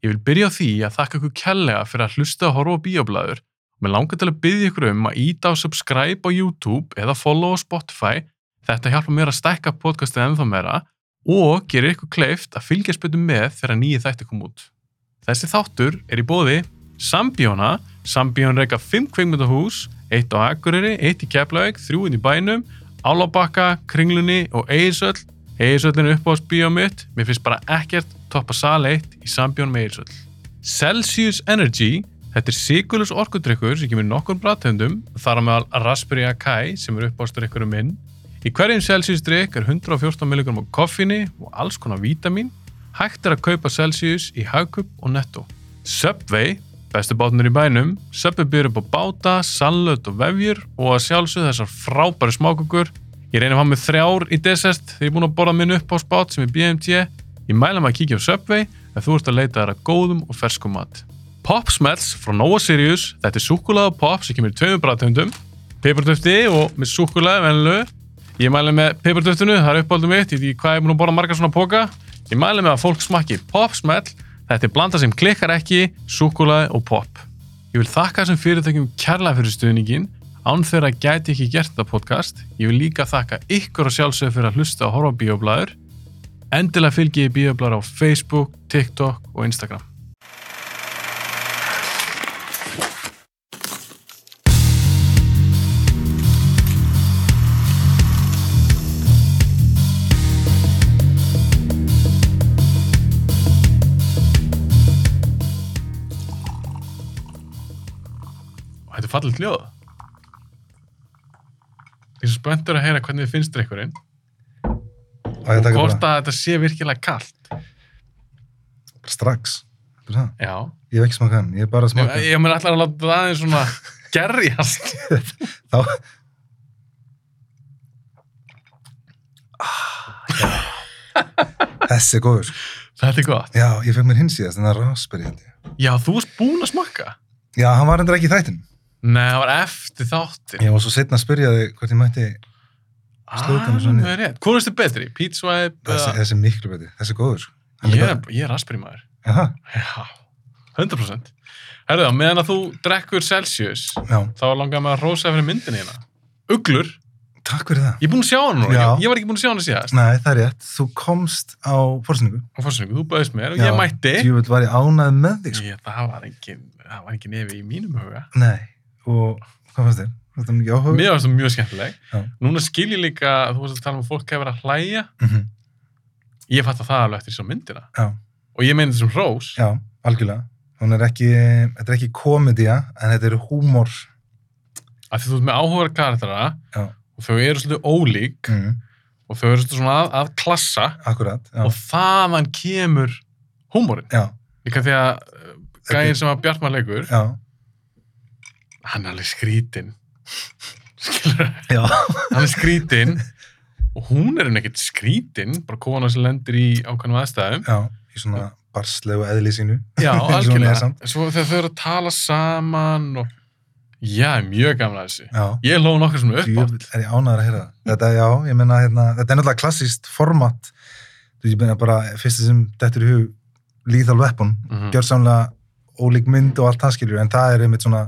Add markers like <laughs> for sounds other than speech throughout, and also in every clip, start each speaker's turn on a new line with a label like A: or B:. A: Ég vil byrja á því að þakka ykkur kærlega fyrir að hlusta að horfa á bíoblæður og mér langar til að byrja ykkur um að íta á subscribe á YouTube eða follow á Spotify. Þetta hjálpa mér að stækka podcastið ennþá meira og gerir ykkur kleift að fylgjast betur með þegar nýju þætti kom út. Þessi þáttur er í bóði Sambíóna, Sambíón reyka 5 kveikmyndahús, 1 á Akureyri, 1 í Keflavík, 3 inn í bænum, Álabakka, Kringlunni og Eirsöll Egilsöllin er uppáðs bíómiðt, mér finnst bara ekkert toppa sal 1 í sambjón með Egilsöll. Celsius Energy, þetta er sigurljus orkudrykkur sem kemur nokkur bræðtöndum, þar á meðal Raspberry Akai sem er uppáðsdrykkurum minn. Í hverjum Celsius drykk er 114 mg koffinni og alls konar vítamin. Hægt er að kaupa Celsius í Hagkup og Netto. Subway, bestu bátnur í bænum, Subway byrjur upp á báta, sallöt og vefjur og að sjálfsög þessar frábæri smákukur Ég reynir að hafa með þrjár í desert þegar ég er búin að borða minn upp á spát sem er BMT. Ég mæla maður að kíkja á Subway ef þú ert að leita þær að góðum og ferskum mat. Pop Smells frá Nova Sirius. Þetta er súkkulaða pop sem kemur í tveimur bræðtöndum. Peppartöfti og með súkkulaði venlu. Ég mæla með peppartöftinu, það er uppáldum mitt. Ég veit ekki hvað ég er búin að borða margar svona póka. Ég mæla með að fólk smakki Pop Smell. Þetta er blanda sem klikkar ekki, súkkulaði og pop. Ég vil þakka þessum fyrirtækjum kærlega fyrir stuðningin. Án þeirra gæti ég ekki gert þetta podcast. Ég vil líka þakka ykkur og sjálfsögur fyrir að hlusta og horfa á bíoblæður. Endilega fylgi ég bíoblæður á Facebook, TikTok og Instagram. Og þetta er fallit ljóð. Ég er svo spenntur að heyra hvernig þið finnst drikkurinn
B: Á ég að
A: og
B: taka
A: hvort
B: bara
A: að þetta sé virkilega kallt.
B: strax. Þetta er það.
A: Já.
B: Ég hef ekki smakað hann, ég er bara að
A: Ég,
B: smaka.
A: ég meina allar að láta það aðeins svona gerjast.
B: Þá... Ah, já. Þessi er góður. sko.
A: <laughs> Þetta er gott.
B: Já, ég fekk mér hins í þess, þannig að raspberry held ég.
A: Já, þú varst búinn að smakka.
B: Já, hann var endur ekki í þættin.
A: Nei, það var eftir þáttir.
B: Ég var svo setna að spyrja þig hvort ég mætti slóta hann svona
A: Alveg rétt. Hvor Ah, er þetta betri? Pizza Swipe?
B: þessi,
A: eða-
B: þessi er miklu betri. Þessi er góður. sko. Hann
A: Ég
B: er
A: er- ég er raspberry maður.
B: bara- Jaha,
A: Já, 100%. Herðu það, meðan að þú drekkur Celsius,
B: já,
A: þá langar maður að rósa fyrir myndinni hérna. Uglur,
B: takk fyrir það.
A: ég er búinn að sjá hann núna.
B: Já.
A: Ég, ég var ekki búinn að sjá hann síðast.
B: Nei, það er rétt. Þú komst á fórsynningu.
A: Og fórstæðingu, þú bauðist mér og ég mætti.
B: Djúvel var ég ánað með þig, sko.
A: Ég, það var engin, það var engin nefi í mínum huga.
B: Nei, og hvað fannst þér? Var þetta mikið áhuga?
A: Mér var það mjög skemmtileg.
B: Já.
A: Núna skil ég líka, þú veist að tala um að fólk hefur verið að hlæja.
B: Mhm,
A: Ég fatt það alveg eftir svo myndina.
B: Já,
A: Og ég meina þessum hrós.
B: já, algjörlega. Hún er ekki, þetta er ekki komedía, en þetta er húmor.
A: Af því þú ert með áhugaðar karaktera
B: Já.
A: og þau eru svolítið ólík
B: Mm,
A: og þau eru svolítið svona að, að klassa
B: akkurat, já.
A: og þaðan kemur húmórin.
B: já,
A: Líka því að uh, gæinn sem að Bjartmar leikur,
B: já,
A: hann er alveg skrítinn. Skilur það?
B: já,
A: hann er skrítinn
B: <laughs>
A: og hún er henni ekkert skrítinn, bara kona sem lendir í ákveðnum aðstæðum.
B: já, í svona barslegu eðli sínu.
A: Já,
B: <laughs> Eins og hún er
A: algjörlega.
B: samt.
A: Svo þegar þau eru að tala saman og já, mjög gaman að þessu.
B: Já,
A: Ég hlóði nokkur sem upp á.
B: djúvel er ég ánæður að heyra það. Þetta, já, ég menna, hérna, þetta er náttúrulega klassíst format. Þú veist, ég menna bara, fyrst sem dettur í hug, lethal weapon,
A: Mhm.
B: gjörsamlega ólík mynd og allt það skilur, en það er einmitt svona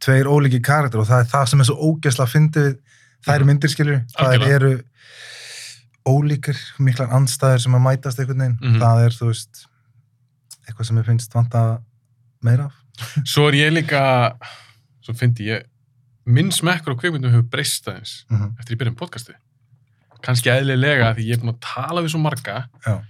B: tveir ólíki karakter og það er það sem er svo ógeðslega fyndið við þær
A: Mhm.
B: myndir skilur, það
A: Algjörlega.
B: eru ólíkir, miklar andstæður sem að mætast einhvern veginn,
A: Mhm.
B: það er þú veist eitthvað sem ég finnst vanta meira af.
A: Svo er ég líka, svo fyndi ég, minn smekkur á kveikmyndum hefur breyst aðeins
B: Mm
A: eftir ég byrja um podcasti. Kannski eðlilega því ég er búin að tala við svo marga
B: Já,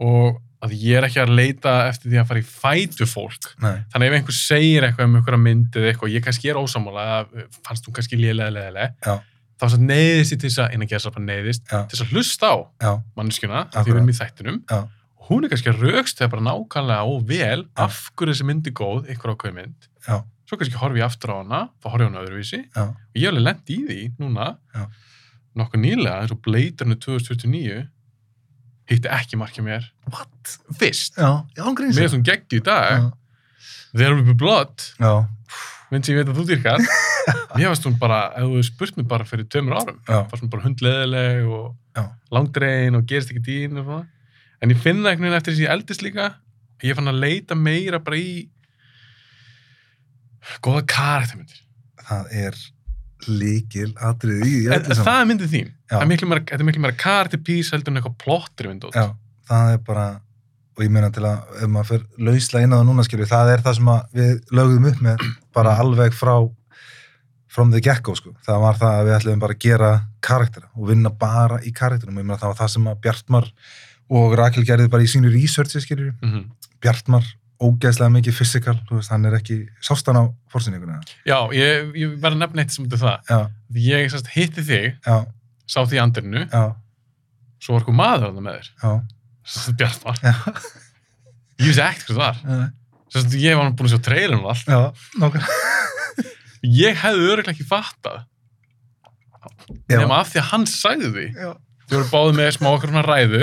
A: og að ég er ekki að leita eftir því að fara í fæt við fólk.
B: nei,
A: Þannig ef einhver segir eitthvað um einhverja mynd eða eitthvað, ég kannski er ósamála, eða fannst þú kannski lélega, lélega,
B: Já.
A: þá satt neyðist ég til þess að, innan gerðs að bara neyðist,
B: Já.
A: til þess að hlusta á
B: já,
A: manneskjuna, af því við
B: Akkurat.
A: erum í þættinum,
B: Já.
A: og hún er kannski að raukst þegar bara nákvæmlega og vel af hverju þessi mynd er góð, einhver ákveð mynd,
B: já,
A: svo kannski horfi ég aftur á hana, þá horfi ég á hana öðruvísi,
B: já,
A: og ég hef alveg lent í því núna,
B: Já.
A: nokkuð nýlega, eins og Blade Runner 2049, hitti ekki markið mér
B: what?
A: fyrst,
B: Já, já, hún grýnst
A: með þessum geggi í dag,
B: já,
A: There Will Be Blood,
B: já,
A: mynd sem ég veit að þú dýrkar
B: <laughs>
A: mér varst hún bara, ef þú hefði spurt mér bara fyrir tveimur árum,
B: já,
A: varst hún bara hundleðileg og
B: Já.
A: langdrein og gerist ekki dýn og svona en ég finna einhvern veginn eftir þess að ég eldist líka ég fann að leita meira bara í góða karaktermyndir
B: það er líkil atrið í
A: En
B: öllu saman.
A: það er myndið þín
B: Já.
A: Það er miklu meira, þetta er miklu meira karakterpís heldur en eitthvað plottri myndótt
B: Já, það er bara og ég meina til að ef maður fer lauslega inn á það núna skilju, það er það sem að við lögðum upp með bara alveg frá from the get-go sko, það var það að við ætlum bara að gera karaktera og vinna bara í karakterum, ég meina það var það sem að Bjartmar og Rakel gerði bara í sínu researchi skilju,
A: mm
B: Bjartmar ógeðslega mikið physical, þú veist, hann er ekki sást hann á fórsynningunni eða?
A: Já, ég, ég verð að nefna eitt sem þetta það
B: já,
A: Ég sérst, hitti þig,
B: já,
A: sá því andirinu
B: já,
A: svo var eitthvað maður þarna með þér
B: já, <laughs>
A: Sérst, Bjartmar,
B: já,
A: ég vissi ekkert hvað það var
B: já,
A: Sérst, ég var búin að sjá trailerinn og allt
B: já, nákvæmlega.
A: Ég hefði öruglega ekki fattað
B: Já,
A: nema af því að hann sagði því
B: já,
A: Þið voru báði með smá okkur svona ræðu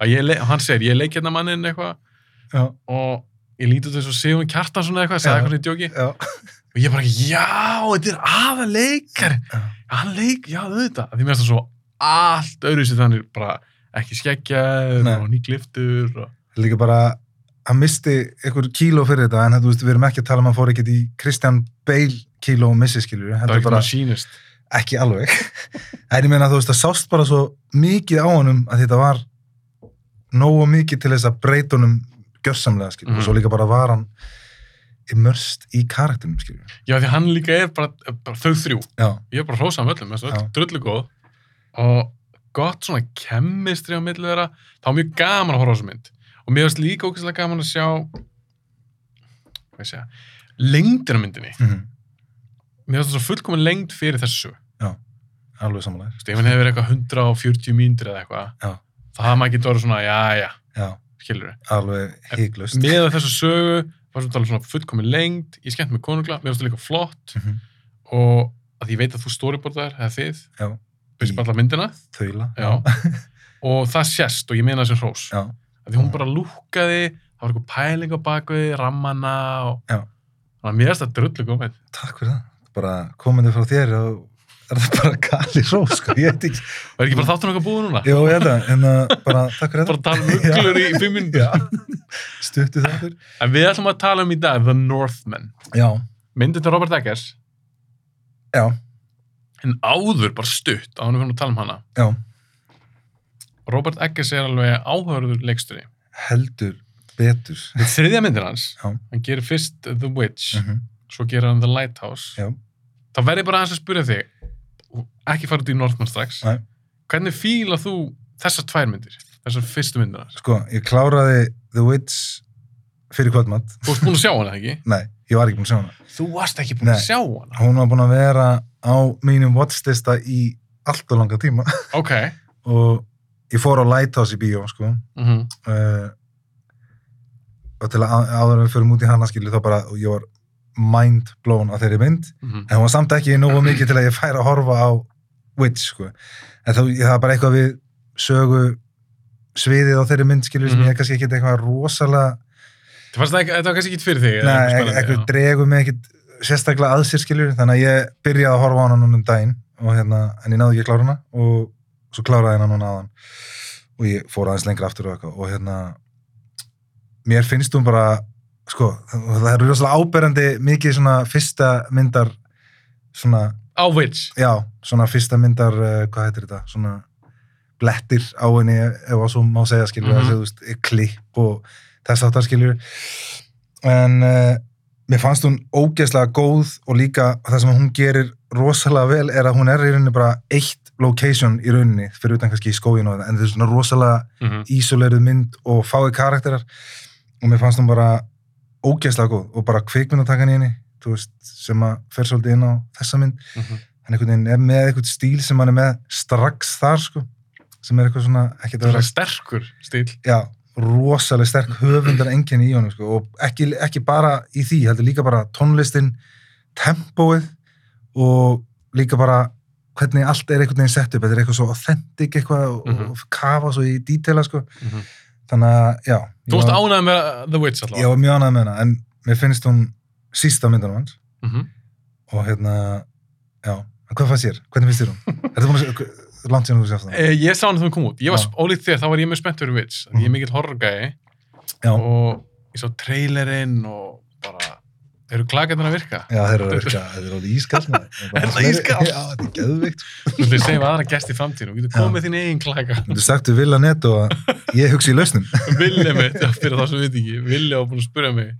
A: að ég, le- og hann segir, ég leik hérna mannin eitthvað
B: já,
A: og ég líti út eins og Sigurinn Kjartansson eða eitthvað, sagði
B: Já.
A: eitthvað svona í djóki
B: já,
A: og ég bara ekki, já, þetta er aða leikar
B: Já.
A: hann leik, já, auðvitað því mér finnst það svo allt öðru sér þannig bara ekki skeggjaður
B: Nei.
A: og nýgliftur og...
B: líka bara hann misti einhver kíló fyrir þetta en þú veist, við erum ekki að tala um að hann fór ekkert í Christian Bale kíló og missi skilur
A: það
B: heldur
A: er ekki
B: bara
A: bara sínist
B: ekki alveg <laughs> en ég meina þú veist, það sást bara svo mikið á honum að þetta var nógu mikið til þess að breyta honum gjörsamlega skilur,
A: Mhm.
B: og svo líka bara var hann immersed í karakterinum skilur
A: já, því hann líka er bara, bara þau þrjú
B: já,
A: ég er bara hrósað um öllum, þessu öll
B: Já.
A: drullu góð og gott svona kemmistri á milli þeirra, þá er mjög gaman að horfa á þessu mynd og mér finnst líka ókvæslega gaman að sjá hvað ég segja lengdina á myndinni,
B: mm
A: mér finnst það svo fullkomin lengd fyrir þessu,
B: alveg
A: Þú
B: samanlega
A: veist, ef hann hefur verið eitthvað 140 mínútur eða
B: Já.
A: eitthvað það hafði maður getur orðið svona, já, já,
B: já,
A: skilur við
B: alveg híklaust
A: með að þessu sögu, var svona talað svona fullkomin lengd, ég skemmt með konungla, mér finnst það líka flott
B: Mhm.
A: og að ég veit að þú storyboardar, eða þið
B: Já.
A: byrjum bara alla myndina
B: þaula
A: Já.
B: <laughs>
A: og það sést og ég meina þessi hrós
B: já,
A: af því hún bara lúkkaði, það var eitthvað pæling á bakvið, rammana og
B: Já.
A: þannig að mér er þetta drullu komið
B: takk fyrir það bara komandi frá þér og er það bara kali ró sko, ég veit ekki
A: og er ekki
B: Mm.
A: bara þáttur okkar búið núna
B: Jó, ég held það, en uh, bara takk fyrir
A: bara
B: þetta.
A: að tala um uglur í fimm
B: <laughs> Já,
A: minnum
B: stuttu þáttur.
A: en við ætlum að tala um í dag The Northman
B: Já,
A: myndið til Robert Eggers
B: já,
A: en áður bara stutt á hann við fyrir að tala um hana
B: já,
A: Robert Eggers er alveg áhörður leiksturi
B: heldur betur.
A: þetta er þriðja myndir hans
B: Já.
A: hann gerir fyrst The Witch
B: Mhm.
A: svo gerir hann The Lighthouse
B: Já.
A: þá verð ég bara aðeins að spyrja þig og ekki fara út í Northman strax
B: Nei.
A: hvernig fíla þú þessar tvær myndir þessar fyrstu myndir
B: Sko, ég kláraði The Witch fyrir kvöldmatt.
A: þú varst búin að sjá hana ekki?
B: Nei, ég var ekki búinn að sjá hana.
A: þú varst ekki
B: búin að
A: sjá hana
B: Hún var búin að vera á mínum watchlista í allt og langa tíma <laughs>
A: ok
B: og ég fór á Lighthouse í bíó, sko.
A: mm -hmm.
B: uh, og til að áður en við förum út í hana skilju þá bara, og ég var mind blown á þeirri mynd
A: mhm.
B: en hún var samt ekki nógu mikið til að ég færi að horfa á Witch sko. en þá, það er bara eitthvað við sögu sviðið á þeirri mynd skilur sem
A: Mhm.
B: ég kannski ekkert eitthvað rosalega
A: það fannst ekki, þetta var kannski ekki fyrir þig eða
B: Nei,
A: eitthvað spennandi,
B: eitthvað
A: já.
B: dregu mig ekkert sérstaklega að sér skilur þannig að ég byrjaði að horfa á hana núna um daginn og hérna, en ég náði ekki að klára hana og svo kláraði ég hana núna aðan og ég fór aðeins lengra aftur og eitthvað og hérna mér finnst hún bara sko, það er rosalega áberandi mikið svona fyrsta myndar svona,
A: á Witch
B: já, svona fyrsta myndar uh, hvað heitir þetta, svona blettir á henni ef að svo má segja skilur,
A: Mhm.
B: mm -hmm. þessi klipp og þess aftar skilur en uh, mér fannst hún ógeðslega góð og líka það sem hún gerir rosalega vel er að hún er í rauninni bara eitt location í rauninni fyrir utan kannski í skóginu og það, en þetta er svona rosalega
A: mm
B: ísuleirið mynd og fáið karakterar og mér fannst hún bara ógeðslega góð og bara kvikmyndatakan í henni þú veist, sem að fer svolítið inn á þessa mynd
A: -hmm.
B: hann einhvern veginn er með eitthvað stíl sem hann er með strax þar sko sem er eitthvað svona, ekki
A: það
B: það
A: er
B: vera
A: sterkur stíl
B: já, rosalega sterk höfundar enginni í honum sko og ekki, ekki bara í því, heldur líka bara tónlistin tempóið og líka bara hvernig allt er einhvern veginn sett upp, þetta er eitthvað svo authentic eitthvað og,
A: Mhm.
B: og kafa svo í detaila sko
A: mm -hmm.
B: þannig að, já
A: þú
B: ég
A: varst
B: var-
A: ánægð með uh, The Witch
B: ég
A: allavega
B: var mjög ánægð með hana, en mér finnst hún sísta myndunum hans
A: mm
B: og hérna, já, en hvað fannst þér? hvernig finnst þér hún? er þetta búin að, hva- langt síðan þú sér það?
A: Eh, ég sá hana þegar hún kom út ég var
B: Já.
A: ólíkt þér, þá var ég mjög spennt fyrir Witch mm -hmm. ég er
B: Mhm.
A: mikill horrorgæði
B: já,
A: og ég sá trailerinn og bara, eru klakarnir að virka?
B: Já, þeir eru að virka, þeir eru alveg ískall.
A: <laughs> Er það ískalt?
B: Já, þetta er sko. geðvikt.
A: Þú ætlum að segja við aðra gest í framtíðinu, þú getur
B: Já.
A: komið þín eigin klaka.
B: Þú sagt við vilja netto að ég hugsi í lausnum.
A: Villi mitt, já, fyrir þá sem við ekki, Villi var búin að spyrja mig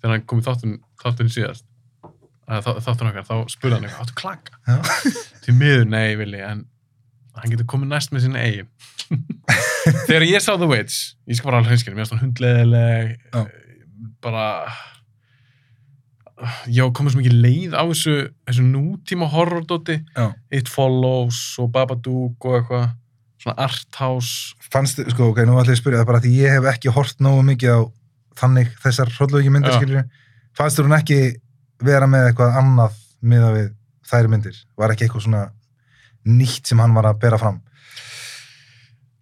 A: þegar hann kom í þáttun, þáttun síðast, að þá- þáttun okkar, þá spurði hann eitthvað, áttu klaka?
B: Já.
A: Til miður, nei, Villi, en hann getur komið næst með sinni
B: <laughs>
A: eigi. þegar ég sá The Witch, ég skal bara alveg hinskjörn, mér varst hann hundleðileg,
B: Já.
A: bara, já, komið svo mikið leið á þessu, þessu nútíma horrordóti,
B: Já.
A: It Follows og Babadook og eitthvað, svona arthouse,
B: Fannst, sko, ok, nú ætla ég að spyrja það bara því ég hef ekki hort nógu mikið á þannig þessar hróllögi myndir,
A: Já.
B: skiljur. Fannst þú hún ekki vera með eitthvað annað miða við þær myndir? Var ekki eitthvað svona nýtt sem hann var að bera fram?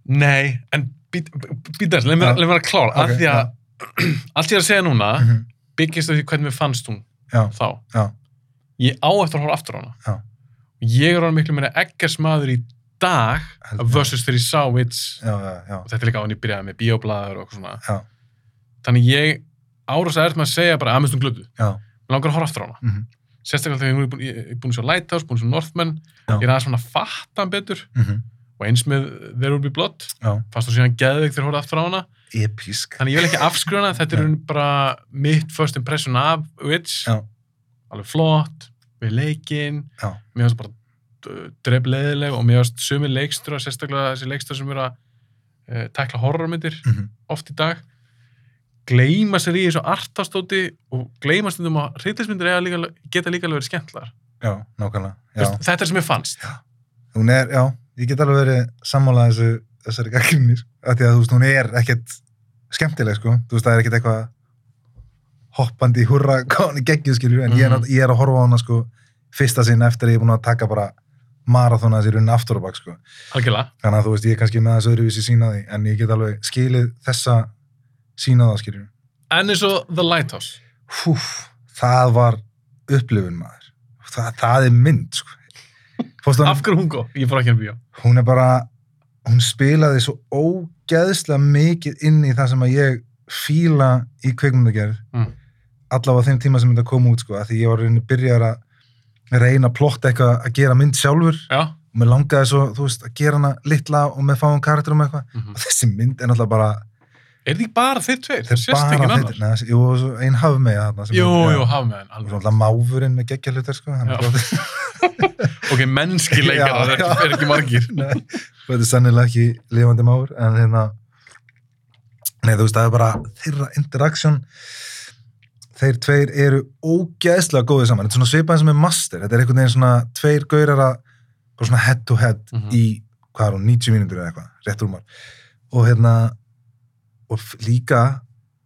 A: Nei, en býta þess, leið mér
B: Já.
A: leið mér að klára,
B: Ok,
A: af því að allt ég er að segja núna
B: Mhm.
A: byggist af því hvernig mér fannst hún
B: Já,
A: þá.
B: já,
A: Ég á eftir að horfa aftur á hana.
B: Já.
A: Ég er orðin miklu meira ekkert maður í dag
B: Heldur það.
A: versus þegar ég sá Wits
B: já, já, já.
A: og þetta er líka á henni byrjaði með bioblæður og eitthvað svona.
B: Já.
A: Þannig ég árosa er með að segja bara að aðmestum glötu.
B: já.
A: Mér langar að horfa aftur á hana.
B: mhm,
A: Sérstaklega þegar ég er búin- ég er búin að sjá Lighthouse, búin að sjá Northman,
B: Já.
A: ég er aðeins svona að fatta hann betur
B: mhm,
A: og eins með There Will Be Blood,
B: Já,
A: fast þú síðan geðveik þegar ég horfði aftur á hana.
B: episk.
A: Þannig ég vil ekki afskrjóna, þetta er
B: Nei.
A: raun bara mitt first impression af Witch,
B: Já.
A: alveg flott, við leikinn,
B: Já.
A: mér finnst bara drefleðileg og mér finnst sumir leikstur, sérstaklega þessi leikstur sem eru að uh, tekla horrormyndir
B: Mhm,
A: oft í dag, gleyma sér í þessu artastóti og gleyma stundum að hryllismyndir eiga líka, geta líka alveg verið skemmtlar.
B: Já, nákvæmlega. Já.
A: Þetta er sem ég fannst.
B: hún er, já, ég get alveg verið sammálað þessu, þessari gaggrinni af því að þú veist, hún er ekkert skemmtileg, sko, þú veist, það er ekkert eitthvað hoppandi hurra gáni geggjum, skilju, en ég, er,
A: Mhm.
B: nátt- ég er að horfa á hana, sko, fyrsta sinn eftir að ég er búin að taka bara marathona þessi runni aftur á bak, sko,
A: Algjörlega.
B: þannig að þú veist, ég er kannski með þessu öðruvísi sína því, en ég get alveg skilið þessa sína það, skilju
A: En eins og The Lighthouse.
B: húf, það var upplifun maður, það, það er mynd, sko Fórstu á-
A: Af hverju hún góð? Ég fór ekki að bíó.
B: hún er bara hún spilaði svo ógeðslega mikið inn í það sem að ég fíla í kveikmyndagerð
A: Mm.
B: allavega á þeim tíma sem þetta kom út sko, að því ég var reyni byrjar að reyna að plotta eitthvað að gera mynd sjálfur
A: Já.
B: og mér langaði svo, þú veist, að gera hana litla og með fáum karakterum eitthvað
A: Mm
B: og þessi mynd er náttúrulega bara
A: Er því bara þeir tveir? Það
B: þetta er
A: sést ekki
B: bara
A: annar.
B: þetta, neða, jú, og svo ein haf með þarna sem
A: Jú,
B: er-
A: jú,
B: já.
A: hafa með henn,
B: og
A: alveg.
B: svo alltaf máfurinn með geggjallutar sko, hann
A: Já.
B: er flott
A: <laughs> Ok, mennski leikarar,
B: Já,
A: það er,
B: já.
A: ekki- er ekki margir.
B: <laughs> Nei, og þetta er sannilega ekki lifandi máur en hérna nei, þú veist, það er bara þeirra interaction þeir tveir eru ógeðslega góðið saman, þetta er svona svipað sem er master, þetta er einhvern veginn svona tveir gaurar að bara svona head to head
A: Mhm.
B: í, hvað er hún, 90 mínútur eða eitthvað, rétt rúmar og hérna og f- líka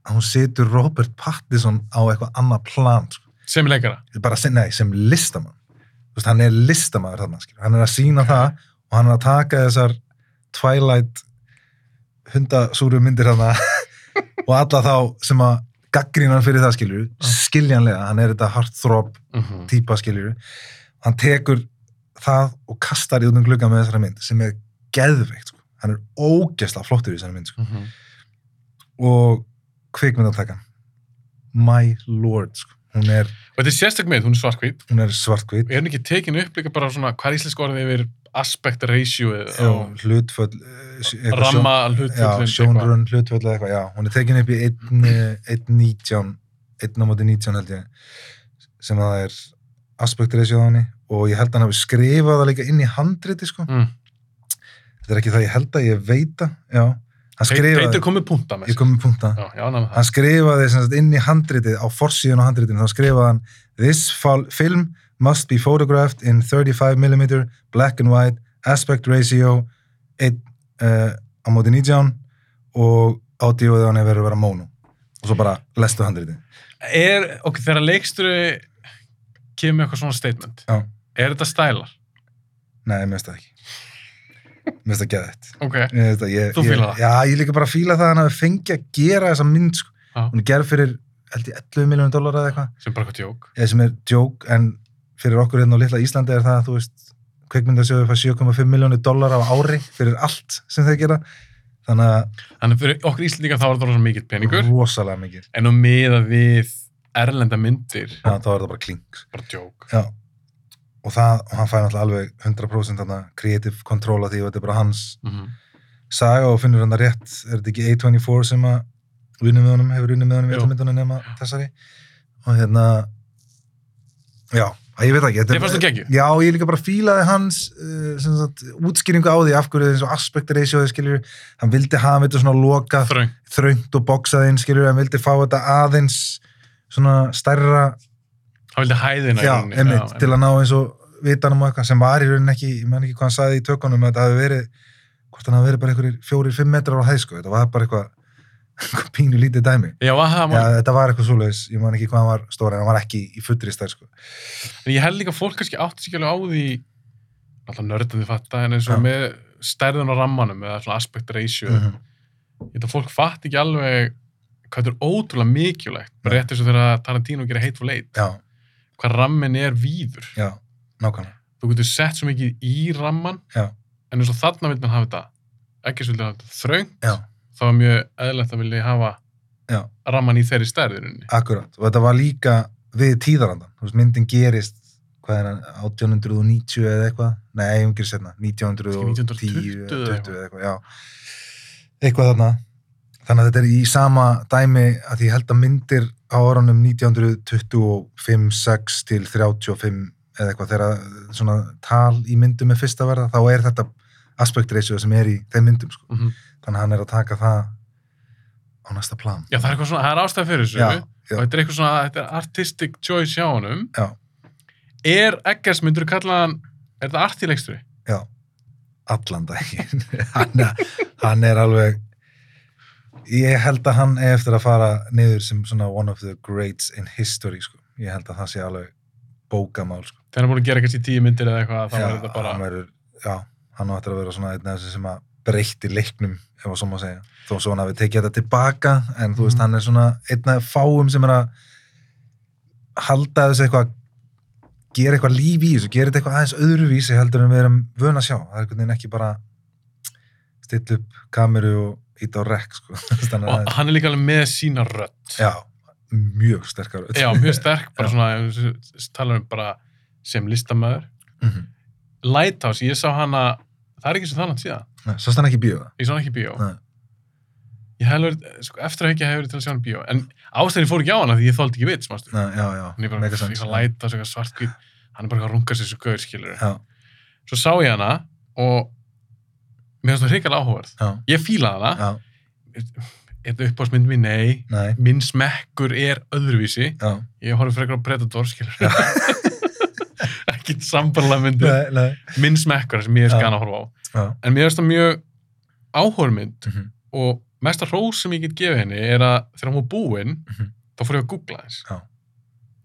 B: að hún setur Robert Pattinson á eitthvað annað plan, sko
A: Sem leikara.
B: bara sem, nei, sem listamann Þú veist, hann er listamaður þarna skilur. hann er að sína það og hann er að taka þessar Twilight hundasúru myndir þarna <laughs> og alla þá sem að gaggrína hann fyrir það skilur, skiljanlega hann er þetta heartthrob
A: Mhm.
B: típa skilur hann tekur það og kastar í út um glugga með þessari mynd sem er geðveikt sko. hann er ógesla flottur í þessari mynd sko.
A: Mhm.
B: og kvikmyndatakan my lord sko. hún er,
A: Og þetta er sérstök mynd, hún er svartkvít.
B: hún er svartkvít
A: Er hún ekki tekin upp líka bara svona, hvað er íslensk orðið yfir aspect ratio
B: Já,
A: og
B: hlutföll eh, sj- eitthvað sjón-
A: ramma
B: já,
A: hlutfjöldin?
B: sjónrun, hlutföll eða eitthvað, já, hún er tekin upp í 1.19 1 á móti 19 held ég sem það er aspect ratio á henni og ég held að hann hafi skrifað það líka inn í handriti sko,
A: Mm.
B: þetta er ekki það ég held að ég veit að já, hann
A: Teitur
B: skrifaði,
A: komið punta með
B: ég kom í punta
A: Já, já, náma það.
B: hann skrifaði sem sagt, inn í handritið á forsíðun á handritinu, þá skrifaði hann This fal- film must be photographed in 35mm black and white aspect ratio 1 uh, á móti 19 og átíuðið hann hefur verið að vera mónu og svo bara lestu handritið
A: Er, ok, þegar leiksturu kemur með eitthvað svona statement,
B: Já.
A: er þetta stælar?
B: Nei, mér finnst það ekki Mér finnst það geðið
A: Ok,
B: Ég veist að ég,
A: Þú
B: ég,
A: fílar það?
B: Já, ég líka bara fíla það að hann hafi fengið að gera þessa mynd sko.
A: Já.
B: hún er gerð fyrir held ég 11 miljónum dólar eða eitthvað
A: sem bara eitthvað tjók.
B: eða sem er djók en fyrir okkur hérna á litla Íslandi er það að þú veist kveikmyndasjóðu fær 7,5 miljónir dólar á ári fyrir allt sem þeir gera þannig að
A: Þannig að fyrir okkur Íslendingar þá er það rosa mikill peningur.
B: rosalega mikið
A: En á miða við erlenda myndir,
B: Já, þá er það bara klink
A: bara djók.
B: Já. og það, og hann fær náttúrulega alveg 100% þarna creative control af því og þetta er bara hans
A: Mm
B: saga og finnur hann það rétt er þetta ekki A24 sem að unni með honum, hefur unni með honum í
A: Jú.
B: öllum myndunum nema þessari og hérna já, að ég veit ekki þetta
A: Ég fannst það geggju.
B: Já, ég líka bara fílaði hans uh, sem sagt, útskýringu á því af hverju eins og aspect ratio skilur, hann vildi hafa þetta svona lokað
A: Þröng.
B: þröngt og boxað inn skilur, hann vildi fá þetta aðeins svona stærra
A: Hann vildi hæðina. í
B: já,
A: rauninni,
B: einmitt, til að ná eins og vitanum og eitthvað sem var í rauninni ekki, ég menn ekki hvað hann sagði í tökunum að þetta hafi verið, hvort hann hafi verið bara einhverjir fjórir, fimm metrar á hæð sko, þetta var bara eitthvað, <laughs> eitthvað pínu lítið dæmi
A: Já, að það
B: já,
A: var,
B: þetta var eitthvað svoleiðis, ég man ekki hvað hann var stóra en hann var ekki í fullri stær sko
A: en ég held líka að fólk kannski átti sig ekki alveg á því, alltaf nördandi fatta, en eins og
B: Já.
A: með stærðan á rammanum eða svona aspect ratio,
B: Mhm.
A: ég held að fólk fatt ekki alveg hvað þetta er ótrúlega mikilvægt, bara rétt eins og þegar Tarantino gerir Hateful Eight,
B: já,
A: hvað rammin er víður.
B: já, nákvæmlega
A: Þú getur sett svo mikið í ramman,
B: Já.
A: en eins og þarna vil mann hafa þetta, ekki svolítið hafa þetta þröngt,
B: já,
A: þá er mjög eðlægt að vilja hafa
B: Já.
A: ramman í þeirri stærðurinni.
B: akkurat, og þetta var líka við tíðarandan, þú veist, myndin gerist hvað er hann, 1890 eða eitthvað nei, hún gerist hérna, 1910
A: 1920
B: eða
A: eða
B: 20 eða eitthvað, já eitthvað þarna þannig að þetta er í sama dæmi að ég held að myndir á orðanum 1925, 6 til 35 eða eitthvað þegar svona tal í myndum er fyrst að verða, þá er þetta aspect ratio sem er í þeim myndum sko.
A: Mm
B: þannig að hann er að taka það á næsta plan
A: Já, það er, eitthvað svona, það er ástæð fyrir þessu
B: Já, já.
A: og þetta er eitthvað svona, þetta er artistic choice hjá honum.
B: Já.
A: Er Eggers, myndur þú kalla hann, er þetta artilegstur?
B: Já, allan daginn. <laughs> hann, hann er alveg, ég held að hann eigi eftir að fara niður sem svona one of the greats in history, sko. Ég held að það sé alveg bókamál, sko.
A: Þegar hann er búin að gera kannski tíu myndir eða eitthvað, þá er þetta bara...
B: Hann verður, já, hann á eftir að vera svona einn af þessu sem að breytti leiknum, ef að svo má segja. Þó svo hann hafi tekið þetta tilbaka, en þú veist,
A: Mhm.
B: hann er svona einn af fáum sem er að halda þessu eitthvað gera eitthvað líf í þessu, gera þetta eitthvað aðeins öðruvísi heldur en við erum vön að sjá það er einhvern veginn ekki bara stilla upp kameru og ít á rekk sko. <laughs> Þannig að
A: Og
B: það er-
A: hann er líka alveg með sína rödd.
B: já, mjög sterkar
A: Já, mjög sterk, bara
B: <laughs> Já.
A: svona, tala um bara sem listamæður.
B: mm
A: Lighthouse, ég sá hana, það er ekki svo þannig síðan,
B: svo stann ekki bíða
A: ég sá hana ekki í bíó.
B: Nei.
A: Ég hef verið, sko, eftir að ekki hef verið til að sjá hana í bíó, en ástæðin fór ekki á hana því ég þóldi ekki vits, mástu.
B: Nei, já, já,
A: hann er bara
B: mega
A: eitthvað
B: sens
A: eitthvað læta eitthvað svartkvít hann er bara eitthvað að runga sér svo gauður skilur
B: já,
A: svo sá ég hana og mér finnst það hrikalega áhugaverð
B: já,
A: ég fílaði hana,
B: já,
A: er þetta uppáðsmynd mín? Nei
B: nei
A: minn smekkur er öðruvísi
B: já,
A: ég horfði frekar á Predator skilur <laughs> ekki sambarlega myndir
B: nei, nei
A: minn smekkur sem ég er
B: Já.
A: skan að horfa á
B: já,
A: en mér finnst það mjög áhugavermynd
B: mhm,
A: og mesta hrós sem ég get gefið henni er að þegar hún var búin
B: Mhm.
A: þá fór ég að googla þess
B: Já.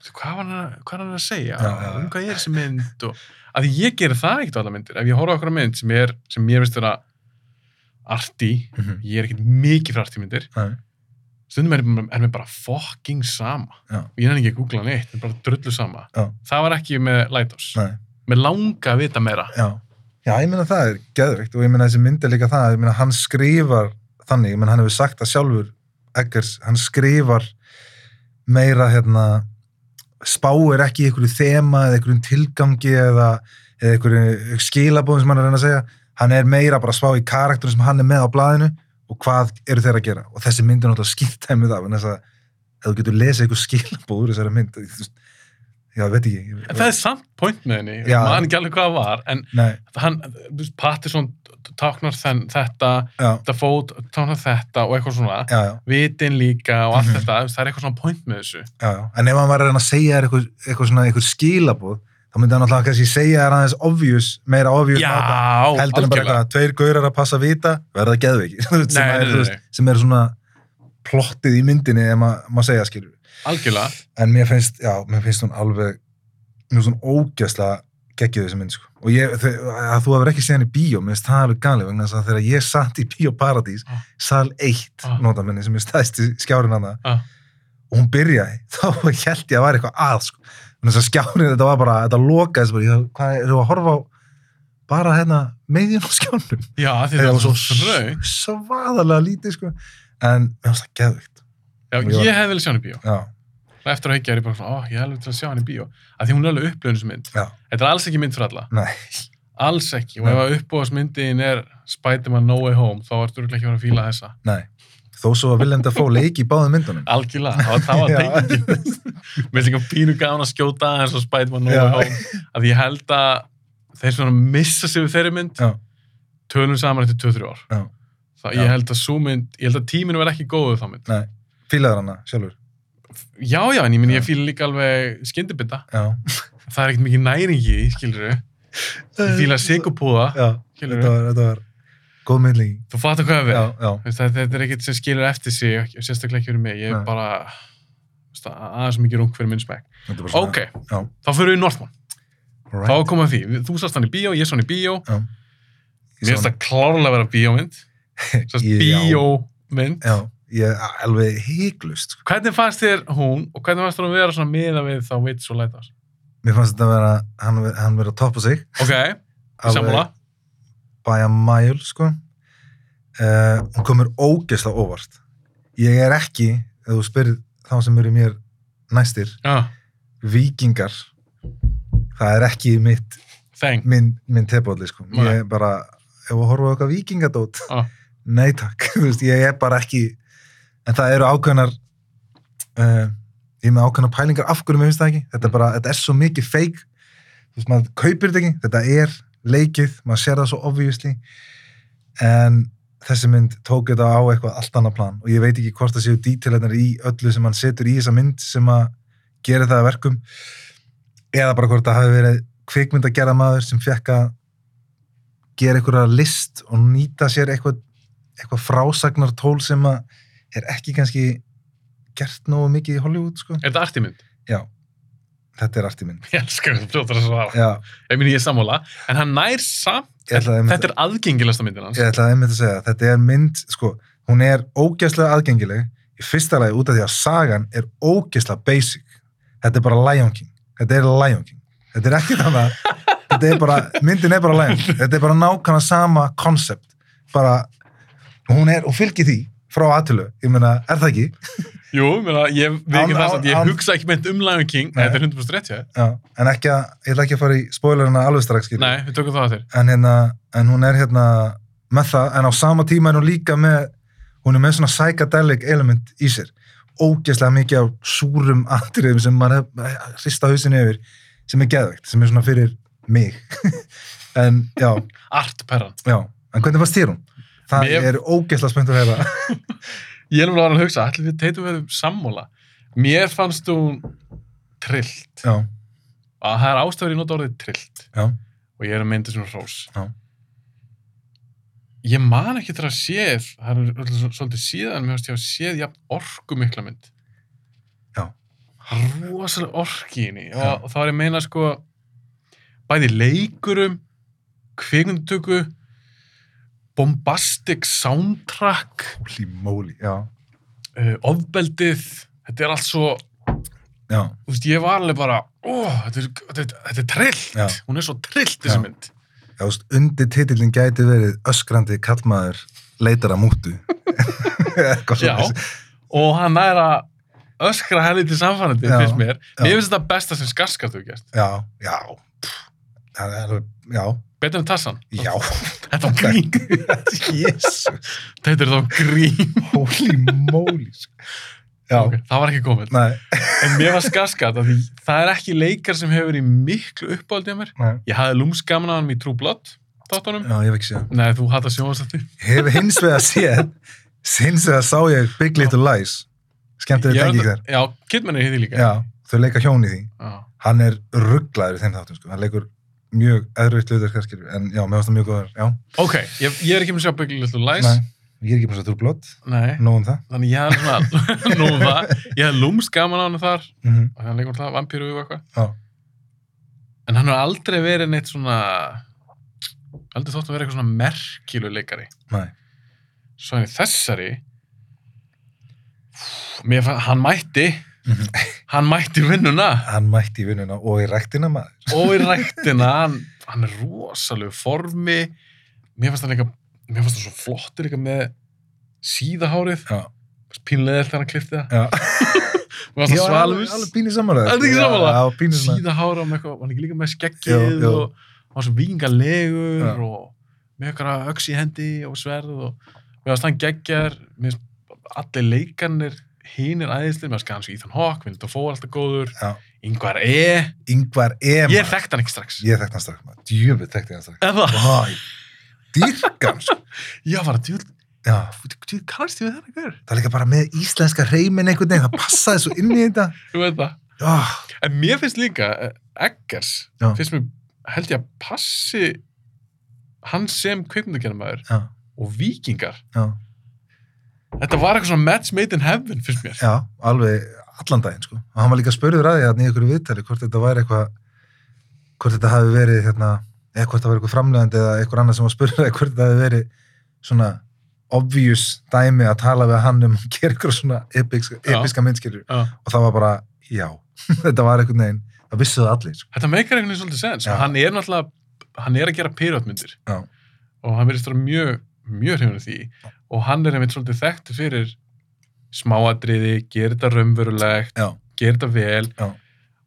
A: hvað var hann, að- hvað er hann að segja
B: Já, já, já.
A: um hvað er þessi mynd og, að því ég gerir það ekkert á alla myndir ef ég horfa okkur á einhverja mynd sem, er, sem mér finnst vera arti,
B: mhm,
A: ég er ekkert mikið fyrir arti myndir
B: nei,
A: stundum er, er mér bara fucking sama
B: Já.
A: og ég er ekki að googla neitt, mér er bara drullu sama
B: Já.
A: það var ekki með Lighthouse
B: nei
A: mér langa að vita meira
B: já, já, ég meina það er geðvikt og ég meina þessi mynd er líka það, ég meina hann skrifar þannig, ég meina hann hefur sagt það sjálfur Eggers, hann skrifar meira hérna spáir ekki í einhverju þema eða einhverjum tilgangi eða, eða einhverju skilabóðum sem hann er að reyna að segja hann er meira bara að spá í karakterum sem hann er með á blaðinu og hvað eru þeir að gera og þessi mynd er náttúrulega skýrtæmið af en þess að ef þú getur lesið einhver skilabóður þessari mynd, þú veist, já, veit ekki ég-
A: en það er samt point með henni,
B: Já.
A: maður ekki alveg hvað það var en
B: Nei,
A: hann, þú veist, Pattinson táknar þenn, þetta,
B: já,
A: Dafoe táknar þetta og eitthvað svona,
B: já, já
A: vitin líka og allt
B: Mhm.
A: þetta, þú veist, það er eitthvað svona point með þessu.
B: já, já. en ef hann var að reyna að segja þér eitthvað, eitthvað svona eitthvað skilabóð þá myndi hann alltaf kannski segja þér aðeins obvious meira obvious
A: Já,
B: máta, heldur en bara
A: algjörlega.
B: eitthvað tveir gaurar að passa vita verða geðveiki <laughs> sem,
A: Nei, nei,
B: er,
A: nei,
B: þú veist,
A: nei.
B: sem er svona plottið í myndinni ef ma- maður segja skilur
A: Algjörlega.
B: en mér finnst, já, mér finnst hún alveg mér finnst hún ógæslega geggið þessi mynd, sko. Og ég, þe- að þú hefur ekki séð henni í bíó, mér finnst það alveg galið vegna þess að þegar ég satt í bíó Paradís,
A: Ah.
B: sal 1,
A: Ah.
B: nota minni, sem er stæðsti skjárin hana,
A: Ah.
B: og hún byrjaði, <laughs> þá held ég að væri eitthvað að, sko. Þannig að skjárin, þetta var bara, þetta lokaði, þessi bara, ég, hvað, eru að horfa á bara hérna meðin á skjánum
A: Já, af því
B: Eða
A: það var svo
B: s-
A: fröng.
B: svaðalega lítið sko en mér finnst það geðvikt
A: Já,
B: Ég var-
A: ég hefði vilja sjá hann í bíó.
B: já,
A: Og eftir að hekja er ég bara svona, ó, ég hefði vilja sjá hann í bíó. Af því hún er alveg upplöðnismynd.
B: Já.
A: Þetta er alls ekki mynd fyrir alla.
B: nei,
A: Alls ekki. Og
B: Nei.
A: ef að uppbóðasmyndin er Spider-Man No Way Home, þá ertu örugglega ekki að vera að fíla þessa.
B: nei þó svo að Willem Dafoe leiki í báðum
A: <laughs>
B: myndunum
A: Algjörlega, það var, það var
B: Já.
A: tengingin. Mér er líka pínu gaman að skjóta aðeins og Spiderman No
B: Já.
A: Way Home. Að ég held að þeir sem eru að missa sig við þeirri mynd,
B: Já.
A: tölum saman eftir 2-3 ár.
B: Já.
A: Það,
B: Já.
A: ég held að svo mynd, ég held að tíminu verði ekki góðu þá mynd.
B: nei, fílaður hana sjálfur
A: Já, já, en ég minn,
B: Já.
A: ég fíla líka alveg skyndibita.
B: já,
A: Það er ekkert mikið næringi, skilur við. Ég fíla sigupúða,
B: já,
A: skilur
B: þetta
A: við.
B: var, þetta var góð myndlíking
A: Þú fattar hvað við.
B: já, já,
A: Veist, þetta, þetta er ekkert sem skilur eftir sig, ekki- sérstaklega ekki fyrir mig. Ég er
B: Nei.
A: bara veist, aðeins mikið rung fyrir minn smekk.
B: þetta var
A: Ok,
B: já,
A: þá fyrir við í Northman.
B: alright.
A: Þá er komið að því. Við- Þú sást hann í bíó, ég sá hann í bíó.
B: Já.
A: Mér finnst það klárlega að vera
B: <laughs>
A: bíómynd. Sást
B: Já.
A: bíómynd.
B: já, ég alveg hygglust sko.
A: Hvernig fannst þér hún og hvernig fannst þér hún vera svona miða við þá vits og lætast?
B: mér fannst þetta að vera hann, ver- hann verið að toppa sig
A: Ok,
B: <laughs> Alveg
A: sammála.
B: by a mile sko. uh, hún komur ógeðslega óvart ég er ekki, ef þú spyrir þá sem eru mér næstir
A: Já,
B: vikingar það er ekki mitt
A: þeng.
B: minn, minn tebóli sko.
A: Nei.
B: ég er bara, ef þú horfa okkar vikingadót
A: Ah.
B: nei takk <laughs> Þú veist, ég er bara ekki en það eru ákveðnar uh, ég er með ákveðnar pælingar af hverju mér finnst það ekki þetta er, bara, þetta er svo mikið feik þú veist, maður kaupir þetta ekki, þetta er leikið, maður sér það svo obviously en þessi mynd tók þetta á eitthvað allt annað plan og ég veit ekki hvort það séu dítilegnar í öllu sem hann setur í þessa mynd sem að gera það að verkum eða bara hvort það hafi verið kvikmynd að gera maður sem fekk að gera einhverja list og nýta sér eitthvað, eitthvað frásagnartól sem að er ekki kannski gert nógu mikið í Hollywood sko.
A: Er þetta artimynd?
B: Já, þetta er arti mynd.
A: <laughs> Ég elskar hvernig þú fljótar að svara.
B: Já,
A: Ég minn ég er sammála. En hann nær samt.
B: Ég ætlaði einmitt-
A: Þetta er aðgengilegsta myndin hans.
B: Ég ætlaði einmitt að segja, þetta er mynd, sko, hún er ógeðslega aðgengileg í fyrsta lagi út af því að sagan er ógeðslega basic. Þetta er bara Lion King. Þetta er Lion King. Þetta er ekki
A: <laughs>
B: þannig að, þetta er bara, myndin er bara Lion King. Þetta er bara nákvæmlega sama koncept. Bara, hún er, og fylgir því frá aðtölu. Ég meina, er það ekki?
A: Jú, mena, ég veit
B: Án-
A: ekki það
B: án-
A: samt. Ég
B: án-
A: hugsa ekki mynd um Lion King. Nei.
B: Nei.
A: Þetta er 100% rétt, já.
B: Já, en ekki að, ég ætla ekki að fara í spoilerina alveg strax, skilur.
A: Nei, við tökum það að þér.
B: en, hérna, en hún er hérna með það, en á sama tíma er hún líka með hún er með svona psychedelic element í sér, ógeðslega mikið af súrum atriðum sem maður hef- hef- hrista hausin yfir, sem er geðvegt sem er svona fyrir mig <laughs> en já,
A: Artperran.
B: já, en hvernig fannst þér hún? Það
A: Mér-
B: er ógeðslega spennt að heyra
A: Ég er alveg að vera að hugsa, ætlum við teitum við sammála. Mér fannst hún trillt.
B: já,
A: Að það er ástæður ég nota orðið trillt
B: já,
A: og ég er að mynda svona hrós.
B: Já.
A: Ég man ekki þegar að séð, það er öll svo- svolítið síðan, mér fannst ég að séð jafn orku mikla mynd.
B: Já.
A: Rosalega orki í henni.
B: Já.
A: Og, og þá er ég að meina sko, bæði leikurum, kvikmyndutöku, bombastic soundtrack,
B: holy moly já,
A: uh, ofbeldið, þetta er allt svo,
B: já,
A: þú veist, ég var alveg bara, ó, þetta er, þetta er, þetta er trillt,
B: Já.
A: hún er svo trillt þessi
B: Já.
A: mynd.
B: já, þú veist, undir titillin gæti verið öskrandi kallmaður leitar að mútu <laughs> eitthvað
A: Já,
B: svoleiðis.
A: og hann er að öskra henni til samfærandi,
B: Já.
A: finnst mér.
B: Já.
A: Mér finnst þetta besta sem skarskart hefur gert.
B: Já, já, pff, það er alveg, já,
A: Betur en Tassan.
B: já, <laughs>
A: Þetta var grín.
B: jésus,
A: þetta er þá grín.
B: holy moly, sko. já,
A: Ok, það var ekki komið.
B: nei,
A: En mér var skarskart af því það er ekki leikar sem hefur verið miklu uppáldið að mér.
B: nei,
A: Ég hafði lúmskamna hann í True Blood, þáttunum.
B: já, ég hef ekki séð,
A: Nei, þú hattar sjónastætti.
B: hef hins vegar séð, hins vegar sá ég Big Little Lies, skemmt að
A: Ég
B: þetta
A: var-
B: ekki þér,
A: Já, Kidman er í því líka.
B: já, þau leika hjón í því,
A: Já.
B: hann er rugglaður í þeim þáttum, sko, hann leikur mjög erfitt hlutur, skilur, en já, mér finnst það mjög góður, já,
A: Ok, ég, ég er ekki með að sjá Big Little Lies.
B: nei, ég er ekki bara svo trúblót,
A: Nei.
B: nóg um það,
A: Þannig ég hafði svona, <laughs> nú um það, ég hafði lúmst gaman á hann þar,
B: mhm,
A: og hann leikur það, vampíru og eitthvað.
B: já,
A: En hann hefur aldrei verið neitt svona, aldrei þótt að vera eitthvað svona merkilu leikari.
B: nei,
A: Svo hann í þessari, mér fann, hann mætti,
B: Mhm.
A: <laughs> hann mætti í vinnuna
B: hann mætti í vinnuna og í rektina maður,
A: og í ræktina, hann hann er rosalegu formi mér fannst hann líka mér fannst hann svo flottur líka með síðahárið
B: Já,
A: pínleðir þegar hann klippti það
B: já.
A: <laughs> mér fannst
B: Ég
A: hann
B: var alveg,
A: svalvis
B: alveg pínu samanlega.
A: Er það ekki sammála?
B: Já, já, pínu samanlega.
A: síðahára með eitthvað hann er ekki líka með
B: Já,
A: skeggið
B: já.
A: og hann var svo vingalegur
B: Já.
A: og með eitthvað öks í hendi og sverð og mér fannst hann geggjar mér fannst allir leikarnir hinir æðislir, mér fannst hann svo Ethan Hawke Vinnet og Fóar alltaf góður
B: Já.
A: Ingvar E,
B: Yngvar E.
A: ég
B: maður.
A: þekkt hann ekki strax
B: Ég þekkt hann strax, maður. Djöfull þekkt ég hann strax.
A: eða,
B: Vá, ég dýrka hann, sko.
A: ég var að djúl
B: Já,
A: Þú kannast ég við þetta hver?
B: það er líka bara með íslenska reymin einhvern veginn, það passaði svo inn í þetta.
A: Þú veit það.
B: Já,
A: En mér finnst líka eh, Eggers,
B: Já.
A: finnst mér held ég að passi hann sem kveikmyndagjörnumæður
B: já,
A: og vikingar.
B: já,
A: Þetta var eitthvað svona match made in heaven, finnst mér.
B: já, alveg allan daginn, sko. Og hann var líka spurður að því að í ykkur viðtali hvort þetta væri eitthvað, hvort þetta hafi verið, hérna, eða hvort það var eitthvað framlegandi eða eitthvað annað sem var spurður að hvort þetta hafi verið svona obvious dæmi að tala við hann um að gera eitthvað svona episka,
A: Já.
B: episka myndskilur
A: Já.
B: og það var bara, já, <laughs> þetta var einhvern veginn, það vissu það allir, sko.
A: Þetta meikar einhvern veginn svolítið sens.
B: Já.
A: og Hann er náttúrulega, hann er að gera pyrotmyndir
B: Já.
A: og hann verðist vera mjög, mjög hrifun af því og hann er einmitt svolítið þekktu fyrir smáadriði, gera þetta raunverulegt,
B: Já,
A: gera þetta vel
B: Já.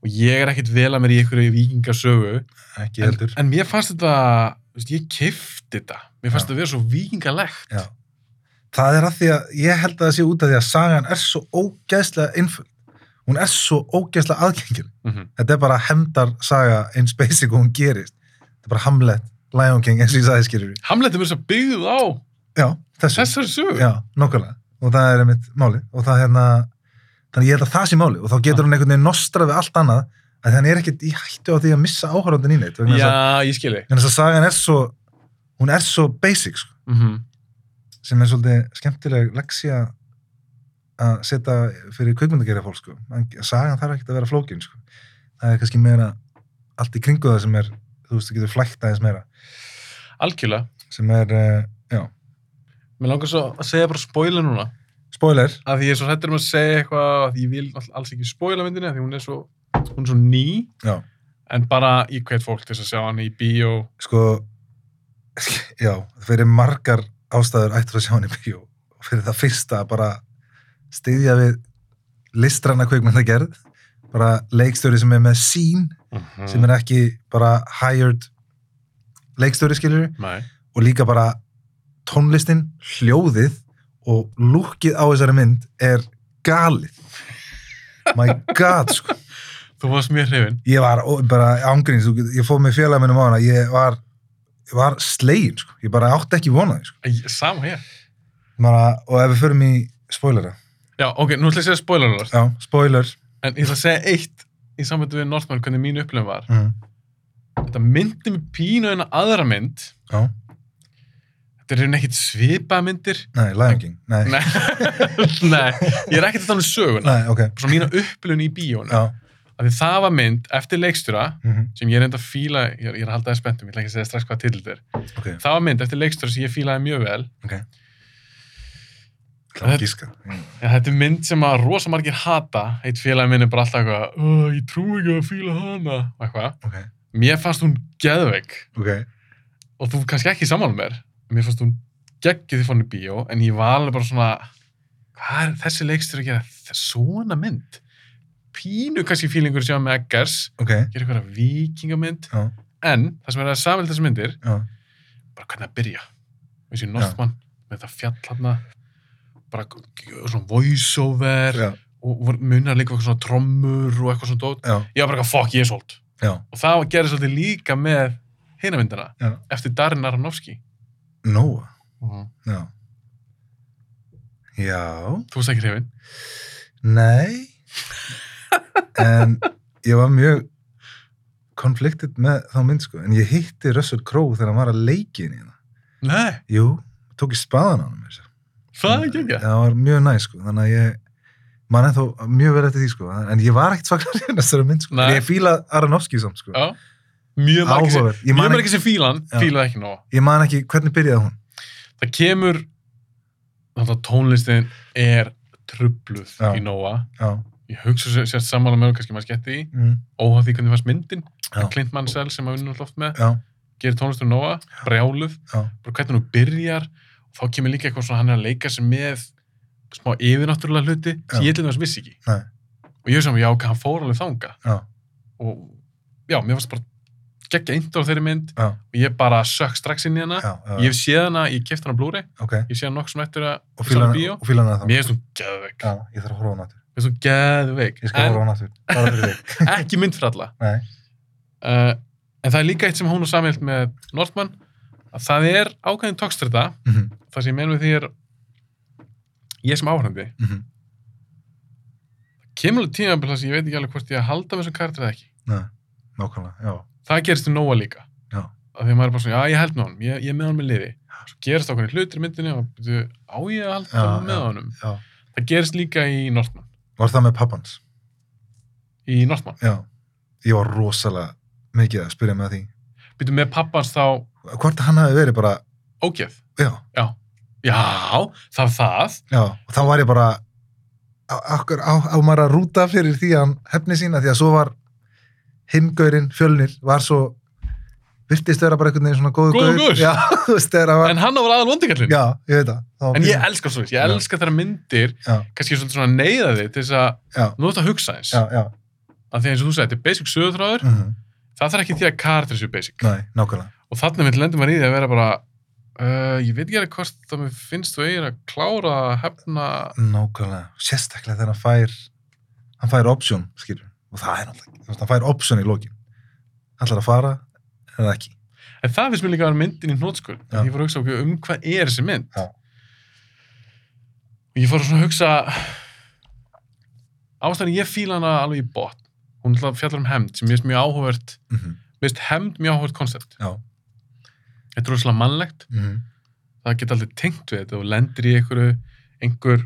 A: og ég er ekkit vel að mér í einhverju vikingasögu
B: ekki
A: en,
B: heldur.
A: en mér fannst þetta, þú veist, ég kifti þetta mér fannst
B: Já.
A: þetta vera svo vikingalegt
B: Já. Það er að því að ég held að það sé út af því að sagan er svo ógæðslega einföld. Hún er svo ógæðslega aðgengil.
A: mm
B: Þetta er bara hemdar saga eins basic og hún gerist. Þetta er bara Hamlet, Lion King, eins og ég sagði skilur við.
A: Hamlet er mér svo byggð á
B: Já, þessu.
A: þessari sögu
B: Já, nokkulega. Og það er einmitt máli. Og það hérna, þannig að ég held að það sé máli. Og þá getur hún einhvern veginn nostra við allt annað. Þannig að hann er ekkert í hættu á því að missa áhörðundin í neitt. vegna þess að-
A: Já, ég skilji
B: vegna þess að sagan er svo, hún er svo basic, sko.
A: mm
B: sem er svolítið skemmtileg leksja að setja fyrir kvikmyndagerja fólk sko. En Sagan þarf ekkert að vera flókin sko. Það er kannski meira allt í kringu það sem er, þú veist, þú getur flækt aðeins meira,
A: algjörlega
B: sem er, uh, já,
A: mér langar svo að segja bara spoiler núna
B: spoiler,
A: af því ég er svo hættur um að segja eitthvað af því ég vil all- alls ekki spoila myndinni af því hún er svo, hún er svo ný
B: já,
A: en bara ég hvet fólk til þess að sjá hann í bíó
B: sko, <laughs> já, fyrir margar ástæður ættur að sjá hann í bíó og fyrir það fyrsta að bara styðja við listranna kvikmyndagerð, bara leikstjóri sem er með sín, sem er ekki bara hired leikstjóri skiljur,
A: Nei.
B: og líka bara tónlistin, hljóðið og lúkið á þessari mynd er galið my god sko.
A: þú varst mjög hrifin
B: ég var ó- bara ángríns ég fóð með félag minnum á hana ég var, ég var slegin sko. ég bara átti ekki vonaði sko.
A: Æ, sama hér
B: bara, og ef við förum í spoilera
A: já, ok, nú ætla ég að segja spoiler núna
B: já, spoiler
A: En ég ætla að segja eitt í samvættu við Northman, hvernig mín upplifun var.
B: mm.
A: Þetta myndi mig pínu en aðra mynd.
B: já,
A: Þetta er reyna ekkit svipa myndir.
B: nei, Lion King nei,
A: Nei. Nei, <laughs> ég er ekkert að tala um söguna.
B: nei ok,
A: Svo mína upplifun í bíónu.
B: já
A: Af því það var mynd eftir leikstjóra,
B: mm
A: sem ég er enda að fíla, ég er, ég er að halda það spenntum, ég ætla ekki að segja strax hvað titilt er.
B: ok,
A: Það var mynd eftir leikstjóra sem ég fílaði mjög vel.
B: ok Það var gíska. Mm.
A: En þetta er mynd sem að rosa margir hata. Eitt félagi minn er bara alltaf eitthvað, "Ugh, ég trú ekki að fíla hana. og Eitthvað.
B: Ok,
A: Mér fannst hún geðveik.
B: ok,
A: og þú kannski ekki sammála mér mér fannst hún geggið því fann í bíó en ég var alveg bara svona hvað er þessi leikstur að gera Þ- svona mynd pínu kannski fílingur sem með Eggers
B: ok,
A: gera eitthvað vikingamynd
B: já,
A: en það sem er að samvel þessi myndir
B: já,
A: bara hvernig að byrja eins og Northman með það fjall hérna bara g- g- svona voiceover
B: já,
A: og voru- munar líka eitthvað svona trommur og eitthvað svona dót
B: já,
A: ég var bara eitthvað fuck ég er sold
B: já.
A: og það gerði svolítið líka með hina myndina
B: Já. Mhm.
A: eftir Darin Aronofsky
B: Nóa.
A: -hmm.
B: Já. Já,
A: þú veist ekki hrifin <laughs>
B: nei. En ég var mjög konfliktitt með þá mynd, sko. En ég hitti Russell Crowe þegar hann var að leiki inn í hérna.
A: Nei,
B: Jú, tók ég spaðan á hann mér.
A: það er ekki ekki.
B: Það var mjög næ, sko. Þannig að ég, mann er þó mjög vel eftir því, sko. En ég var ekkert svaklega hérna þessari mynd, sko.
A: Nei.
B: En Ég fíla Aronofsky samt, sko.
A: Já, mjög margir sem,
B: Áhugaverð. Ég,
A: mjög
B: man
A: margir
B: ekki-
A: sem fílan,
B: Já.
A: fílaði ekki nóg.
B: ég man ekki hvernig byrjaði hún.
A: Það kemur, þannig að tónlistin er trubluð
B: Já.
A: í nóa.
B: Já.
A: Ég hugsa sér, sérst sammála með og kannski maður skett í,
B: Mm.
A: óháð því hvernig fannst myndin,
B: Já.
A: Clint Mansell sem að vinna alltaf oft með,
B: Já.
A: gerir tónlistur Nóa, brjáluð,
B: Já.
A: bara hvernig hún byrjar og þá kemur líka eitthvað svona hann er að leika sem með smá yfirnáttúrulega hluti sem
B: Já.
A: ég til dæmis vissi ekki
B: Nei.
A: og ég er sem, já, ok, hann fór alveg þanga
B: já,
A: og já, mér fannst bara geggja intro á þeirri mynd
B: já,
A: og ég bara sökk strax inn í hana
B: já, já,
A: ég hef séð hana, ég keft hana á Blu-ray
B: ok.
A: ég sé hana nokkuð sem eftir að
B: Og
A: fara
B: fílan
A: á bíó.
B: og fílan að það.
A: mér finnst hún geðveik,
B: Já, ég þarf að horfa á náttúr.
A: mér finnst hún geðveik
B: Ég skal horfa á náttúr. Bara fyrir þig.
A: en ekki mynd fyrir alla
B: Nei,
A: uh, en það er líka eitt sem hún er samhjöld með Nortmann að það er ákveðin tókstrita
B: mhm,
A: það sem ég menn við því er ég sem áhrandi
B: mhm,
A: kemur alveg tíma sem ég veit ekki alveg hvort ég að halda með þessum karakter eða ekki
B: nei, nákvæmlega, já,
A: það gerist í Nóa líka
B: Já.
A: að því að maður er bara svona, já ég held með honum, ég, ég er með honum í liði svo gerist okkur hlutir í myndinni og byrju, á ég að halda
B: Já,
A: með
B: já.
A: honum
B: já.
A: það gerist líka í Nortmann
B: Var það með pappans?
A: í Nortmann,
B: Já. Ég var rosalega mikið að spyrja með því.
A: byrju með pappans þá
B: Hvort hann hafi verið bara,
A: ógeð,
B: já,
A: já það er það,
B: já, og þá var ég bara, á- okkur á, á maður að rúta fyrir því að hann hefni sína, því að svo var himgaurinn, fjölnir, var svo, virtist vera bara einhvern veginn svona góðu
A: Góður gaur.
B: Já, <laughs> þú veist, þegar hann var,
A: en hann var aðal vondikallin
B: já, ég veit það. það. var
A: En ég
B: pínu-
A: elska svo þess, ég
B: Já.
A: elska þeirra myndir
B: Já.
A: kannski svolítið svona neyða þig til þess að
B: Já.
A: nú þetta að hugsa eins
B: Já, já,
A: að því eins og þú sagði, þetta er basic sögurþráður
B: mhm,
A: það þarf ekki því að karakter séu basic
B: nei, nákvæmlega,
A: og þannig mynd lendur maður í því að vera bara uh, ég veit ekki alveg hvort það mér finnst þú eigin að klára að hefna
B: nákvæmlega, sérstaklega þegar hann fær, hann fær option, skilur, og það er náttúrulega, þú veist, hann fær option í lokin. Ætlar að fara, eða ekki.
A: en það finnst mér líka að vera myndin í hnótskul
B: Já.
A: ég fór að hugsa okkur um hvað er þessi mynd
B: Já.
A: og ég fór að svona hugsa ástæðan ég fíla hana alveg í bot hún ætla að fjallar um hemd sem ég finnst mjög áhugavert
B: Mm -hmm.
A: mér finnst hemd mjög áhugavert koncept
B: Já. Mhm.
A: þetta er rosalega mannlegt það geta aldrei tengt við þetta og lendir í einhverju, einhver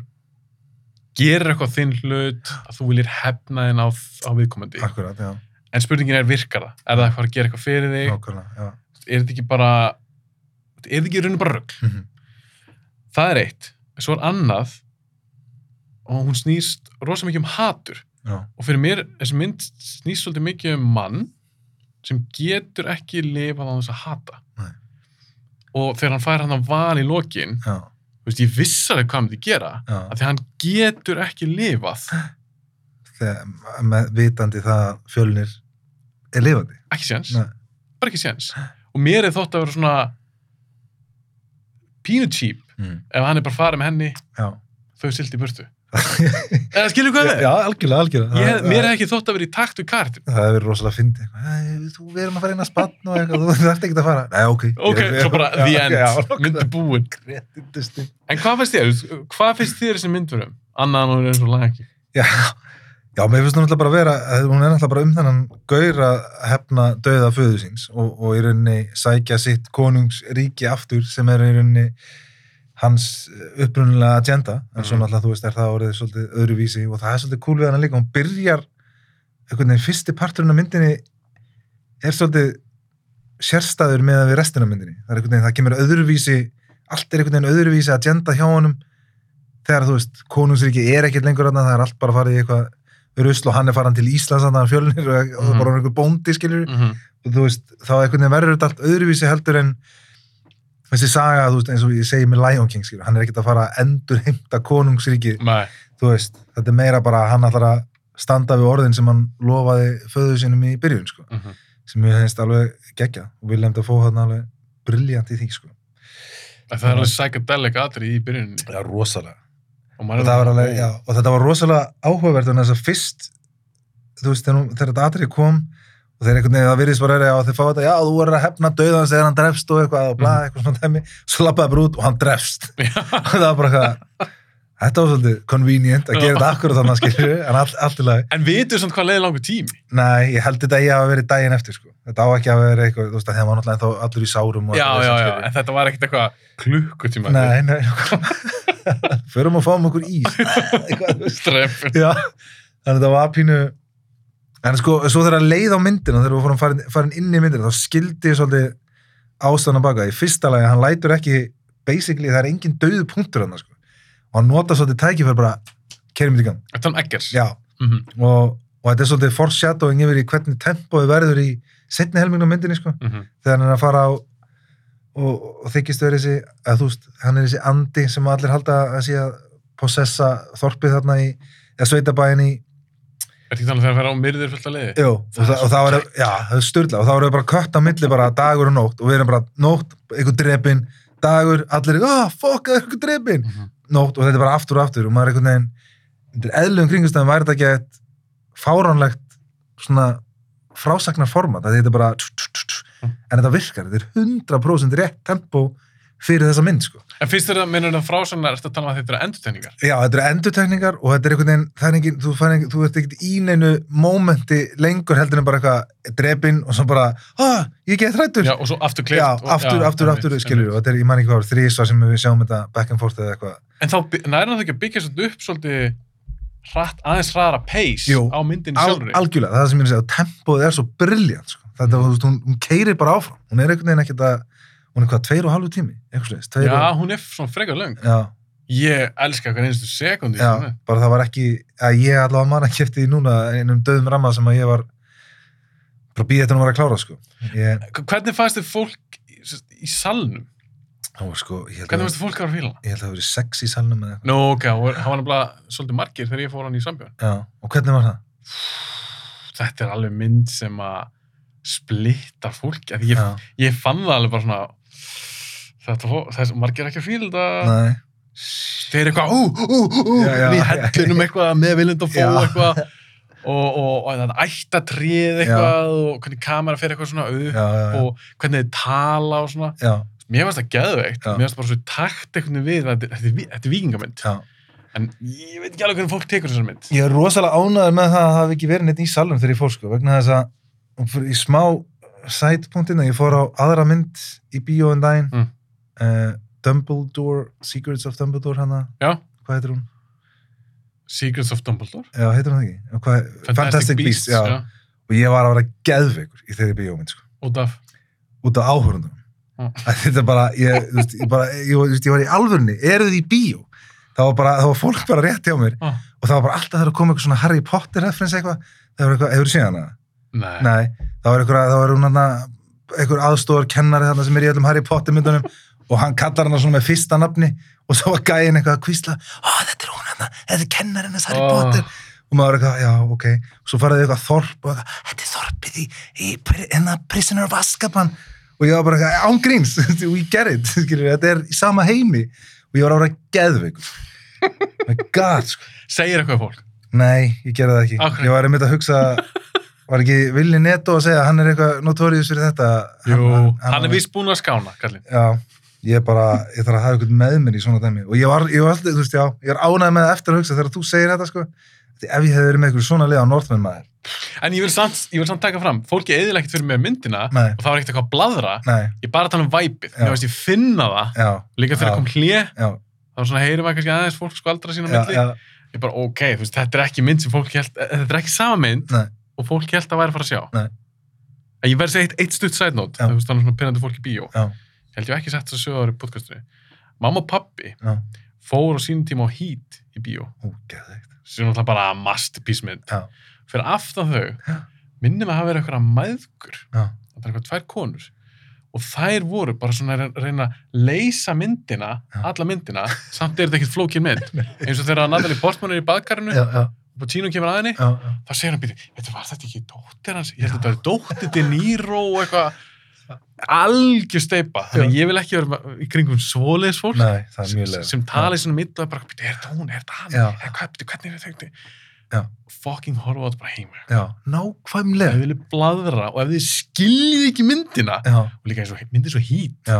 A: gerir eitthvað á þinn hlut að þú viljir hefna þinn á, á viðkomandi
B: Akkurat, já,
A: en spurningin er virkar það, er það eitthvað að gera eitthvað fyrir þig
B: nákvæmlega, já.
A: er þetta ekki bara er þetta ekki í rauninu bara rögl
B: Mm
A: það er eitt, en svo er annað og hún snýst rosa mikið um hatur
B: já,
A: og fyrir mér, þessi mynd snýst svolítið mikið um mann sem getur ekki lifað á þess að hata
B: Nei.
A: og þegar hann fær hann að val í lokin
B: já,
A: þú veist, ég vissi alveg hvað hann myndi gera
B: já.
A: að því hann getur ekki lifað
B: Þegar með vitandi það að fjölnir er lifandi.
A: ekki séns,
B: Nei.
A: bara ekki séns og mér er þótt að vera svona pínu cheap
B: Mm.
A: ef hann er bara farið með henni
B: Já.
A: þau sildi í
B: <laughs>
A: burtu eða skilur hvað við?
B: já, algjörlega, algjörlega.
A: Ég,
B: Það-
A: mér er
B: það-
A: ekki þótt að vera í takt við kartum
B: Það hefur verið rosalega fyndið. Æ, Þú verðum að fara inn að spanna og eitthvað, þú þarft ekki að fara. Nei, ok.
A: ok,
B: Ég-
A: svo bara
B: já,
A: the end,
B: Já,
A: myndu búin
B: Kretindustin.
A: en hvað finnst þér, hvað finnst þér þessi myndverum annan og eins og laga ekki
B: Já, já, mér finnst hún alltaf bara að vera, hún er alltaf bara um þennan gaur að hefna döða föðu síns og, og í rauninni sækja sitt konungsríki aftur sem er í rauninni hans upprunulega agenda, en svo
A: Mhm.
B: náttúrulega þú veist er það orðið svolítið öðruvísi og það er svolítið cool við hana líka, hún byrjar einhvern veginn fyrsti parturinn af myndinni er svolítið sérstæður með að við restina af myndinni, það er einhvern veginn, það kemur öðruvísi allt er einhvern veginn öðruvísi agenda hjá honum þegar þú veist, konungsríki er ekkert lengur þarna, það er allt bara farið í eitthvað rusl og hann er farin til Íslands þannig að fjölnir og, og
A: Mhm.
B: bara hann er einhver bóndi skilur
A: mm -hmm.
B: og þú veist, þá einhvern veginn verður þetta allt öðruvísi heldur en þessi saga, þú veist, eins og ég segi með Lion King skilur, hann er ekkert að fara að endur heimta konungsríki, þú veist, þetta er meira bara að hann ætlar að standa við orðin sem hann lofaði föðu sínum í byrjun sko
A: Mm -hmm.
B: sem ég hefðist alveg geggja og William Dafoe hann alveg briljant í því sko.
A: það er alveg psychedelic atrið í byrjuninni
B: Já, rosalega.
A: og maður
B: Og,
A: er
B: það var
A: bara,
B: alveg,
A: ó.
B: já, og þetta var rosalega áhugavert en þess að fyrst, þú veist, þegar, hún- þegar þetta atrið kom og þegar einhvern veginn það virðist bara verið að þeir fá þetta, já, þú verður að hefna döðans eða hann drefst og eitthvað og bla,
A: Mhm.
B: eitthvað svona dæmi, svo lappaði bara út og hann drefst. <laughs> og það var bara eitthvað, þetta var svolítið convenient að gera
A: Já.
B: þetta akkur þannig að skilju, en all, allt í lagi.
A: en vitur samt hvað leiði langur tími
B: Nei, ég held þetta eigi að hafa verið daginn eftir sko. Þetta á ekki að hafa verið eitthvað, þú veist, að það var náttúrulega ennþá allur í sárum og
A: já,
B: eitthvað
A: já,
B: þessu,
A: já,
B: skilurðu.
A: en þetta var ekkert eitthvað klukkutíma <laughs>
B: Nei, nei, förum og fáum okkur ís Eitthvað, þú veist.
A: strefn
B: Já, þannig að það var pínu en sko, svo þegar leið á myndina þegar við fórum farin, farin inn í myndina þá skildi ég svolítið ástæðan að baka í fyrsta lagi, hann lætur ekki basically, það er engin döðu punktur hann sko. og hann nota svolítið tækifæri bara kerjum í gang,
A: Tom um Eggers
B: já
A: Mhm.
B: og, og þetta er svolítið foreshadowing yfir í hvernig tempóið verður í setni helmingna myndinni sko
A: Mm -hmm.
B: þegar hann er að fara á og, og þykist verið þessi að þú veist, hann er þessi andi sem allir halda að sé að possessa þorpið þarna í, eða sveitabæin í
A: Er ekki þannig þegar að færa á myrðir fullt að leiði?
B: Jú, og,
A: Það er
B: það, og það var,
A: svo
B: já, það er styrla og það voru bara kött á milli bara dagur og nótt og við erum bara nótt, einhver drepin dagur, allir, ah, fuck, það er einhver drepin
A: Mm -hmm.
B: nótt og þetta er bara aftur og aftur og maður er einhvern veginn, þetta er eðlum kringumstæðum væri þetta ekki eitt fáránlegt svona frásagnar format þetta er bara tss, tss, tss,
A: Mhm.
B: tss, en þetta virkar, þetta er 100% rétt tempo fyrir þessa mynd, sko
A: En fyrst er það, minnur það frásagnar, er þetta að tala um að þetta er endurtegningar?
B: Já, þetta eru endurtekningar og þetta er einhvern veginn, það er engin, þú, fær engin, þú ert ekkert í neinu mómenti lengur heldur en bara eitthvað drepinn og svo bara, ah, ég get hrættur.
A: Já, og svo aftur klift.
B: já aftur, aftur, aftur, skilur við, og þetta er, ég man ekki hvað, þrísvar sem við sjáum þetta back and forth eða eitthvað.
A: En þá by- nær hann það ekki að byggja svolítið upp svolítið hratt, aðeins hraðara pace
B: Jú.
A: á myndinni
B: Al,
A: sjálfri.
B: algjörlega, það er það sem ég er að segja, tempoð er svo brilljant, sko. Þetta, mm. hún, hún keirir bara áfram, hún er einhvern veginn ekkert að, hún er hvað, tveir og halvu tími, eitthvað sliðis, tveir
A: Já,
B: og,
A: hún er svona frekar löng.
B: já,
A: Ég elska hver einstu sekundi.
B: já, bara það var ekki, að ég allavega man ekki eftir því núna einum döðum ramma sem að ég var, bara býði þetta nú var að klára, sko. Ég,
A: Hvernig fannst þið fólk í, sem sagt, í salnum?
B: Það var sko, ég held að
A: Hvernig fannst þið fólk að vera fíla?
B: ég held að það hafi verið sex í salnum eða eitthvað.
A: Nú, ok, það var- það var nefnilega svolítið margir þegar ég fór hann í sambjörn.
B: Já, og hvernig var það?
A: Þetta er alveg mynd sem að splittar fólk. Af því Ég,
B: Já,
A: ég fann það alveg bara svona, þetta, fó- þess, margir er ekki að fíla þetta.
B: nei.
A: þeir eru eitthvað ú, ú, ú, ú,
B: Já, já,
A: í
B: já.
A: hellunum eitthvað með viljandi að fó
B: Já.
A: eitthvað og, og, og þannig ættatrið eitthvað og hvernig kamera fer eitthvað svona upp
B: Já, já, já.
A: og hvernig þið tala og svona
B: Já,
A: mér finnst það geðveikt,
B: Já.
A: mér finnst bara svo í takt einhvern veginn við, þetta, er- þetta, er vi- þetta er vikingamynd
B: já.
A: en ég veit ekki alveg hvernig fólk tekur þessar mynd
B: Ég er rosalega ánæður með það að það hafi ekki verið neitt í salnum þegar ég fór sko, vegna þess að og fyrir í smá sætpunktinu, ég fór á aðra mynd í bíó en daginn,
A: Mm.
B: eh, Dumbledore, Secrets of Dumbledore hana,
A: já,
B: hvað heitir hún?
A: Secrets of Dumbledore
B: Já, heitir hún það ekki? Og Hvað, Fantastic, Beasts, já. Og ég var að vera geðveikur í þeirri bíómynd sko.
A: út af
B: út af áhörundum
A: Mm.
B: að þetta bara, ég, þú veist, ég bara ég, þú veist, ég var í alvörni, eru þið í bíó það var bara, það var fólk bara rétt hjá mér
A: ah.
B: og það var bara alltaf það að koma eitthvað svona Harry Potter reference eitthvað, það var eitthvað, hefur séð hana?
A: nei,
B: Nei, það var eitthvað, það var hún hana eitthvað aðstóðar kennari þarna sem er í öllum Harry Potter myndunum og hann kallar hana svona með fyrsta nafni og svo var gæin eitthvað að kvísla á, þetta er hún hana, þetta er kennarinn hans Harry
A: Ah.
B: Potter og maður eitthvað, já, ok og svo faraði eitthvað þorp og eitthvað, þetta er þorpið í, í pri- hérna Prisoner of Azkaban og ég var bara eitthvað, án gríns, <laughs> we get it skilur, þetta er í sama heimi og ég var ára geðveikur my god, sko,
A: segir eitthvað fólk
B: nei, ég gerði það ekki
A: Af hverju?
B: ég var einmitt að hugsa var ekki Willi Neto að segja að hann er eitthvað notóriðis fyrir þetta
A: Jú, hann er vist búin að skána, kallinn
B: já, ég bara, ég þarf að hafa einhvern með mér í svona dæmi og ég var, ég var alltaf, þú veist, já, ég er ánægð með það eftir að hugsa þegar þú segir þetta, sko Því ef ég hefði verið með einhverju svona lið á Northman maður
A: en ég vil samt, ég vil samt taka fram, fólki eðilega ekkert fyrir mig myndina
B: nei,
A: og það var ekkert eitthvað að bladra
B: nei,
A: ég er bara að tala um væpið,
B: Já.
A: mér veist ég finna það
B: já,
A: líka þegar
B: Já.
A: kom hlje,
B: já,
A: þá svona heyrir maður kannski aðeins fólk skvaldra sína á
B: já,
A: milli,
B: já,
A: ég bara ok, þú veist, þetta er ekki mynd sem fólk held, eh, þetta er ekki sama mynd
B: Nei.
A: og fólk held að væri að fara að sjá
B: Nei.
A: en ég verði að segja eitt, eitt stutt sætnót
B: Já.
A: þú veist, þannig svona pinnandi fólk í bíó
B: Já.
A: held ég hef ekki sett þess að sögur í podcastinu mamma og pappi
B: já,
A: fór á sínum tíma á Heat í bíó
B: ó, geðveikt
A: sem er náttúrulega bara masterpiece mynd
B: Já.
A: fyrir aftan þau
B: Já.
A: minnum að hafa verið eitthvað maðgur
B: já,
A: það er eitthvað tvær konur og þær voru bara svona að reyna að leysa myndina,
B: Já.
A: alla myndina samt er þetta ekkert flókin
B: <laughs>
A: mynd eins og þegar Natalie Portman er í baðkarinu
B: já, já,
A: og Pacino kemur að henni,
B: já, já.
A: þá segir hann býti veitur, var þetta ekki dóttir hans? Ég held að þetta er dóttir De Niro og eitthvað algjör steipa þannig að ég vil ekki vera í kringum svoleiðis fólk
B: nei, það er
A: sem,
B: mjög leið
A: sem tala í svona mitt og er bara, býti, er þetta hún, er þetta hann
B: Já.
A: er hvað, býti, hvernig er þetta
B: Já.
A: þau fucking horfa á þetta bara heima
B: já,
A: ef
B: nákvæmlega
A: þið viljið bladra og ef þið skiljið ekki myndina
B: já,
A: og líka eins og myndið svo hít
B: já,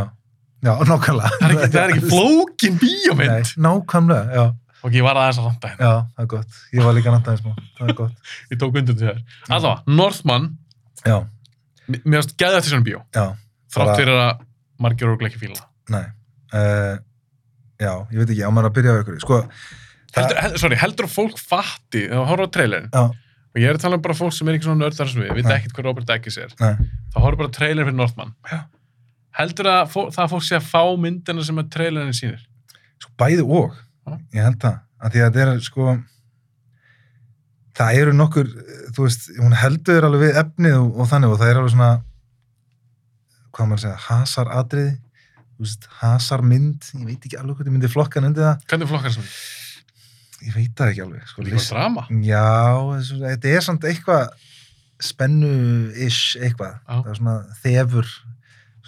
B: já, nákvæmlega
A: það er ekki, það er
B: <laughs>
A: ekki flókin bíómynd
B: Nei, nákvæmlega, já,
A: ok, ég var aðeins að landa hérna,
B: já, það er gott ég var líka náttúrulega smá, það er gott
A: ég tók undir til þér allavega, Northman,
B: já,
A: m- mér varst gæði eftir svona bíó
B: já,
A: þrátt
B: Bara-
A: fyrir að margir örgulega ekki fíla það.
B: nei uh, já, ég veit ekki, á maður að byrja á ykkur sko,
A: heldur, hel, sorry, heldur að fólk fatti þegar það horfa á trailerin
B: já,
A: og ég er að tala um bara fólk sem er ekki svona nördar sem við, við
B: Nei.
A: ekkert hvað Robert Eggers er
B: nei,
A: þá horfa bara á trailerin fyrir Northman
B: Já.
A: heldur að fó, það að fólk sé að fá myndina sem að trailerin sýnir
B: sko bæði og
A: Já.
B: ég held það, að því að þetta er sko það eru nokkur, eh, þú veist, hún heldur þér alveg við efnið og, og þannig og það er alveg svona, hvað á maður að segja, hasar atriði, þú veist, hasar mynd, ég veit ekki alveg hvað þið myndi flokkan undir það,
A: Hvernig flokkar sem þetta?
B: ég veit það ekki alveg, sko,
A: er Líka drama.
B: Já, þessu- þetta er samt eitthvað spennu-ish eitthvað.
A: Já.
B: Það er svona þefur,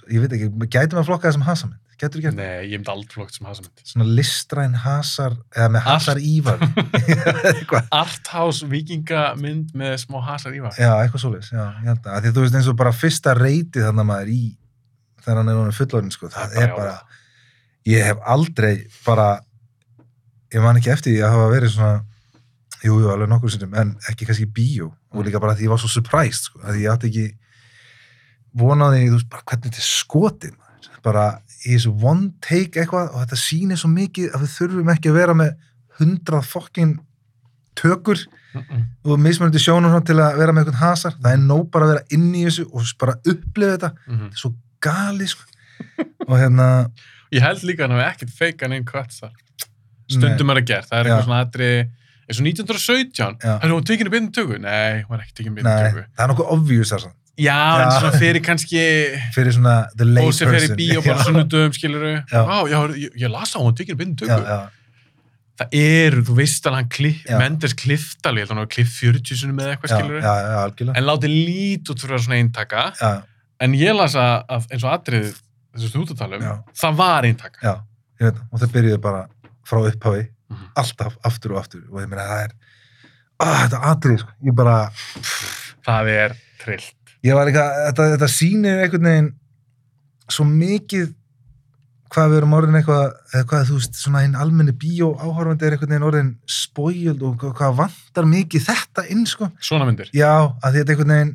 B: ég veit ekki, gætum að flokka það sem hasamind? Gætur ekki að
A: Nei, ég myndi aldrei flokkt sem hasamind.
B: svona listræn hasar, eða með
A: Allt.
B: hasar ívar. <laughs> eitthvað.
A: Arthouse vikingamynd með smá hasar ívar.
B: Já, eitthvað svoleiðis, já, ég held að. Af Því að þú veist eins og bara fyrsta reyti þarna maður í, þegar hann er honum fullorinn, sko, það er bara, ég hef aldrei bara, ég man ekki eftir því að hafa verið svona, jú, jú, alveg nokkur sinnum, en ekki kannski í bíó, og líka bara að ég var svo surprised, sko, að ég átti ekki vonaði, þú veist, bara hvernig þetta er skotið, maður, bara í þessu one take eitthvað, og þetta sýnir svo mikið að við þurfum ekki að vera með hundrað fokkin tökur
A: Mm -mm.
B: og mismunandi sjónum til að vera með einhvern hasar, það er nóg bara að vera inn í þessu og bara upplifa þetta,
A: Mhm.
B: þetta er svo gali,
A: <laughs>
B: sko, og hérna,
A: Ég held líka að hann hefði ekkert feikan einn kvöts þar. Stundum er það gert. Það er eitthvað
B: Já.
A: svona aðri, eins og 1917.
B: Já.
A: Hefur hún tekinu byrnum tökur? Nei, hún var ekki tekinu byrnum
B: Nei,
A: tökur.
B: það er nokkuð obvious þar samt.
A: Já, en
B: Já.
A: svona fyrir kannski
B: Fyrir svona the lay
A: og
B: person.
A: sem fer í bíó bara
B: Já,
A: sunnudum, skiluru
B: Já.
A: já, já ég, ég las á hún, tekinu bindin
B: <laughs> já,
A: tökur
B: já,
A: það eru, þú veist alveg hann kliff,
B: Já.
A: Mendes klifftal, ég held hann að kliff 40 sinni með eitthvað,
B: já,
A: skiluru
B: já, já, algjörlega.
A: en láti lít út fyrir að vera svona eintaka
B: Já,
A: en ég las að, að eins og atrið þessu stúdatalum,
B: Já.
A: um, það var eintaka
B: já, ég veit það. Og það byrjuði bara frá upphafi,
A: Mhm.
B: alltaf, aftur og aftur. Og ég meina, það er, ah, þetta atrið, sko. Ég bara,
A: það er trillt
B: ég var eitthvað, þetta, þetta sýnir einhvern veginn svo mikið hvað við erum orðin eitthvað, eða hvað þú veist, svona hinn almenni bíó áhorfandi er einhvern veginn orðin spóild og hvað- hvað vantar mikið þetta inn, sko.
A: svona myndir,
B: Já, að því þetta einhvern veginn,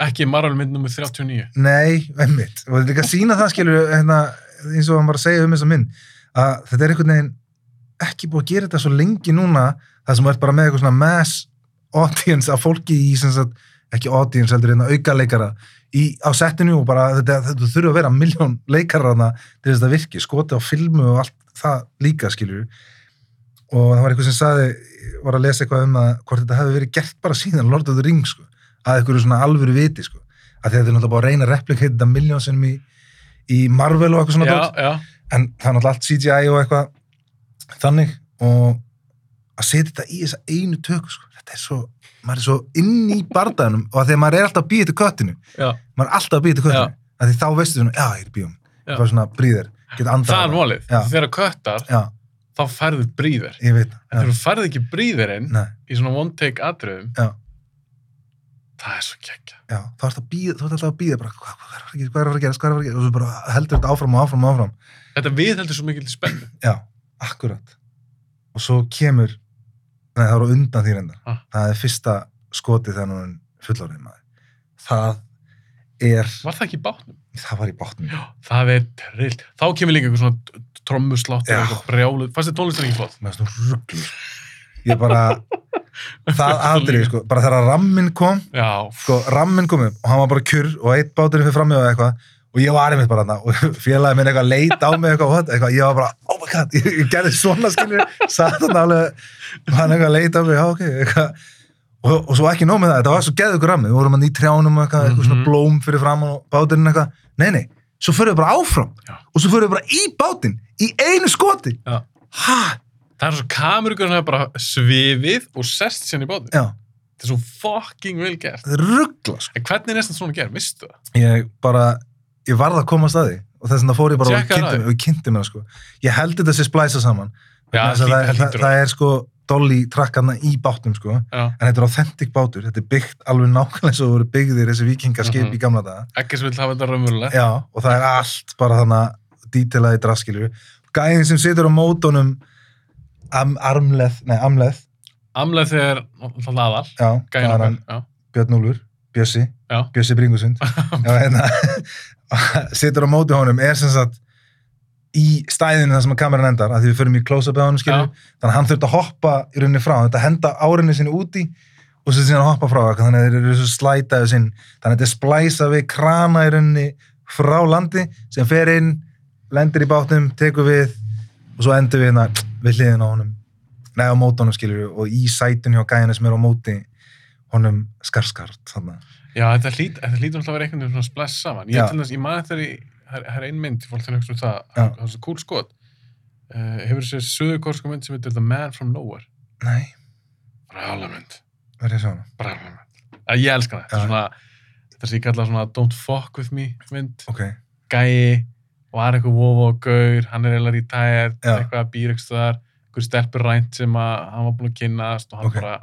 A: ekki Marvel mynd nummer 39
B: Nei, einmitt. Og þetta er líka að sína það, skilur, hérna, eins og hann var að segja um þessa mynd, að þetta er einhvern veginn ekki búið að gera þetta svo lengi núna, það sem er bara með eitthvað svona mass audience af fólki í, sem sagt, ekki audience heldur, hérna, aukaleikara í, á settinu og bara þetta, þetta þurfa að vera miljón leikara þarna til þess að það virki, skoti á filmu og allt það líka, skilur. Og það var eitthvað sem saði, var að lesa eitthvað um að hvort þetta hefði verið gert bara síðan Lord of the Rings, sko, að eitthvað svona alvöru viti, sko að því að þetta er náttúrulega bara að reyna að replikata þetta miljónsinnum í, í Marvel og eitthvað svona
A: já,
B: dót.
A: já,
B: en það er náttúrulega allt CGI og eitthvað þannig og að setja þetta í þessa einu töku sko. þetta er svo, maður er svo inn í bardaðunum og að því að maður er alltaf að býja til köttinu
A: já.
B: maður er alltaf að býja til köttinu að því þá veistu svona, já, ég er í bíum
A: Já.
B: bara svona bríðir, geta
A: það er
B: andað
A: mólið,
B: Já.
A: þegar köttar
B: já,
A: þá færðu bríðir,
B: ég veit
A: en þegar
B: það já,
A: þú færðu ekki bríðirinn
B: nei,
A: í svona one take atriðum
B: Já.
A: það er svo geggja
B: já, þá ert að býja, þú ert alltaf að býja bara, hvað, hvað er að fara að gerast, hvað er að fara að gerast, hvað er að fara að gerast og svo bara heldur þetta áfram og áfram og áfram
A: þetta viðheldur svo mikil spennu
B: Já, akkurat. Og svo kemur, nei það eru undan því reyndar,
A: Ah.
B: það er fyrsta skotið þegar hún er fullorðin maður. Það er,
A: var það ekki í bátnum?
B: það var í bátnum. Já.
A: það er trillt, þá kemur líka eitthvað svona trommusláttur
B: Já.
A: og eitthvað brjálu fannst þið tónlistin ekki flott?
B: Mér finnst hún rugglu. Ég bara, það aðrið, sko, bara þegar rammin kom,
A: já,
B: sko, rammin kom upp og hann var bara kjur og eitt báturinn fyrir frammi og eitthvað og ég var einmitt bara hann og <laughs> félagið minn eitthvað leit á mig eitthvað, what, eitthvað, ég var bara, oh my god <laughs> ég, ég gerði svona skilur, satt hann alveg og hann eitthvað leit á mig, já ok eitthvað, og, og svo ekki nóg með það, þetta var svo geðu ykkur rammi, við vorum hann í trjánum og eitthvað, eitthvað svona
A: Mhm.
B: blóm fyrir framann og báturinn eitthvað, nei nei, svo förum við bara áfram
A: Já.
B: og svo förum við bara í bátinn í einu skoti,
A: Já.
B: ha,
A: það er svo kamerugurinn hefur bara svifið og sest sérn í bátnum
B: já,
A: þetta er svo fucking vel gert
B: þetta er ruggla sko.
A: en hvernig er næstan svona gert, mistu það?
B: ég bara, ég varð að komast að því og þess vegna fór ég bara og
A: Tjekkaðu
B: kynnti-
A: það.
B: og kynnti mér það, sko. ég held þetta sé splæsa saman
A: Já,
B: Vegna þess að
A: hlýtur-
B: það, það,
A: hlýtur
B: það er sko dolly trakkarna í bátnum sko. en
A: já,
B: þetta er authentic bátur, þetta er byggt alveg nákvæmlega svo voru byggðir þessi vikingaskip
A: Mhm.
B: í gamla daga
A: ekki sem vil hafa þetta raunverulega
B: Já, og það er allt bara þannig dítilaði draskilur gæðin sem situr á mótunum am, armleð, nei amleð
A: amlega þegar, það laðal
B: já,
A: gæðin
B: það er
A: okkar,
B: hann,
A: já,
B: Björn Úlfur, Bjössi
A: já
B: Bjössi Bringusund Já, hérna, situr á móti honum er sem sagt í stæðinu þar sem að kameran endar að því við förum í close-up eða honum skilur þannig að hann þurft að hoppa í rauninni frá þetta henda árinni sinni úti og svo síðan hoppa frá eitthvað þannig að þeir eru svo slætaðu sinn þannig að þetta er splæsa við krana í rauninni frá landi sem fer inn lendir í bátnum, tekur við og svo endur við hérna við hliðin á honum nei á mótunum skilur og í sætun hjá gæðinu sem er á móti honum skarskart þannig.
A: Já, þetta hlýtur þetta hlýtur alltaf að vera einhvern veginn svona spless saman. Ég,
B: Já.
A: til þess, ég maður þegar ég, það er- það er ein mynd, ég fólk til að hugsa um það,
B: Já.
A: það er svo cool skot. Uh, hefur þessi söðukorska mynd sem heitir The Man From Nowhere.
B: Nei,
A: Brála mynd,
B: verður ég að sjá hana?
A: brála mynd. Að ég elska það. Þetta
B: Já.
A: er svona, þetta sem ég kalla svona Don't Fuck With Me mynd.
B: Ok,
A: Gæi, var eitthvað vofa og gaur, hann er eiginlega retired,
B: Já.
A: eitthvað býr eitthvað þar, einhver stelpur rænt sem að hann var búin að kynnast og hann
B: Ok.
A: bara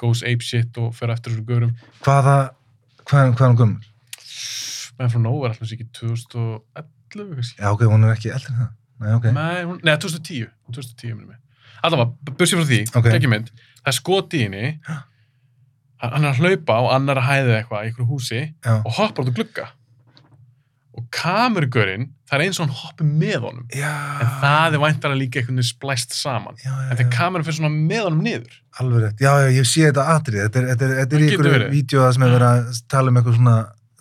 A: goes apeshit og fer eftir þessum gaurum.
B: hvaða, hvað, hvað er hún gömul?
A: Man From Nowhere, alltaf sér ekki 2011 kannski.
B: Já, ok, hún er ekki eldri en það. Nei, ok.
A: Nei, hún, nei, 2010 hún 2010 minnum mig Allavega, busið frá því,
B: Ok.
A: okay. ekki mynd Það er skot í
B: <gasps>
A: henni Hann hann er að hlaupa á annar að hæða eitthvað í einhverju húsi
B: Já.
A: og hoppar út og glugga og kamerugurinn það er eins og hann hoppi með honum
B: Já.
A: en það er væntanlega líka einhvern veginn splæst saman
B: Já, já,
A: en þegar
B: Ah. já,
A: kamerun fyrir svona með honum niður
B: alveg rétt. Já, já, ég sé þetta atrið. Þetta er, þetta er, þetta er
A: Það
B: í
A: getur
B: einhverju
A: verið.
B: vídeo þar sem er verið að tala um eitthvað svona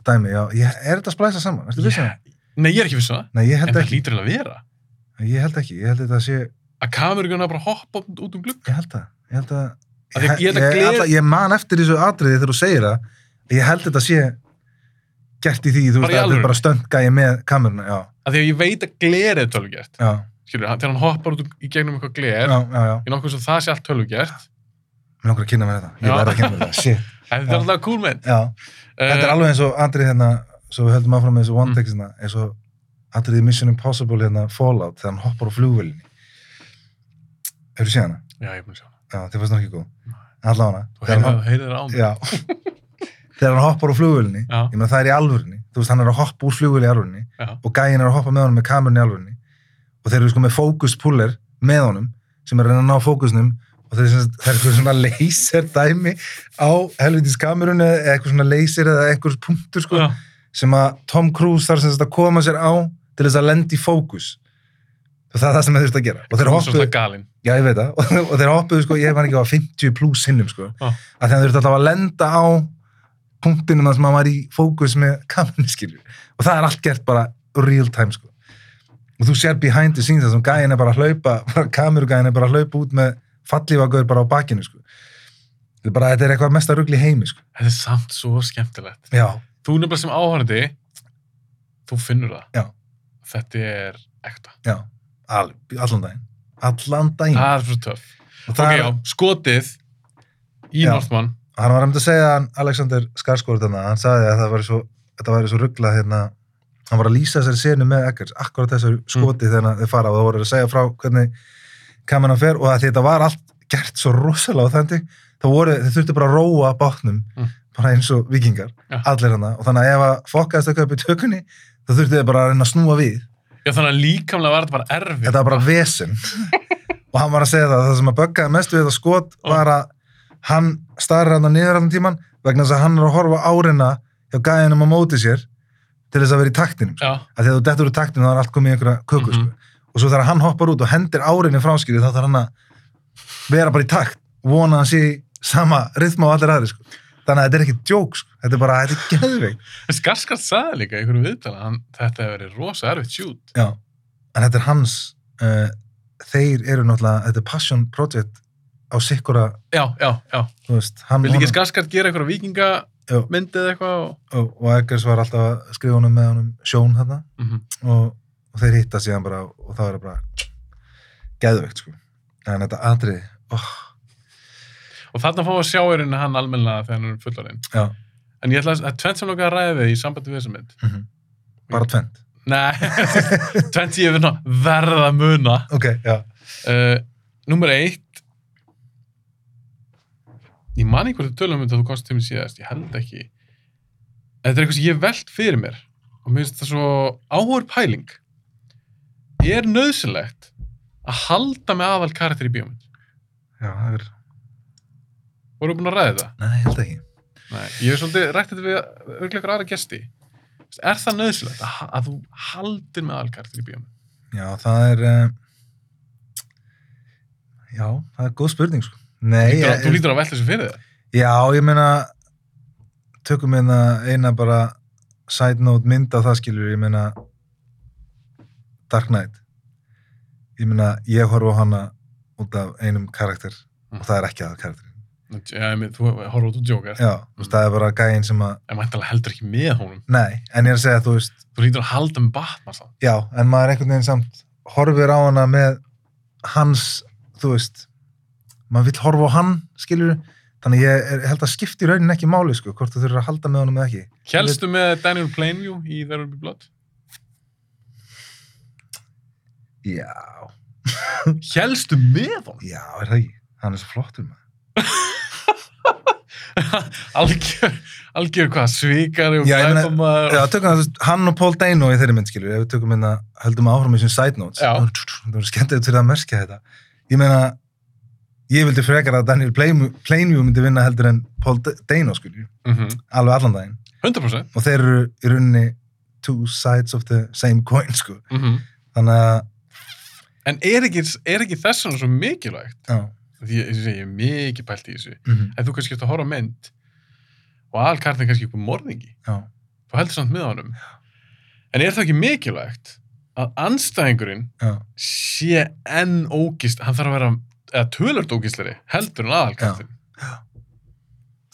B: dæmi. Já, ég, er þetta splæsað saman? Ertu vissið það?
A: Ég- Nei, ég er ekki viss um það
B: Nei, ég
A: en
B: held
A: það
B: ekki.
A: lítur eiginlega að vera
B: Ég held ekki. Ég held þetta sé,
A: að kamerugurinn er bara að hoppa út um glugga
B: ég held það. Ég held að,
A: Af því ég held að
B: ég,
A: gler-
B: alla- ég man eftir þessu atriði þegar þú segir það. Ég held þetta sé gert í því,
A: Bara í
B: þú veist, að þetta
A: alvöru?
B: er bara stöndgæði með kameruna. Já,
A: að því að ég veit að glerið er tölvugert
B: já,
A: skilur, þegar hann hoppar út um- í gegnum eitthvað gler
B: já, já, já.
A: ég nokkuð sem það sé allt tölvugert
B: Mér langar að kynna mér þetta.
A: Já.
B: Ég verð að kynna mér þetta. Shit.
A: en þetta er
B: Já.
A: alltaf cool mynd
B: Já. Þetta er
A: Eh,
B: alveg eins og atrið hérna, svo við höldum áfram með þessu one
A: Mm.
B: takes hérna, eins og atrið í Mission Impossible hérna, Fallout, þegar hann hoppar á flugvölinni. Hefur þú séð hana?
A: já, ég er búin að sjá hana.
B: Já, þið fannst hann ekki góð. Alla hana.
A: þú
B: Þegar
A: heyrið
B: hann-
A: heyri það á mig
B: Já. <laughs> þegar hann hoppar á flugvölinni,
A: Já.
B: ég meina það er í alvörinni, þú veist, hann er að hoppa úr flugvölinni í alvörinni
A: Já.
B: og gæinn er að hoppa með honum með kamerunni í alvörinni og þeir eru sko með fókus puller með honum sem er að reyna að ná fókusnum og þeir, sem, það er eitthvað svona laser dæmi á helvitis kamerunni eða eitthvað svona laser eða eitthvað punktur sko
A: Já.
B: sem að Tom Cruise þarf sem sagt að koma sér á til þess að lenda í fókus og það er það sem þeir þurft að gera og þeir
A: Þú er
B: hoppuðu,
A: svolítið galinn
B: já ég veit það <laughs> og, og þeir hoppuðu sko, ég var ekki á 50 pluss sinnum sko,
A: Já.
B: að þeir þurft alltaf að lenda á punktinum þar sem maður var í fókus með <laughs> kamerunni skilju og það er allt gert bara real time sko og þú sér behind the scenes það sem gæin er bara að hlaupa <laughs> bara kamerugæin er bara að hlaupa út með fallífagöður bara á bakinu sko þetta er bara, þetta er eitthvað mesta rugli heimi sko
A: þetta er samt svo skemmtilegt
B: já,
A: þú nefnilega sem áhörði þú finnur það
B: Já.
A: þetta er ekta
B: já, al, allan daginn allan daginn
A: það er svo töff
B: Og
A: ok,
B: Mm. það,
A: já, skotið í
B: Já.
A: Northman
B: hann var hefndi að segja hann, Alexander Skarsgård þarna, hann sagði að það væri svo þetta væri svo rugglað hérna hann var að lýsa þessari senu með Eggers akkurat
A: Mm.
B: þessari skoti þegar þeir fara og það voru að segja frá hvernig kameran fer og að því þetta var allt gert svo rosalega þannig, það voru, þeir þurftu bara að róa bátnum,
A: Mm.
B: bara eins og vikingar
A: Já.
B: allir hann og þannig að ef að fokkaðist eitthvað upp í tökunni, þá þurftu þeir bara að reyna að snúa við
A: já, þannig að líkamlega var þetta bara erfið
B: þetta var bara vesen og hann var að segja það, það sem að böggaði mest við þetta skot var að hann starra hann á niðurallan tíman vegna þess að hann er að horfa áreina hjá gæðinum á móti sér til þess að vera í taktinum sko.
A: já,
B: að þegar þú dettur úr taktinu þá er allt komið í einhverja köku
A: Mhm.
B: sko. og svo þegar hann hoppar út og hendir áreinu fráskýri þá þarf hann að vera bara í takt vona að hann sé í sama rithma og allir aðri sko. þannig að þetta er ekki djók sko. þetta er bara, þetta er geðveik
A: Skarskart sagði líka í einhverju viðtala hann, þetta hefur verið rosa erfitt sjút
B: Já, en þetta er hans uh, þeir eru náttúrulega þetta er passion project á sikkura
A: já, já, já,
B: þú veist, hann
A: vil ekki
B: honum-
A: Skarskart gera einhverja
B: Já.
A: vikingamyndið eða eitthvað og...
B: og, og Eggers var alltaf að skrifa honum með honum sjón þarna
A: mm
B: og, og þeir hitta síðan bara og það er bara geðvögt sko en þetta atrið, oh,
A: og þarna fáum við að sjá í rauninni hann almennilega þegar hann er fullorinn
B: já
A: en ég ætla að, það er tvent sem lóka að ræða við í sambandi við þessa mynd
B: mm bara tvend,
A: nei, <laughs> tvent ég finna verða að muna
B: ok, já
A: uh, nummer eitt ég man einhverju tölum mynd að um þú komst til mér síðast, ég held ekki þetta er eitthvað sem ég hef velt fyrir mér og mér finnst það svo áhver pæling er nöðsynlegt að halda með aðal karakter í bíómynd
B: já, það er,
A: voru búin að ræða þetta?
B: nei, ég held ekki
A: Nei, ég hef svolítið rætt þetta við örglega ykkur aðra gesti. Þú veist, Er það nöðsilegt að, að þú haldir með alkartir í bíómið?
B: já, það er uh, já, það er góð spurning sko nei,
A: Lítur,
B: ég-
A: þú lítur að velta þessu fyrir þér.
B: Já, ég meina tökum hérna eina bara side note mynd af það skilur ég meina Dark Knight ég meina, ég horfa á hana út af einum karakter og það er ekki aða karakterin.
A: Já, ég meina, þú horfður út og djókar.
B: Já, þú veist, það er bara gæinn sem að,
A: En mæntalega heldur ekki með honum.
B: nei, en ég er að segja, þú veist,
A: Þú hlýtur að halda með Batman samt.
B: já, en maður einhvern veginn samt horfir á hana með hans, þú veist, maður vill horfa á hann, skilur, þannig ég er, held að skipti í raunin ekki máli, sko, hvort þú þurfir að halda með honum eða ekki.
A: Hélstu með Daniel Plainview í There Will Be
B: <laughs>
A: Blood?
B: Já,
A: Hélstu með honum?
B: já, er það ekki, hann er svo flottur maður.
A: algjör, algjör hvað, svikari og
B: Já, ég meina-
A: glæpamaður.
B: Já, tökum það, þú veist, hann og Paul Dano í þeirri mynd, skilur, ef við tökum hérna, höldum áfram í þessum side notes,
A: Já.
B: það voru skemmtilegt fyrir að merkja þetta. Ég meina, ég vildi frekar að Daniel Plainview Plainview myndi vinna heldur en Paul D- Dano, skilur,
A: Mhm,
B: alveg allan daginn.
A: 100%.
B: Og þeir eru í rauninni two sides of the same coin, sko.
A: Mhm.
B: Þannig að,
A: En er ekki, er ekki þess vegna svo mikilvægt?
B: já,
A: Því ég, ég, ég er mikið pælt í þessu.
B: mm
A: En þú kannski eftir að horfa á mynd og alkartin kannski eitthvað morðingi.
B: já,
A: Þú heldur samt með honum. En er það ekki mikilvægt að anstæðingurinn
B: já,
A: sé enn ógist, hann þarf að vera eða tölvöld ógisleri, heldur en aðalkartin.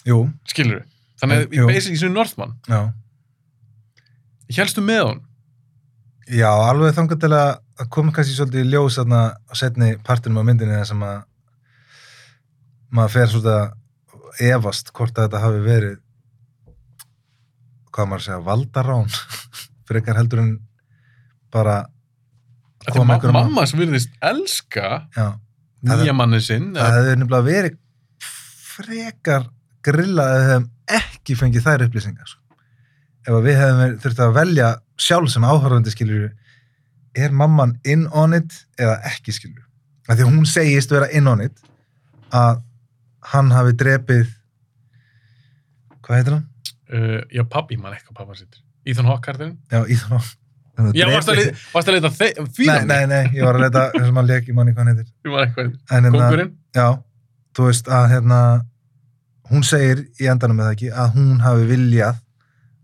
B: jú,
A: Skilur við? Þannig að
B: Jú.
A: í basically sem Northman,
B: já,
A: hélstu með honum?
B: já, alveg þangar til að að koma kannski svolítið í ljós þarna á setni partinum á myndinni þar sem að maður fer svolítið að efast hvort að þetta hafi verið hvað maður að segja, valdarán <laughs> frekar heldur en bara að
A: Þetta er ma
B: einhverjum að-
A: mamma sem virðist elska
B: já, Það er-
A: nýja mannin sinn.
B: það
A: eða-
B: hefði nefnilega verið frekar grilla ef við hefðum ekki fengið þær upplýsingar sko. ef að við hefðum verið- þurft að velja sjálf sem áhörfandi skilur er mamman in on it eða ekki skilur af því að hún segist vera in on it að hann hafi drepið hvað heitir hann?
A: Uh, já, pabbi, mann eitthvað pappa sittur. Ethan Hawke kartin.
B: Já, Íþrón
A: Já, varstu að leita- varstu að leita þe- því?
B: Nei, nei, nei, ég var að leita þessum að leki manni hvað hann heitir
A: Ég var eitthvað,
B: En hérna-
A: kongurinn.
B: Já, þú veist að hérna hún segir í endanum með það ekki að hún hafi viljað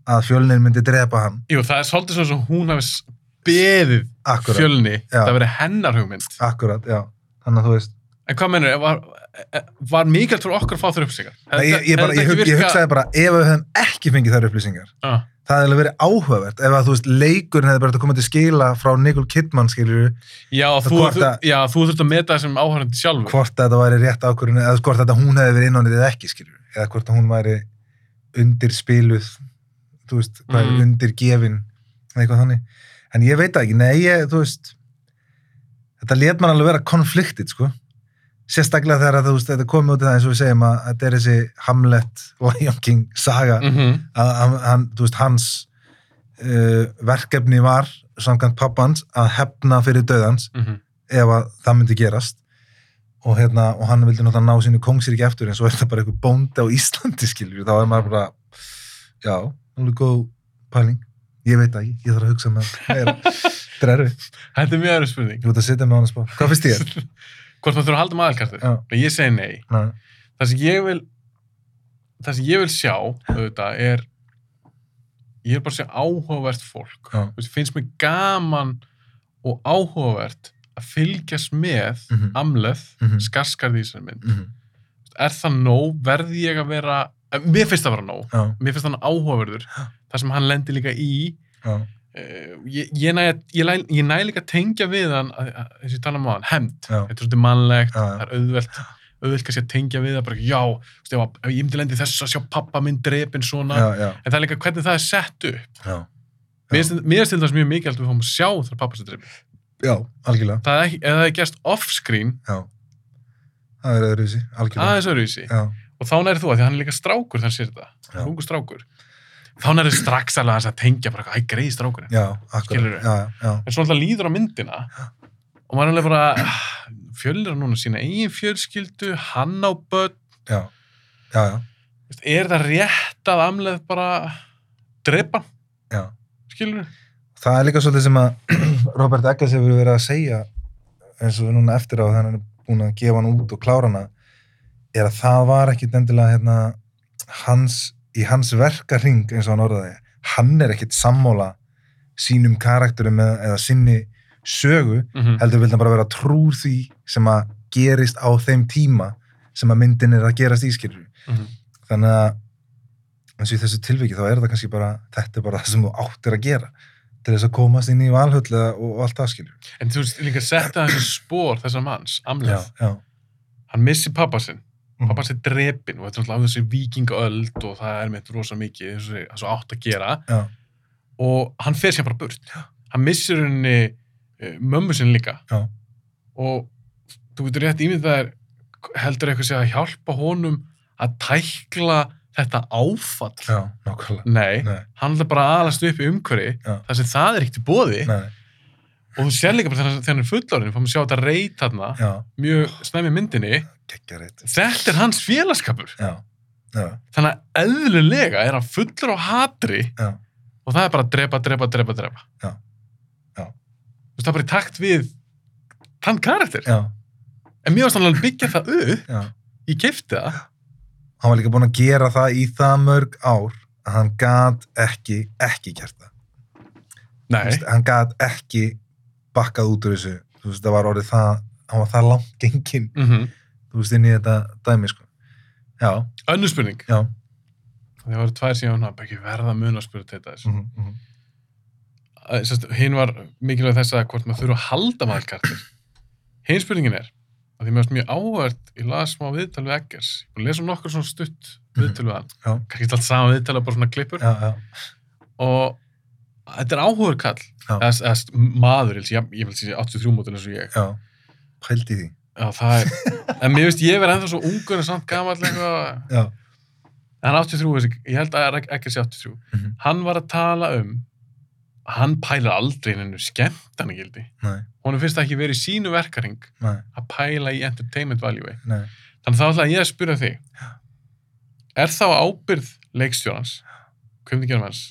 B: að fjölnir myndi drepa hann
A: Jú, það er svolítið svo sem hún hafi s- beðið
B: akkurat,
A: fjölni.
B: Já.
A: Það verið hennar hugmynd.
B: akkurat, já þannig að þú veist,
A: En hvað mennur, var, var mikilvægt fyrir okkur að fá þér upplýsingar?
B: Nei, ég, ég, bara, ég, hug, ég hugsaði bara ef við höfum ekki fengið þær upplýsingar
A: Ah,
B: það hefði verið áhugavert ef að þú veist leikurinn hefði bara komið til skila frá Nikol Kidman skilur
A: já,
B: Það
A: þú,
B: hvort
A: þú,
B: að-
A: já, þú þurft að meta þessum áhörandi sjálfur.
B: hvort þetta væri rétt ákvörðin eða hvort þetta hún hefði verið innanrið eða ekki skilur eða hvort að hún væri undir spiluð þú veist, hvað
A: Mhm.
B: er undir gefin eitthvað þannig, en ég veit það ekki nei, ég, þú veist þetta let mann alveg vera konfliktið sko sérstaklega þegar að, þú veist, þetta komið út af það eins og við segjum að þetta er þessi Hamlet Lion King saga
A: Mm
B: að hann, hann, þú veist, hans uh, verkefni var samkvæmt pappans að hefna fyrir döðans
A: mhm.
B: ef að það myndi gerast og, hérna, og hann vildi náttúrulega ná sínu kongsir ekki eftir en svo er þetta bara einhver bóndi á Íslandi <laughs> skilur, þá er maður bara já, alveg góð pæling ég veit það ekki, ég þarf að hugsa með <laughs> meira. þetta er erfið,
A: Þetta er mjög öðru spurning.
B: ég veit að sitja með hann að spá hvað finnst þér?
A: <laughs> Hvort maður þurfa að halda með aðalkartir?
B: Já,
A: Ég segi nei.
B: na,
A: það sem ég vil það sem ég vil sjá auðvitað, er ég er bara að sjá áhugavert fólk
B: Já.
A: Þú veist, finnst mér gaman og áhugavert að fylgjast með mm
B: Mhm.
A: amleð
B: Mhm.
A: skarskarði í sér mynd
B: mhm,
A: er það nóg, verði ég að vera eh, mér finnst það að vera nóg,
B: já,
A: mér finnst þannig áhugaverður það sem hann lendir líka í
B: já,
A: Uh, ég, ég, næ, ég, næ, ég næ líka að tengja við hann að- að- eins og ég tala um á hann, hemmt
B: Já.
A: þetta er svolítið mannlegt,
B: Já, já.
A: það er auðvelt auðvelt kannski að tengja við það, bara já þú veist, ef að- ef ég myndi lendi þess að sjá pappa minn drepin svona,
B: já, já,
A: en það er líka hvernig það er sett upp
B: já, Já.
A: mér finnst- mér finnst til þess mjög mikið að við fáum að sjá þegar pappa sér drepin,
B: já algjörlega,
A: það er ekki, ef það er gerst off-screen,
B: já það er öðruvísi, algjörlega
A: aðeins öðruvísi
B: já,
A: og þá næri þú að því að hann er líka strákur þannig sér
B: Já.
A: þetta, hungur strákur þá næri strax alveg aðeins að tengja bara, æ, greið strákurinn
B: já, akkurat
A: Skilurðu?
B: já, já,
A: en svo alltaf líður á myndina og maður er alveg bara "Ah, fjölnir hann núna sína eigin fjölskyldu hann á börn,
B: já, já, já,
A: Veist, er það rétt að amleð bara drepa hann,
B: já.
A: skilur
B: það er líka svolítið sem að <clears throat> Robert Eggers hefur verið að segja eins og núna eftir á þannig hann er búin að gefa hann út og klára hana er að það var ekki endilega hérna, hans, í hans verkaring eins og hann orðaði, hann er ekkit sammála sínum karakterum eða, eða sinni sögu,
A: mm -hmm.
B: Mhm. heldur vildi hann bara vera trúr því sem að gerist á þeim tíma sem að myndin er að gerast ískilur
A: Mhm.
B: þannig að eins og í þessu tilviki þá er það kannski bara þetta er bara það sem þú áttir að gera til þess að komast inn í valhöllu og, og allt það skilur
A: En þú veist, líka setta þessu spór þessar manns, Amleth,
B: já.
A: hann missi pappa sinn,
B: Mhm.
A: pappa sinn drepin og þetta er náttúrulega á þessi vikingaöld og það er mitt rosa mikið eins og þessi- þessu átt að gera
B: Mhm. Já.
A: og hann fer sér bara burt. Hann missir henni mömmu sinn líka
B: Já.
A: og þú getur rétt ímynd það er heldur eitthvað sé að hjálpa honum að tækla þetta áfall.
B: já, nákvæmlega
A: Nei,
B: Nei,
A: hann er bara aðalast upp í umhverfi
B: Já.
A: þar sem það er ekkert í bóði
B: nei,
A: og þú sér líka bara þegar hann- þegar hann er fullorinn, fórum að sjá þetta reyt þarna
B: já,
A: mjög snemmi í myndinni
B: geggjarreitt
A: þetta er hans félagskapur
B: já, já,
A: þannig að eðlulega er hann fullur á hatri
B: já,
A: og það er bara að drepa, drepa, drepa, drepa
B: Já. Já.
A: Þú veist, það er bara í takt við þann karakter
B: já,
A: en mér varst hann alveg að byggja það upp
B: já
A: ég kefti það
B: hann var líka búinn að gera það í það mörg ár að hann gat ekki, ekki gert það Þú
A: Nei,
B: veist, hann gat ekki bakkað út úr þessu Þú veist, það var orðið það, hann var það langt gengin
A: mm
B: þú veist, inn í þetta dæmi sko. já,
A: önnur spurning
B: já
A: það voru tvær síðan hann bara ekki verða mun að spura þetta þess
B: mm -hmm.
A: Að, sérst, hinn var mikilvæg þess að hvort maður þurfa að halda maður karakter hinn spurningin er að því mér varst mjög áhört ég las smá viðtal við Eggers ég búin að lesa um nokkur svona stutt viðtal við hann
B: Mhm, Já.
A: kannski alltaf sama viðtal bara svona klippur
B: já, já,
A: og þetta er áhugur kall
B: Já.
A: eða, eða st- maður, ég, ég, ég vil segja 83 mótil eins og ég
B: já pældi í því,
A: Já, það er, en mér veist ég verið ennþá svo ungur en samt gamall eitthvað
B: já,
A: En hann 83, þessi- ég held að Eggers sé 83
B: Mhm.
A: hann var að tala um að hann pæla aldrei hennu skemmtanagildi
B: nei,
A: honum finnst það ekki verið í sínu verkaring
B: nei,
A: að pæla í entertainment value
B: nei
A: þannig þá ætla ég að spyrja þig er þá ábyrð leikstjórans kvimningjörnum hans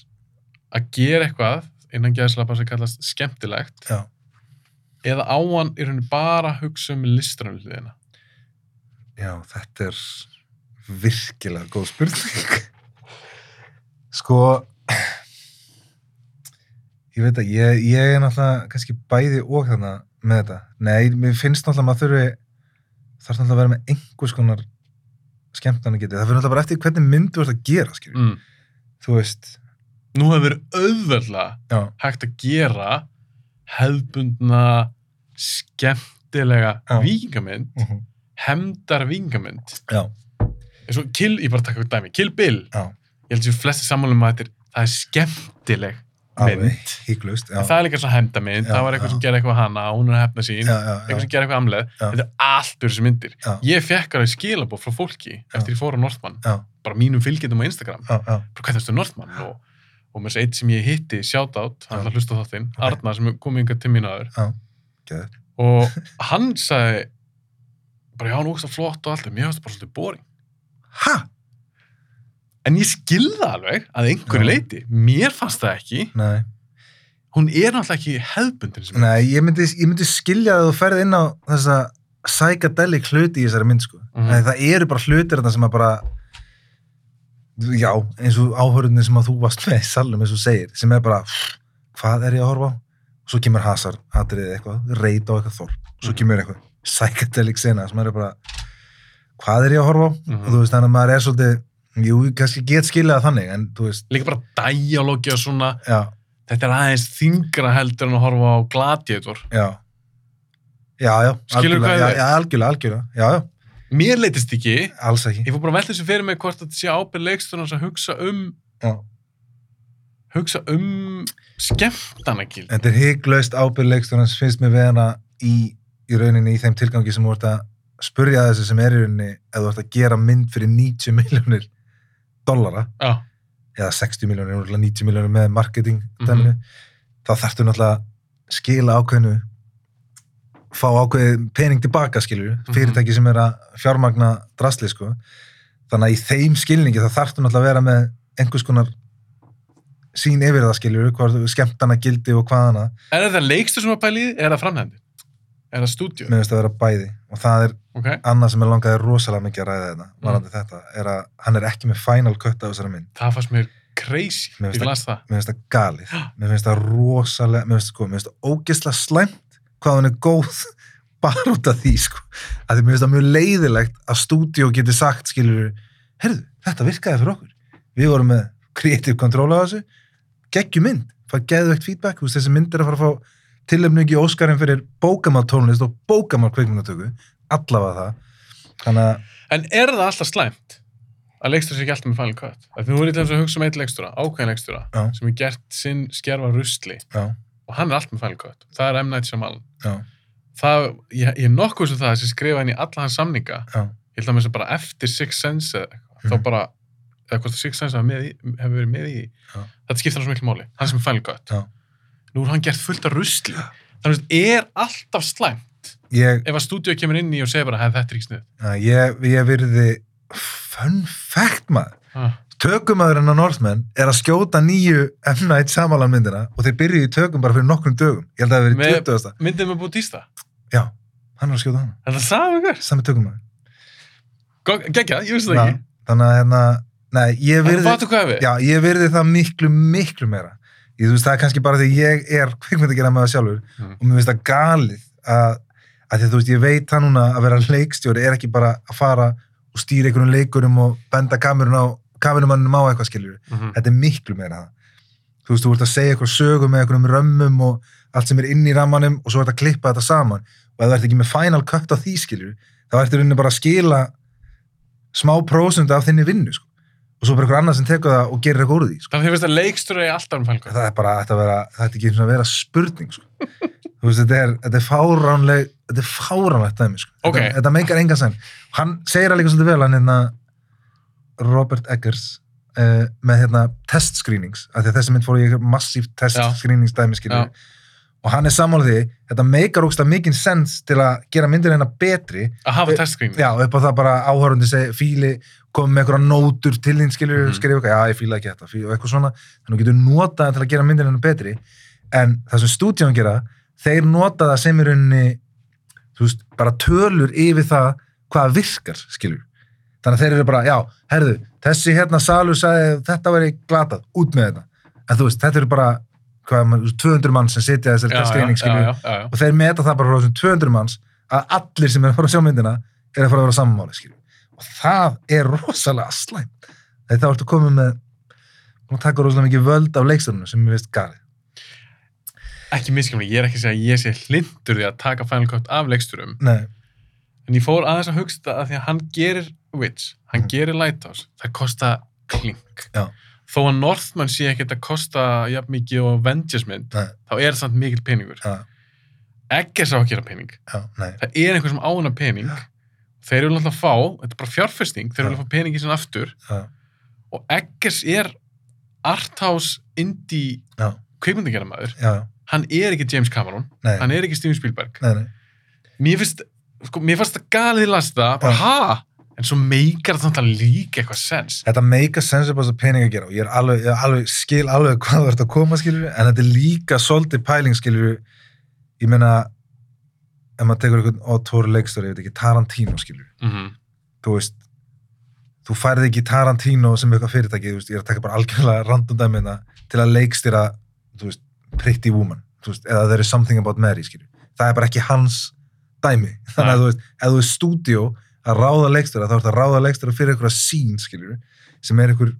A: að gera eitthvað innan gæðslapa sem kallast skemmtilegt
B: Já.
A: eða á hann er hann bara að hugsa um listranu hliðina
B: Já, þetta er virkilega góð spurning. <laughs> sko, ég veit að ég, ég er náttúrulega kannski bæði og þarna með þetta. Nei, mér finnst náttúrulega að maður þurfi, þarf náttúrulega að vera með einhvers konar skemmtana getið. Það fyrir náttúrulega bara eftir hvernig mynd þú ert að gera, skilur.
A: mm.
B: Þú veist,
A: nú hefur auðveldlega
B: já,
A: hægt að gera hefðbundna skemmtilega
B: Já.
A: vikingamynd
B: uh -huh.
A: hefndar vikingamynd
B: já,
A: eins og Kill, ég bara taka eitthvað dæmi, Kill Bill
B: Já.
A: ég held sér flesti sammálum um að þetta er það er skemmtileg
B: alveg,
A: mynd
B: híklaust, já.
A: en það er líka svona hefndamynd,
B: Já,
A: það var eitthvað
B: já.
A: sem gerði eitthvað hana og hún er að hefna sín,
B: já, já, já,
A: eitthvað sem gerði eitthvað amleð
B: Já.
A: þetta er allt úr þessu myndir
B: Já.
A: ég fekk alveg skilabóð frá fólki eftir ég fór á Northman,
B: Já.
A: bara mínum fylgjendum á Instagram,
B: já, já,
A: bara hvað þessu Northman og, og með þessu eitt sem ég hitti shoutout, hann
B: Já.
A: ætla að hlusta á þáttinn
B: Ok.
A: Arnar sem kom yngar til mín aður
B: geður.
A: og hann sagði bara já, hann úkst að flott og allt en mér finnst það bara svolítið boring
B: Ha?
A: en ég skilða alveg að einhverju
B: Já.
A: leiti mér fannst það ekki,
B: Nei.
A: hún er náttúrulega ekki hefðbundin sem
B: Nei, ég myndi, ég myndi skilja að þú ferð inn á þessa psychedelic hluti í þessari mynd sko.
A: Mhm.
B: Nei, það eru bara hlutir þarna sem að bara já, eins og áhörðunni sem að þú varst með í salnum eins og þú segir, sem er bara pff, hvað er ég að horfa á? Svo kemur hasar, atriðið eitthvað, reyt á eitthvað þorp svo
A: Mhm.
B: kemur eitthvað, psychedelic sena sem er bara, hvað er ég að horfa á?
A: Mhm.
B: og þú veist, þannig að maður er svolítið jú, ég kannski get skiljað þannig, en þú veist
A: líka bara dæjálógi og svona
B: já,
A: þetta er aðeins þingra heldur en að horfa á gladiator
B: Já. Já, já.
A: Skilurðu
B: algjörlega,
A: hvað ég
B: já,
A: er?
B: já, algjörlega, algjörlega. Já, já,
A: mér leitist ekki, ég
B: alls ekki.
A: fór bara að velta þessu fyrir mig hvort þetta sé ábyrð leiksturnars að hugsa um
B: Já.
A: hugsa um skemmtanagild
B: Þetta er hygglaust ábyrðleikstur hans finnst mér við hana í, í rauninni í þeim tilgangi sem þú ert að spurja þessu sem er í rauninni ef þú ert að gera mynd fyrir 90 miljónir dollara
A: já,
B: eða 60 miljónir, náttúrulega 90 miljónir með marketing dæminu, þá þarftu náttúrulega að skila ákveðinu fá ákveðið pening tilbaka skilur,
A: Mhm.
B: fyrirtæki sem er að fjármagna drasli sko þannig að í þeim skilningi þá þarftu náttúrulega að vera með einhvers konar sín yfir það skilur, hvað skemmtana gildi og hvaðana,
A: er þetta leikstur sem að pæli í, er það framhendi er það stúdíu,
B: mér finnst að vera bæði og það er
A: ok,
B: annað sem er langaði rosalega mikið að ræða þetta, varandi þetta er að hann er ekki með final cut af þessari mynd
A: það fannst mér crazy,
B: Mér finnst
A: ég
B: það-
A: las það
B: mér finnst það galið, mér finnst það rosalega, mér finnst sko, mér finnst það ógisla slæmt hvað hún er góð <laughs> bara út af því sko. að því mér finnst það mjög leiðilegt að stúdíó geti sagt skilur herðu, þetta virkaði fyrir okkur við vorum með creative control á þessu geggjum mynd, fæ geðvegt feedback þú veist, þessi mynd er að fara að fá tilöfningi Óskarinn fyrir bókamál tónlist og bókamál kveikmyndatöku, allavega það þannig að
A: En er það alltaf slæmt að leikstjóra sér ekki alltaf með Final Cut? Af því Þú voru í þess að hugsa um eitt leikstjóra, ákveðin leikstjóra,
B: Já.
A: sem er gert sinn skerfa rusli
B: já,
A: og hann er alltaf með Final Cut. Það er M. Night Shyamalan.
B: já,
A: Það, ég, ég er nokkuð sem það sem skrifa henni í alla hans samninga,
B: já,
A: ég held að með þess að bara eftir Six Sense eða eitthvað,
B: Mhm.
A: þá bara, eða hvort að Six Sense hefur hef verið með í,
B: Já.
A: þetta skiptir hann svo miklu máli, hann sem er Final Cut.
B: Já.
A: Nú er hann gert fullt af rusli. Þannig að er alltaf slæmt
B: ég,
A: ef að stúdíu kemur inn í og segir bara, hef þetta er ekki snið.
B: já, ég, ég virði fun fact maður
A: Ah.
B: tökumæðurinn á Northman er að skjóta nýju M. Night Shyamalan myndina og þeir byrjuðu í tökum bara fyrir nokkrum dögum ég held að það
A: Með-
B: hafi verið 20.
A: Myndið með Bútista.
B: Já, hann er að skjóta hana
A: Er það sama ykkur?
B: sami tökumæður
A: Gekja, ég vissi það ekki.
B: Na, þannig að hérna, nei, ég
A: Virði...
B: virði
A: Fattu hvað við?
B: já, ég virði það miklu, miklu meira ég, þú veist, það er kannski bara því ég er kvikmyndagjara með það sjálfur
A: Mm.
B: og mér finnst það galið að, að því, þú veist, ég veit það núna að vera leikstjóri er ekki bara að fara og stýra einhvern leikurum og benda kamerun á kamerumannum á eitthvað skiljur
A: Mhm.
B: þetta er miklu meira það þú veist, þú ert að segja eitthvað sögu með einhverjum römmum og allt sem er inn í rammanum og svo ert að klippa þetta saman og ef það ert ekki með final cut á því skilur þá ertu í rauninni bara að skila smá prósund af þinni vinnu sko. og svo bara einhver annar sem tekur það og gerir eitthvað úr því sko.
A: Þannig að þið finnst að leikstur er alltaf um fælgóð.
B: það er bara, þetta vera, þetta er ekki einu sinni að vera spurning sko. þú veist, þetta er, þetta er fáránleg þetta er fáránlegt dæmi sko.
A: Ok.
B: þetta, þetta meikar engan senn hann segir það líka svolítið vel hann hérna Robert Eggers uh, með hérna test screenings af því að þessi mynd fór í eitthvað massíft test
A: Já.
B: screenings dæmi skilur og hann er sammála því, þetta meikar ógsta mikinn sens til að gera myndir hérna betri
A: Að hafa
B: Við-
A: testskrín.
B: já, upp á það bara áhörundi segi fíli, kom með einhverja nótur til þín skilur,
A: Mhm.
B: mm. skrifa eitthvað, já ég fíla ekki þetta fí- og eitthvað svona, þannig að þú getur notað það til að gera myndin hennar betri, en það sem stúdíón gera, þeir nota það sem í rauninni, þú veist, bara tölur yfir það hvað virkar skilur, þannig að þeir eru bara já, herðu, þessi hérna salur sagði að þetta væri glatað, út með þetta en þú veist, þetta eru bara hvað, er maður, 200 mann sem sitja að þessari skreining skilur,
A: Já, já, já.
B: og þeir meta það bara frá þessum 200 manns að allir sem er að fara að sjá myndina er að fara að vera sammáli skilju. og það er rosalega slæmt þegar þá ertu komið með og taka rosalega mikið völd af leikstunum sem ég veist gari
A: Ekki miskjumni, ég er ekki að segja að ég sé hlindur því að taka fælgóð af leiksturum.
B: Nei,
A: En ég fór aðeins að hugsa þetta að því að hann gerir Witch, hann
B: Mhm.
A: gerir Lighthouse, það kosta klink.
B: Já.
A: Þó að Northman sé ekkert að kosta jafn mikið og Avengers mynd,
B: Nei.
A: þá er það samt mikil peningur.
B: já,
A: Ekki sá að gera pening.
B: já, nei,
A: Það er einhver sem ána pening.
B: Já.
A: Þeir eru alltaf að fá, þetta er bara fjárfesting, þeir eru
B: Já.
A: að fá peningi sinna aftur.
B: já,
A: og Eggers er arthouse indie
B: já,
A: kveikmyndagerðamæður,
B: já,
A: hann er ekki James Cameron,
B: nei,
A: hann er ekki Steven Spielberg
B: nei, nei.
A: mér finnst, sko, mér fannst það galið í lasta, bara
B: Já.
A: ha en svo meikar það náttúrulega líka eitthvað sens
B: Þetta make a sense upp á þess að pening að gera og ég, er alveg, ég er alveg, skil alveg hvað þú ert að koma skilur en þetta er líka svolítið pæling skilur ég meina ef maður tekur einhvern autór leikstur ég veit ekki, Tarantino skilur
A: mm -hmm.
B: þú veist þú færði ekki Tarantino sem eitthvað fyrirtæki þú veist, ég er að taka bara algjörlega random dæmiðna til að leikstýra þú veist, Pretty Woman þú veist, eða there is something about Mary skilju. það er bara ekki hans dæmi <laughs> þannig að þú veist, ef þú er stúdíó að ráða leikstýra þá ertu að ráða leikstýra fyrir einhverja sín skilju, sem er einhver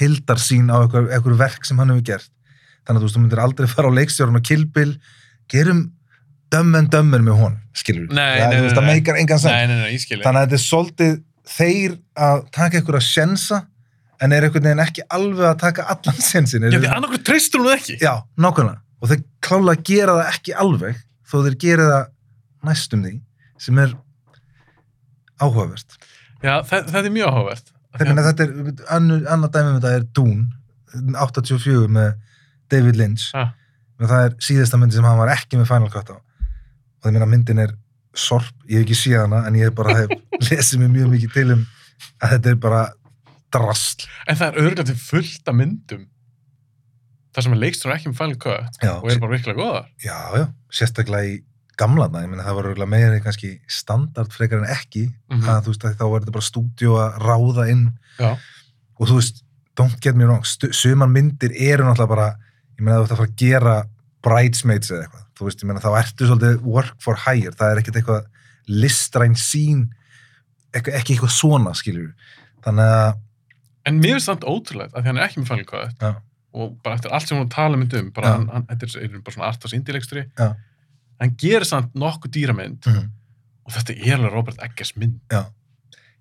B: hildarsín á einhver, einhver verk sem hann hefur gert þannig að þú veist, þú myndir aldrei <laughs> fara á leikstjórun og kilpil gerum dömmen dömmen með hon skilju,
A: Nei,
B: það,
A: nei,
B: þú
A: nei,
B: veist, það
A: nei.
B: meikar engan sens
A: nei, nei, nei, ég skilji
B: þannig að þetta er svolítið þeir að taka ykkur að sjensa en er einhvern veginn ekki alveg að taka allan <laughs> sjensin
A: já, því annarkur treystur hún það ekki
B: já, nákvæmlega og þeir klála að gera það ekki alveg þó þeir gera það næstum því sem er áhugavert
A: já, það, það er mjög áhugavert
B: þannig að þetta er, annu- annað dæmi með þetta er Dune 84 með David Lynch
A: Ah.
B: og það er síðasta myndi sem hann var ekki með Final Cut á og það meina myndin er sorp, ég hef ekki séð hana en ég hef bara hef <laughs> lesið mér mjög mikið til um að þetta er bara drasl
A: en það er örgulega til fullt af myndum það sem er leikstur ekki með Final Cut
B: já,
A: og er bara virkilega góðar
B: já, já, sérstaklega í gamlaðna, ég meina það var örugglega meira kannski standard frekar en ekki
A: mm
B: að þú veist að þá var þetta bara stúdíu að ráða inn
A: Já.
B: og þú veist, don't get me wrong stu- sumar myndir eru náttúrulega bara ég meina þú ert að fara að gera bridesmaids eða eitthvað þú veist, ég meina, þá ertu svolítið work for hire það er ekkert eitthvað listræn sín ekki, ekki eitthvað svona skilur þannig að
A: En mér finnst það ótrúlegt að því hann er ekki með fælið hvað
B: Já.
A: og bara eftir allt sem hún tala mynd um bara
B: Já.
A: hann, hann, þetta er- er bara svona artast indilegstri
B: Já.
A: hann gerir samt nokkuð dýramynd
B: mhm.
A: og þetta er alveg Robert Eggers mynd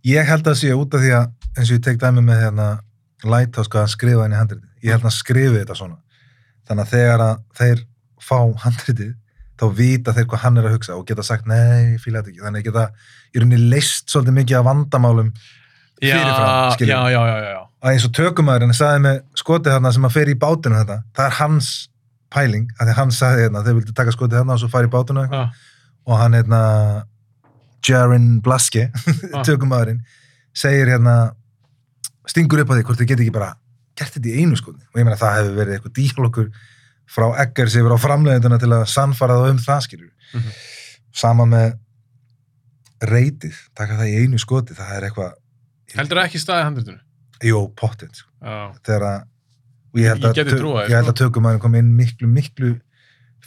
B: ég held að það sé út af því að eins og ég tek dæmi með hérna Lighthouse hvað hann skrifaði inn í handritið ég held að hann skrifi þetta svona þannig að þegar að þeir fá handritið þá vita þeir hvað hann er að hugsa og geta sagt nei, ég fíla þetta ekki þannig að geta í rauninni leist svolítið mikið af vandamálum Fyrirfram,
A: já,
B: skilur.
A: já, já, já, já.
B: að eins og tökumæðurinn sagði með skotið þarna sem að fer í bátinu þetta það er hans pæling að því hann sagði hérna, þeir vildi taka skotið þarna og svo fara í bátinu
A: Ah,
B: og hann hérna Jaron Blaske <laughs>
A: ah.
B: tökumæðurinn segir hérna stingur upp á því hvort þið geti ekki bara gert þetta í einu skotni og ég meina það hefur verið eitthvað díalogur frá Eggers yfir á framleiðinduna til að sannfara það um það skilur
A: Mhm.
B: sama með reytið, taka það í einu skoti það er eitthvað,
A: heldur það ekki staðið handritinu
B: jú, pottinn sko
A: já,
B: þegar að og ég held
A: Ég
B: að,
A: gæti
B: tö-
A: trúað þér,
B: ég held
A: sko.
B: að tökumæðin kom inn miklu, miklu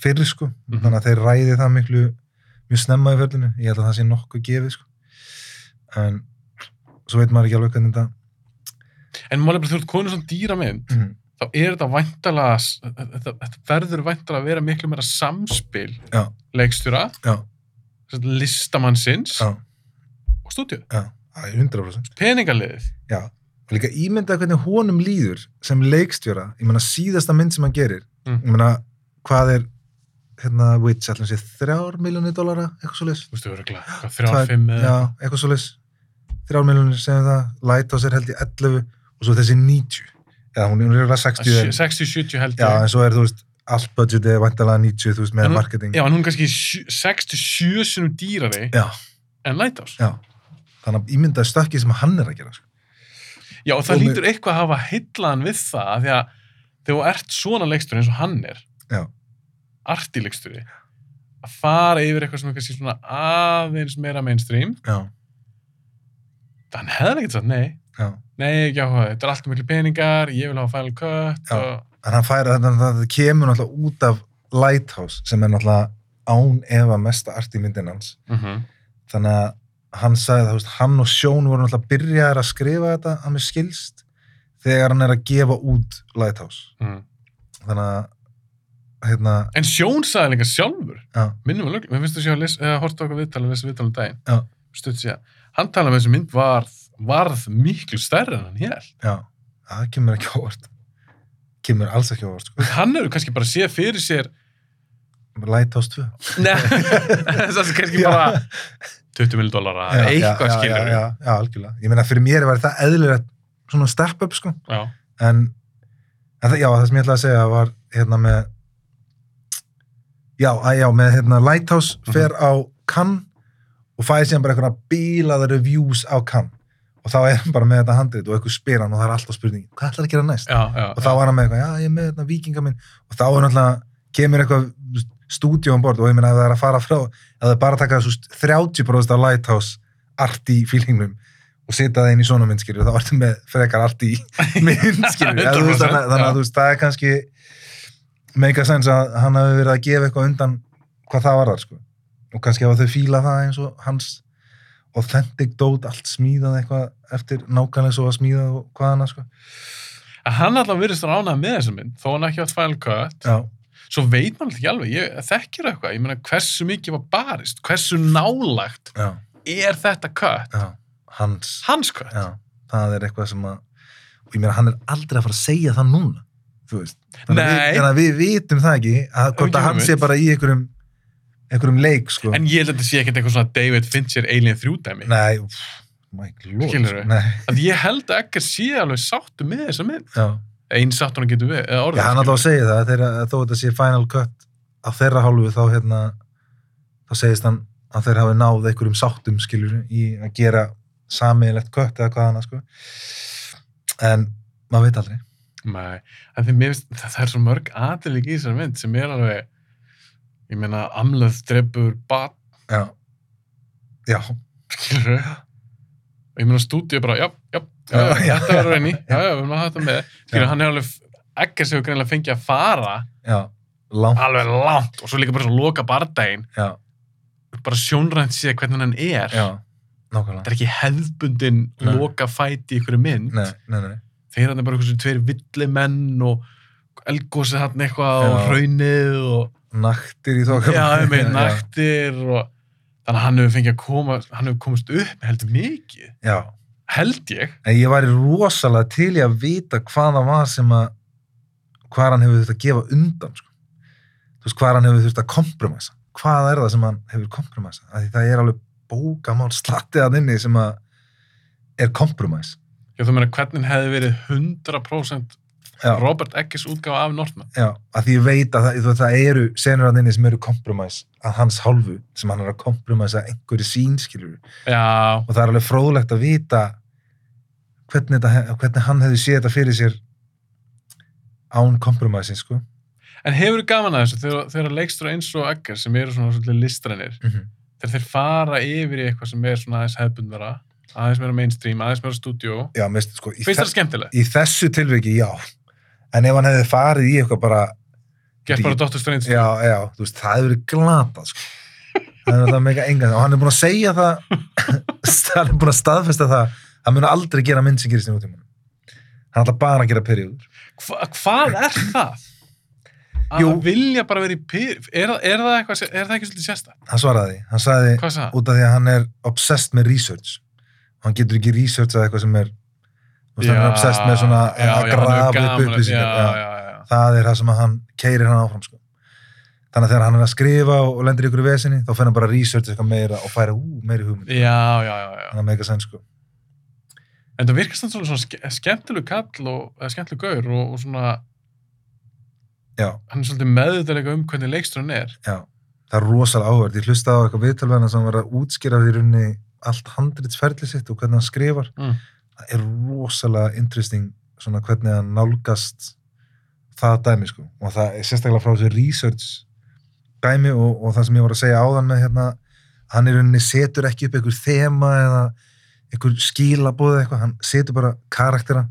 B: fyrir sko,
A: Mhm.
B: þannig að þeir ræði það miklu mjög snemma í ferlinu ég held að það sé nokkuð gefið sko en svo veit maður ekki alveg hvernig þetta
A: en málega bara þú ert konur svona dýramynd
B: mm
A: þá er þetta væntalega þetta, þetta verður væntalega að vera miklu meira samspil
B: Já.
A: leikstjóra,
B: já,
A: listamannsins
B: já,
A: og stúdíu,
B: já, það er 100%
A: peningaliðið
B: já, og líka ímynda hvernig honum líður sem leikstjóra, ég meina síðasta mynd sem hann gerir,
A: Mm.
B: ég meina hvað er, hérna, Witch ætlum sé þrjár miljónir dólara, eitthvað svo
A: þú veist, örgulega, hvað,
B: Tvær-
A: þrjá, fimm eða-
B: já, eitthvað svoleiðis þrjár miljonir segjum það Lighthouse er held í 11 og svo þessi 90 eða hún hún er alveg 60 en,
A: 60-70 held
B: já,
A: ég
B: en svo er þú veist allt budgetið er vantalega 90 þú veist
A: En
B: með
A: hún-
B: marketing
A: Já, en hún er kannski sjö- 67 sinum dýrari
B: Já.
A: en Lighthouse.
B: Já. þannig að ímyndaði stökkið sem hann er að gera sko.
A: Já, og það
B: Og með-
A: lítur eitthvað að hafa heitlaðan við það af því að þegar þú ert svona leikstur eins og hann er,
B: Já.
A: artileiksturi, að fara yfir eitthvað sem er kannski svona aðeins meira mainstream,
B: já,
A: þannig hefði ekkert sagt nei,
B: já.
A: nei, ekki áhuga, þetta er alltaf miklu peningar, ég vil hafa final cut
B: Já.
A: og...
B: en hann færa þetta það kemur náttúrulega út af Lighthouse sem er náttúrulega án efa mesta art í myndin hans
A: Mm
B: þannig að hann sagði það, þú veist, hann og Sjón voru náttúrulega byrjaðir að skrifa þetta að mér skilst þegar hann er að gefa út Lighthouse
A: mm.
B: þannig að hérna,
A: En Sjón sagði líka sjálfur,
B: já,
A: minnum við lögum, mér finnst þú séu að les, eða, horta okkur viðtala, lesa viðtala um daginn,
B: Já.
A: stutt síðan, hann talaði með þessi mynd varð, varð miklu stærri en hann hér.
B: já það kemur ekki á óvart kemur alls ekki á óvart, sko
A: Hann hefur kannski bara séð fyrir sér,
B: Lighthouse 2
A: neða, <laughs> það er kannski bara 20 miljónu dólara,
B: Já,
A: eitthvað
B: já,
A: skilur.
B: já, já, já, algjörlega, ég meina fyrir mér var það eðlilegt svona step up, sko
A: já.
B: en, en það, já, það sem ég ætlaði að segja var hérna með já, að, já, með hérna Lighthouse
A: Mhm.
B: fer á Cannes og fæði síðan bara eitthvað bílaða reviews á Cannes og þá er hann bara með þetta handrið og eitthvað spyr hann og það er alltaf spurning hvað ætlar að gera næst?
A: Já, já,
B: og þá var hann með eitthvað, já ég er með þetta vikinga minn og þá er náttúrulega, kemur eitthvað stúdíu án bort um og ég meina að það er að fara frá að það er bara að taka þessu 30% af Lighthouse art í fílingnum og setja það inn í svona mynd skilur þá ertu með frekar art í <laughs> mynd skilur ja, þú
A: 100%,
B: veist, þannig,
A: já.
B: þannig að þú veist, það er kannski meika sens að hann hafi verið að gefa eitthvað undan hvað það var þar sko og kannski hafa þau fíla það eins og hans authentic dót allt smíðað eitthvað eftir nákvæmlega svo að smíðað og hvað hana sko
A: En hann alltaf virðist að ránaði með þessa mynd, þó hann ekki átt final cut.
B: já,
A: Svo veit maður ekki alveg, ég þekkir eitthvað, ég meina hversu mikið var barist, hversu nálagt
B: já
A: er þetta cut,
B: Já, hans.
A: hans cut.
B: Já, það er eitthvað sem að, og ég meina hann er aldrei að fara að segja það núna, þú veist. Þannig að
A: Nei.
B: Við, þannig að við vitum það ekki, að hvort
A: Ekki
B: að hann
A: hugmynd.
B: sé bara í einhverjum, einhverjum leik, sko.
A: En ég held að þetta sé ekkert eitthvað svona David Fincher Alien 3 dæmi.
B: Nei, pff, my lord.
A: Skilurðu?
B: Nei,
A: Að ég held að ekkert sé alveg sáttu með þessa mynd.
B: já.
A: Einn sáttu hann getur við, eða
B: Já,
A: orðið.
B: hann alltaf að segja það, þegar að þó þetta sé final cut á þeirra hálfu þá hérna, þá segist hann að þeir hafi náð einhverjum sáttum, skilur, í að gera samiðilegt kött eða hvað hana, sko. En maður veit aldrei.
A: Nei, en því mér finnst, það það er svo mörg aðlík í þessari mynd sem er alveg, ég meina, amlað drefur bat,
B: Já. Já,
A: skilur Og ég meina, stúdíu bara, já, já, já,
B: Já,
A: já,
B: já.
A: þetta verður reyni, já, já, við erum að hafa þetta með. Skilur,
B: Já.
A: hann er alveg, ekkert sem hefur greinlega fengið að fara
B: Já, langt
A: alveg langt og svo líka bara svo loka bardaginn
B: Já.
A: bara sjónrænt sé hvernig hann er
B: já,
A: þetta
B: nákvæmlega
A: er ekki hefðbundin
B: Nei.
A: loka fæti í ykkur mynd
B: nei, nei, nei,
A: þeir hann er bara eitthvað sem tveir villimenn og elgósið hann eitthvað og
B: Já.
A: hraunið og
B: naktir í þokum
A: já, um einn naktir og þannig að hann hefur fengið að koma hann hefur komist upp með heldur mikið
B: já,
A: held ég
B: en ég væri rosalega til í að vita hvað það var sem að hvað hann hefur þurft að gefa undan sko. þú veist, hvað hann hefur þurft að kompromissa hvað er það sem hann hefur kompromissa af því það er alveg bókamál slattið að inni sem að er kompromiss
A: já, þú meina hvernig hefði verið 100%
B: já,
A: Robert Eggers útgáfa af Nortman
B: já, að því ég veit að það, þú veist, það eru senur að inni sem eru kompromiss að hans hálfu sem hann er að kompromissa einhverju sínskilur
A: já,
B: og það er alveg fróðlegt að vita hvernig, þetta, he- hvernig hann hefði séð þetta fyrir sér án kompromissin sko
A: en hefur gaman að þessu þegar, þegar leikstur eins og Eggers sem eru svona svolítið listrænir
B: mm
A: þegar þeir fara yfir í eitthvað sem er svona aðeins hefbundara aðeins meira mainstream, aðeins meira stúdíó
B: Já, mist, sko, í,
A: finnst
B: þe
A: þetta skemmtileg?
B: í þessu tilviki, já. En ef hann hefði farið í eitthvað bara,
A: Gert bara Dr. Strange
B: já, já, þú veist, það hefur verið glatað, sko. Það er náttúrulega mega engan. Og hann er búin að segja það, <laughs> hann er búin að staðfesta það, hann mun aldrei gera mynd sem gerist í nútímanum. Hann ætla bara að gera perióður.
A: Hva, hvað er það? Að
B: Jú.
A: vilja bara vera í pyr er, það- er, það eitthvað, sé- er það ekki svolítið sérsta?
B: Hann svaraði, því. hann sagði,
A: Hvað sagði?
B: út af því að hann er obsessed með research. Hann getur ekki researchað eitthvað sem er, þú veist, hann er obsessed með svona að-
A: já, já,
B: að
A: hann hefur
B: grafa upp
A: gaman-
B: upplýsingar.
A: Já, já, já, já.
B: það er það sem að hann keirir hann áfram sko. þannig að þegar hann er að skrifa og, og lendir í ykkur vesinni, þá fer hann bara að research eitthvað meira og færa ú, meiri hugmynd
A: Já, já, já, já.
B: þannig að meika senn sko.
A: En það virkast þannig svona ske- skemmtileg kall og eða skemmtileg gaur og, og svona
B: já,
A: hann er svolítið meðutalega um hvernig leiksturinn er.
B: já, það er rosalega áhverð ég hlusta á eitthvað viðtalverðina sem var að útskýra því runni allt handritsferli sitt og hvernig hann skrifar
A: Mm.
B: það er rosalega interesting svona hvernig hann nálgast það dæmi sko og það er sérstaklega frá þessu research dæmi og, og það sem ég var að segja áðan með hérna, hann í rauninni setur ekki upp einhver þema eða einhver skilabóð eða eitthvað, hann setur bara karaktera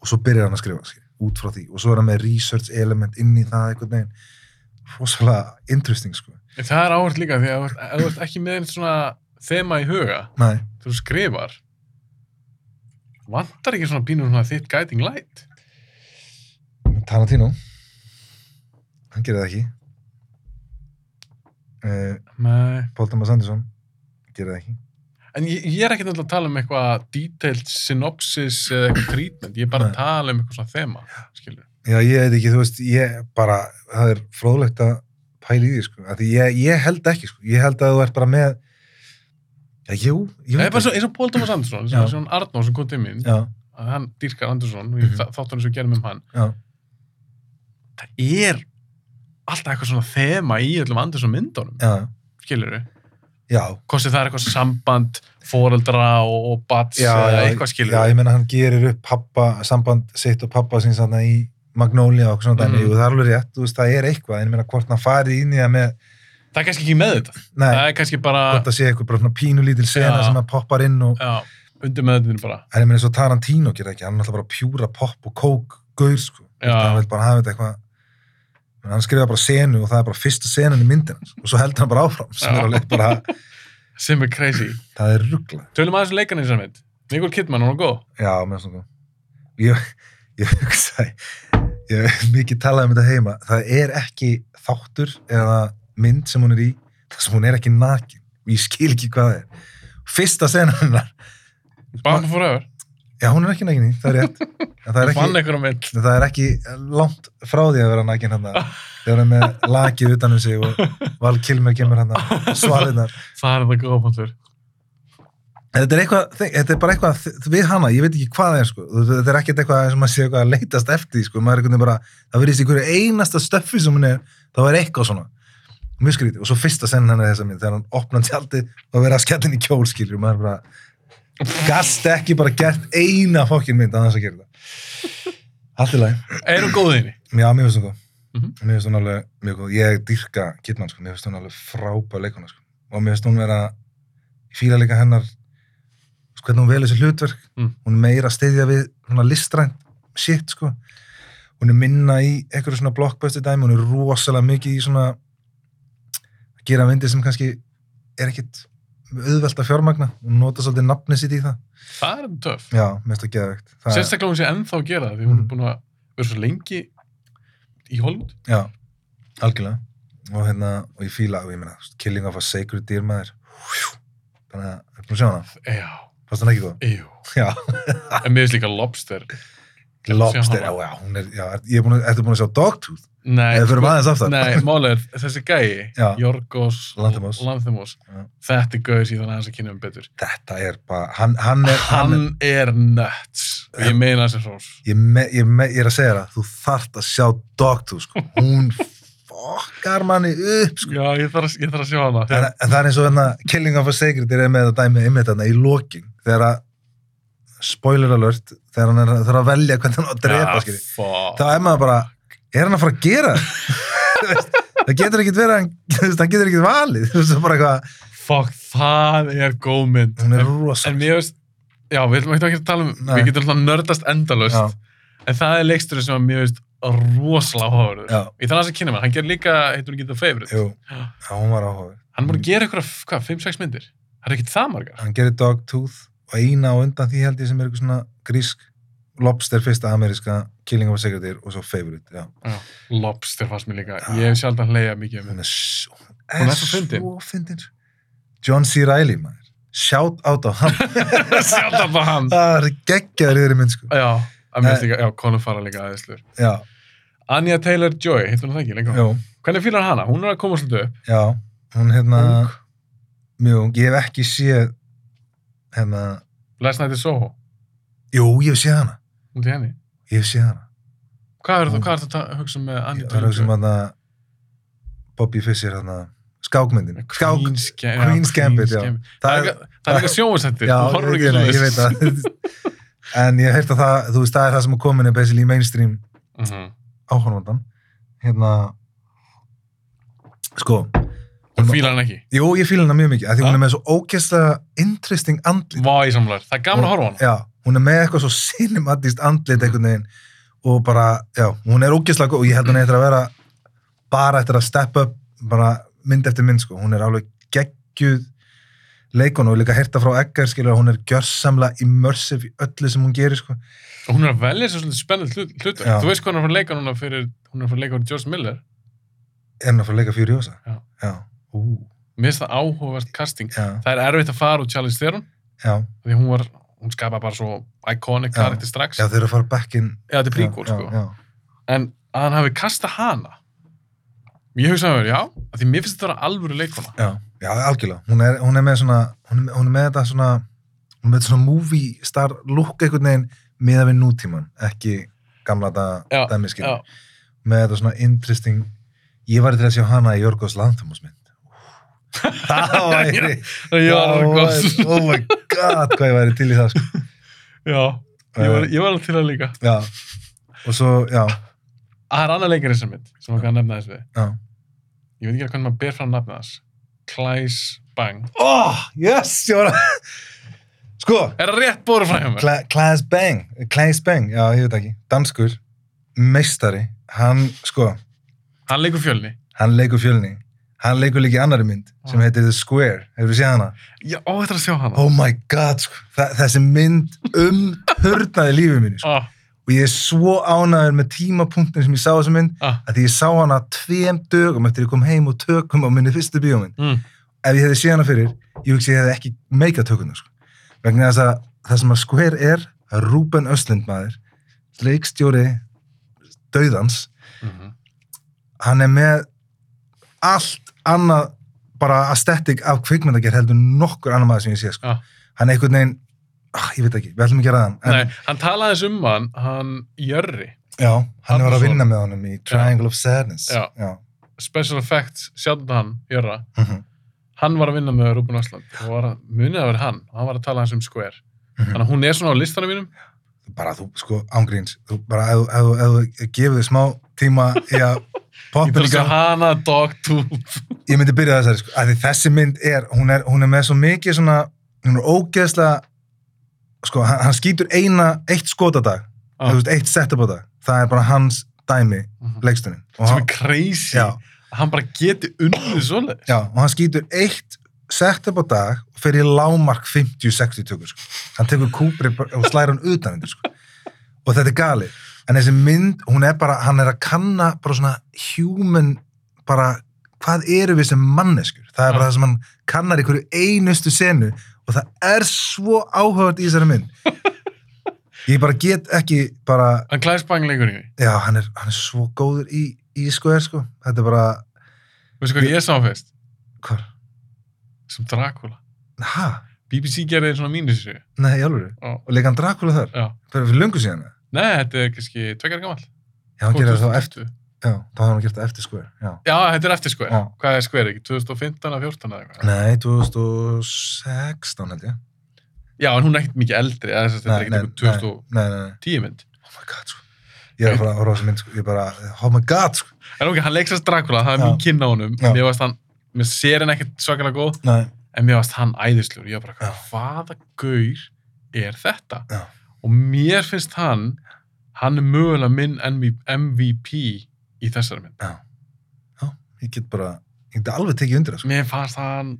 B: og svo byrjar hann að skrifa skil, út frá því og svo er hann með research element inn í það einhvern veginn rosalega interesting sko
A: En það er áhört líka því að ef þú ert- ef þú ert ekki með einhvern svona þema í huga,
B: Nei,
A: þú skrifar vantar ekki svona pínur svona þitt guiding light
B: Tarantino hann gerir það ekki uh,
A: Nei.
B: Paul Thomas Anderson gerir það ekki
A: en ég, ég er ekki náttúrulega að tala um eitthvað detailed synopsis eða eitthvað treatment, ég er bara
B: Nei.
A: að tala um eitthvað svona þema, skilur
B: Já, ég veit ekki, þú veist, ég bara, það er fróðlegt að pæla í því, sko. Af Því ég, ég held ekki, sko. Ég held að þú ert bara með, já, jú, ég
A: það er
B: veit
A: bara svo, eins og Paul Thomas Anderson
B: Já.
A: eins og hann Arnó sem kom til mín
B: Já,
A: að hann dýrkar Anderson og ég
B: Mhm.
A: þa- þáttunum sem við gerum um hann
B: já,
A: það er alltaf eitthvað svona þema í öllum Anderson myndunum,
B: já,
A: skilur við
B: já.
A: hvort sem það er eitthvað samband foreldra og, og bats
B: Já,
A: eða
B: já,
A: eitthvað skilur
B: Já, ég meina, hann gerir upp pappa, samband sitt og pappa síns þarna í Magnolia og svona dæmi,
A: Mhm.
B: og það er alveg rétt, þú veist, það er eitthvað, en ég meina, hvort hann farið inn í það með,
A: það er kannski ekki með þetta,
B: nei,
A: það er kannski bara
B: hvort það sé eitthvað bara svona pínulítil sena
A: Ah. Já.
B: sem að poppar inn og,
A: Já, undir meðvitinu bara.
B: en ég meina, svo Tarantino gerir ekki, hann er alltaf bara pjúra popp og kók, gaur, sko. hann
A: Já,
B: vil bara hafa þetta eitthvað Men hann skrifa bara senu og það er bara fyrsta senan í myndin hans og svo heldur hann bara áfram sem
A: Já.
B: er alveg bara,
A: sem er crazy.
B: það er ruggla
A: Tölum aðeins um leikarnir sem mitt. Nicole Kidman, hún var góð.
B: já, með svona ég, ég hugsa ég hef mikið talað um þetta heima það er ekki þáttur eða mynd sem hún er í þar sem hún er ekki nakin og ég skil ekki hvað það er fyrsta senan hennar
A: Bamba Forever.
B: já, hún er ekki nakin í, það er rétt en það er
A: Hún fann
B: ekki,
A: eitthvað á mitt.
B: það er ekki langt frá því að vera nakin hann þegar hann er með lakið utan um sig og Val Kilmer kemur hann svarirnar
A: Það er það góða punktur.
B: Þetta er, eitthvað, þetta er bara eitthvað þ- við hana, ég veit ekki hvað það er sko. Þú- þetta er ekkert eitthvað sem maður sé eitthvað að leitast eftir því, sko. maður er einhvern veginn bara, það verðist í hverju einasta stöffi sem hún er, þá er eitthvað svona mjög skrítið, og svo fyrsta senn henni þessa mynd, þegar hann opna tjaldið og verða að skellin í kjól skilur, maður er bara gast ekki bara gert eina fokkin mynd að þess að gera þetta allt í lagi,
A: Er hún góð í henni?
B: já, mér finnst hún góð
A: Mhm.
B: mér finnst hún alveg mjög góð, ég dyrka Kidman, sko, mér finnst hún alveg frábær leikona sko. og mér finnst hún vera ég fíla líka hennar sko, hvernig hún velur sér hlutverk
A: Mm.
B: hún er meira að stiðja við svona listrænt shit sko. hún er minna í einhverju svona blockbuster dæmi, hún er rosalega mikið í svona að gera myndir sem kannski er ekkit auðvelt að fjármagna, hún nota svolítið nafni sitt í það.
A: Það er töff.
B: Já, mest að geðvegt.
A: Sérstaklega hún sé ennþá að gera það því hún er
B: Mhm.
A: búin að vera svo lengi í Hollywood.
B: Já, algjörlega. Og hérna, og ég fíla, og ég meina, Killing of a Sacred Deer maður. Þannig að, er búin að sjá hana?
A: Já,
B: Fast hann ekki góð?
A: jú.
B: Já. Ah.
A: En mér finnst líka Lobster. Ég vil sjá
B: Lobster,
A: hana.
B: já, já, hún er, já, er- ég er búin að, ertu búin að sjá Dogtooth?
A: Nei,
B: Eða fyrir
A: sko-
B: maður aftar?
A: Nei, málið er þessi gæi,
B: Já.
A: Jorgos
B: Lanthimos.
A: Lanthimos.
B: Já.
A: Þetta er gauð síðan aðeins að kynna um betur.
B: Þetta er bara, hann, hann er, hann, er,
A: Hann er nuts. Og Ég meina þessi hrós.
B: ég, me, ég, me, ég er að segja það, þú þart að sjá
A: <laughs>
B: Dogtooth, sko. Hún fokkar manni upp, sko.
A: Já, ég þarf að, ég þarf að sjá hana.
B: En, en það er eins og hérna, Killing of a Sacred Deer er með þetta dæmi einmitt þarna í lokin, þegar að, spoiler alert, þegar hann er, þarf að velja hvernig hann á að drepa, skilji. þá
A: skilji.
B: er maður bara, er hann að fara að gera það? Þú veist, það getur ekkit verið, hann, þú veist, hann getur ekkit valið, þú veist, það er bara eitthvað,
A: Fuck, það er góð mynd.
B: hún er
A: En-
B: rosa.
A: En mér veist, já, við ætlum ekki að tala um,
B: Nei.
A: við getum alltaf nördast endalust,
B: Já,
A: en það er leiksturinn sem að mér veist rosalega hóður.
B: já,
A: Ég þarf að kynna mér, hann ger líka, heitur hún ekki The Favourite.
B: jú, já, hún var áhuga.
A: Hann er búin að gera ykkur, hvað, 5-6 myndir? Það er ekkert það margar.
B: Hann gerir Dogtooth og eina og undan því held ég sem er eitthvað svona grísk, Lobster fyrsta ameríska, Killing of a Secretary og svo Favorite, já.
A: Lobster fannst mér líka,
B: Já.
A: ég hef sjálf að hleyja mikið um þetta.
B: Hún er svo,
A: Hún er svo fyndin.
B: Svo fyndin. John C. Reilly, maður. Shout out á hann. <laughs>
A: Sjálf að bara hann.
B: það er geggjaður í þeirri mynd, sko.
A: Já, að mér
B: Nei.
A: veist líka, já, Conor Farrell líka aðeinslur.
B: Já,
A: Anja Taylor-Joy, heitur hún það ekki lengur.
B: jú.
A: Hvernig fýlar hana? Hún er að koma svolítið upp.
B: Já, hún hérna
A: Ung.
B: mjög ung, ég hef ekki séð hérna,
A: Last Night in Soho,
B: jú, ég hef séð hana
A: hún til henni.
B: ég hef séð hana,
A: Hvað er
B: Hún-
A: það að hugsa með Anja
B: það er
A: Taylor-Joy?
B: sem hana Bobby Fischer hana, skákmyndin skák,
A: Queen's, Ga- já,
B: Queen's Gambit, já.
A: Það,
B: það,
A: er- það er eitthvað sjónvarsendir,
B: já,
A: þú horfur
B: ég,
A: ekki
B: ég,
A: svona
B: ég, ég veit það <laughs> en ég hef heyrt að það, þú veist, það er það sem er komin er basically í mainstream
A: Mhm.
B: áhorfandan hérna sko,
A: Hún fílar hann ekki.
B: jú, ég fíla hana mjög mikið, af því
A: Ha?
B: hún er með svo ógeðslega interesting andlit
A: Vá, ég samlar. Það er gaman að horfa á hann.
B: Já, hún er með eitthvað svo cinematist andlit einhvern veginn og bara, já, hún er ógeðslega góð og ég held hún eitthvað að vera bara eftir að step up, bara mynd eftir mynd sko, hún er alveg geggjuð leikon og líka herta frá Egger skilur að hún er gjörsamlega immersive í öllu sem hún gerir sko.
A: Og hún er að velja sér svolítið spennend hlut. hlut.
B: Já.
A: Þú veist hvað hún er að fara að leika núna fyrir, hún er að fara að leika fyrir George Miller.
B: Er hún að fara að leika fyrir Jósa?
A: Já.
B: Já. Ú.
A: Mér finnst það áhugavert casting.
B: Já,
A: Það er erfitt að fara úr Charlize Theron,
B: já,
A: því hún var, hún skapa bara svo iconic
B: Já.
A: karakter strax.
B: já, þeir eru að fara back in.
A: Já, þetta er príkól,
B: já,
A: sko.
B: Já,
A: En að hann hafi kasta hana, ég hugsaði með mér, já, af því mér finnst þetta að vera alvöru leikona.
B: já, já, algjörlega. Hún er, hún er með svona, hún er, með- hún er með þetta svona, hún er með þetta svona movie star look einhvern veginn miða við nútíman, ekki gamla
A: Já,
B: þetta dæmiskið.
A: Já,
B: með þetta svona interesting ég var til að sjá hana í Jörgos Lanthamos mynd
A: <laughs>
B: það væri
A: ég var,
B: það
A: já,
B: væri- oh my god hvað ég væri til í það sko.
A: <laughs> já, ég var, ég var alveg til að líka.
B: já. og svo, já,
A: Ah, Það er annað leikari sem mitt, sem okkar að nefna þess við.
B: já.
A: Ég veit ekki alveg hvernig maður ber fram nafna þess. Klæs Bang.
B: oh, yes, ég var að sko,
A: Er það rétt bóru fræðum mér?
B: Kla- Klaas Bang Klaas Bang, já, ég veit ekki, danskur meistari, hann sko,
A: Hann leikur fjölni.
B: hann leikur fjölni hann leikur líka í annari mynd sem
A: Já.
B: heitir The Square, hefur við séð hana?
A: Já, ó, þetta er að sjá hana.
B: oh my god, sko, þa- þessi mynd umhörnaði lífið mínu sko.
A: Ó,
B: og ég er svo ánæður með tímapunktin sem ég sá þessu mynd
A: ah,
B: að því ég sá hana tveim dögum eftir ég kom heim og tökum á minni fyrstu bíómynd
A: mm,
B: ef ég hefði séð hana fyrir, ég hugsi ég hefði ekki meika tökuna sko. vegna þess að það sem að skver er að Rúben Östlund maður leikstjóri döðans
A: mm
B: hann er með allt annað bara aesthetic af kvikmyndagerð heldur nokkur annar maður sem ég sé sko.
A: Já.
B: hann er einhvern veginn ah, ég veit ekki, við ætlum ekki að ræða hann en,
A: Nei, hann talaði þess um hann, hann Jörri,
B: já, hann var að
A: Anderson.
B: vinna með honum í Triangle of Sadness
A: Já.
B: Já.
A: Special Effects, sjálfnum hann, Jörra,
B: Mhm,
A: hann var að vinna með Rúbun Ösland og var að, munið að vera hann, og hann var að tala þess um Square.
B: mhm.
A: Þannig að hún er svona á listanum mínum.
B: bara þú, sko, ángríns þú bara, ef, ef, ef, ef þú gefið þið smá tíma í
A: <laughs>
B: að
A: Ég
B: poppin
A: þarf að sjá hana, Dogtooth.
B: ég myndi byrja á þessari sko, að því þessi mynd er hún, er, hún er með svo mikið svona hún er ógeðslega sko, hann, hann skýtur eina, eitt skotadag
A: Ah.
B: ah. veist, eitt setup á dag, það er bara hans dæmi leikstunni og
A: sem er
B: hann,
A: crazy
B: já,
A: að hann bara geti unnið svoleið
B: já, og hann skýtur eitt sett upp á dag og fer í lámark 50-60 tökur sko. hann tekur kúpri bara- og slæra hann utan hendur sko. og þetta er gali en þessi mynd, hún er bara, hann er að kanna bara svona human bara, hvað eru við sem manneskur það er bara
A: Já.
B: það sem hann kannar í hverju einustu senu og það er svo áhugað í þessari mynd ég bara get ekki bara
A: hann klæði spangleikur í því
B: Já, hann er, hann er svo góður í, í skoðir, sko. Þetta er bara,
A: veistu hvað ég sá hann fyrst
B: hvar?
A: sem Dracula
B: Ha?
A: BBC gerði svona mínusu
B: Nei, í alvöru.
A: Já.
B: Og leika hann Dracula þar?
A: Já.
B: Fyrir, fyrir löngu síðan? eða?
A: nei þetta er kannski tvekjar gammal
B: Já, hann gerir það þá eftir. Já, þá hafði hann gert það eftir skoðir. Já.
A: já þetta er eftir skver
B: Já.
A: hvað er skver ekki 2015 að 14 eða eitthvað
B: Nei, 2016 held ég.
A: já en hún er ekkert mikið eldri eða þess að þetta er
B: Nei, nei,
A: ekkert
B: nei.
A: eitthvað
B: Nei, nei, nei.
A: 2010 mynd
B: Oh my god, sko. Ég er bara að horfa á þessu mynd, sko. Ég er bara, oh my god, sko.
A: en ok hann leiksast Dracula það er
B: Já.
A: mín kynna á honum
B: Já.
A: mér varst hann mér sér hann ekkert svakalega góð
B: Nei.
A: en mér varst hann æðislur ég var bara
B: Já.
A: hvaða gaur er þetta
B: Já.
A: og mér finnst hann hann er mögulega minn MVP í þessari mynd
B: Ég get bara, ég get alveg tekið undir það, sko.
A: mér fannst hann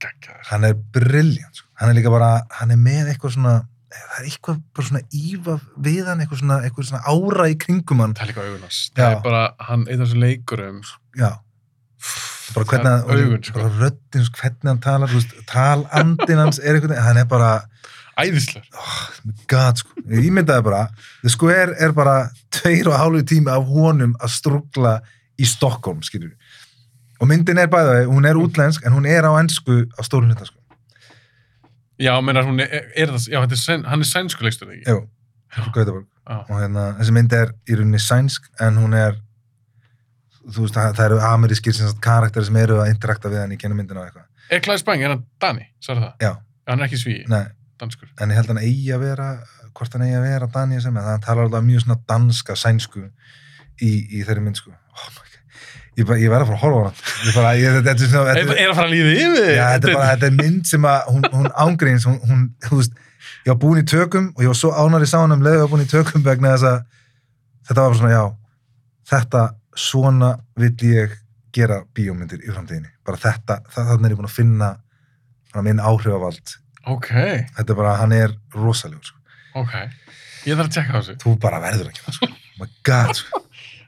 A: geggar
B: Hann er brilljant, sko. Hann er líka bara, hann er með eitthvað svona, það er eitthvað bara svona ífa við hann, eitthvað svona, eitthvað svona ára í kringum hann.
A: það er líka augunars
B: Já.
A: það er bara hann einn af þessum leikurum
B: Já, bara
A: Það er
B: hvernig hann,
A: augun, sko.
B: bara röddin, sko, hvernig hann talar, þú veist, talandin hans er einhvern veginn, hann er bara,
A: æðislur
B: oh, god, sko, ég ímyndaði bara, The Square er bara tveir og hálfu tími af honum að strugla í Stockholm, skiljum við. Og myndin er bæða, hún er útlensk, en hún er á ennsku á stórun hluta, sko.
A: já menar hún er, er það já þetta er sæn, hann er sænskuleikstur ekki
B: Jú, frá Gautaborg.
A: Já.
B: Og hérna, þessi mynd er í rauninni sænsk, en hún er, þú veist, það, það eru amerískir sem sagt karakter sem eru að interakta við hann í kennum myndina og eitthvað.
A: er Klaus Bang er hann Dani sagði það
B: Já.
A: hann er ekki svíi
B: Nei,
A: danskur
B: en ég held hann eigi að vera hvort hann eigi að vera Daníu sem en hann talar alltaf mjög svona danska sænsku í, í þeirri mynd sko oh my God. ég, bara- ég verð að fara að horfa á hann ég bara, ég, þetta, þetta, er svona-
A: er,
B: þetta,
A: er að fara að líða yfir
B: já, þetta, er bara, þetta er mynd sem að hún, hún ángreins hún, hún, þú veist, ég var búin í tökum og ég var svo ánar í sánum leðið að ég var búin í tökum vegna þess að þetta var bara svona já þetta svona vill ég gera bíómyndir í framtíðinni bara þetta, það, þannig er ég búin að finna bara minn áhrifavald
A: ok
B: þetta er bara, hann er rosalegur sko
A: ok ég þarf að tjekka á þessu
B: þú bara verður að gera það, sko. Oh my god, sko.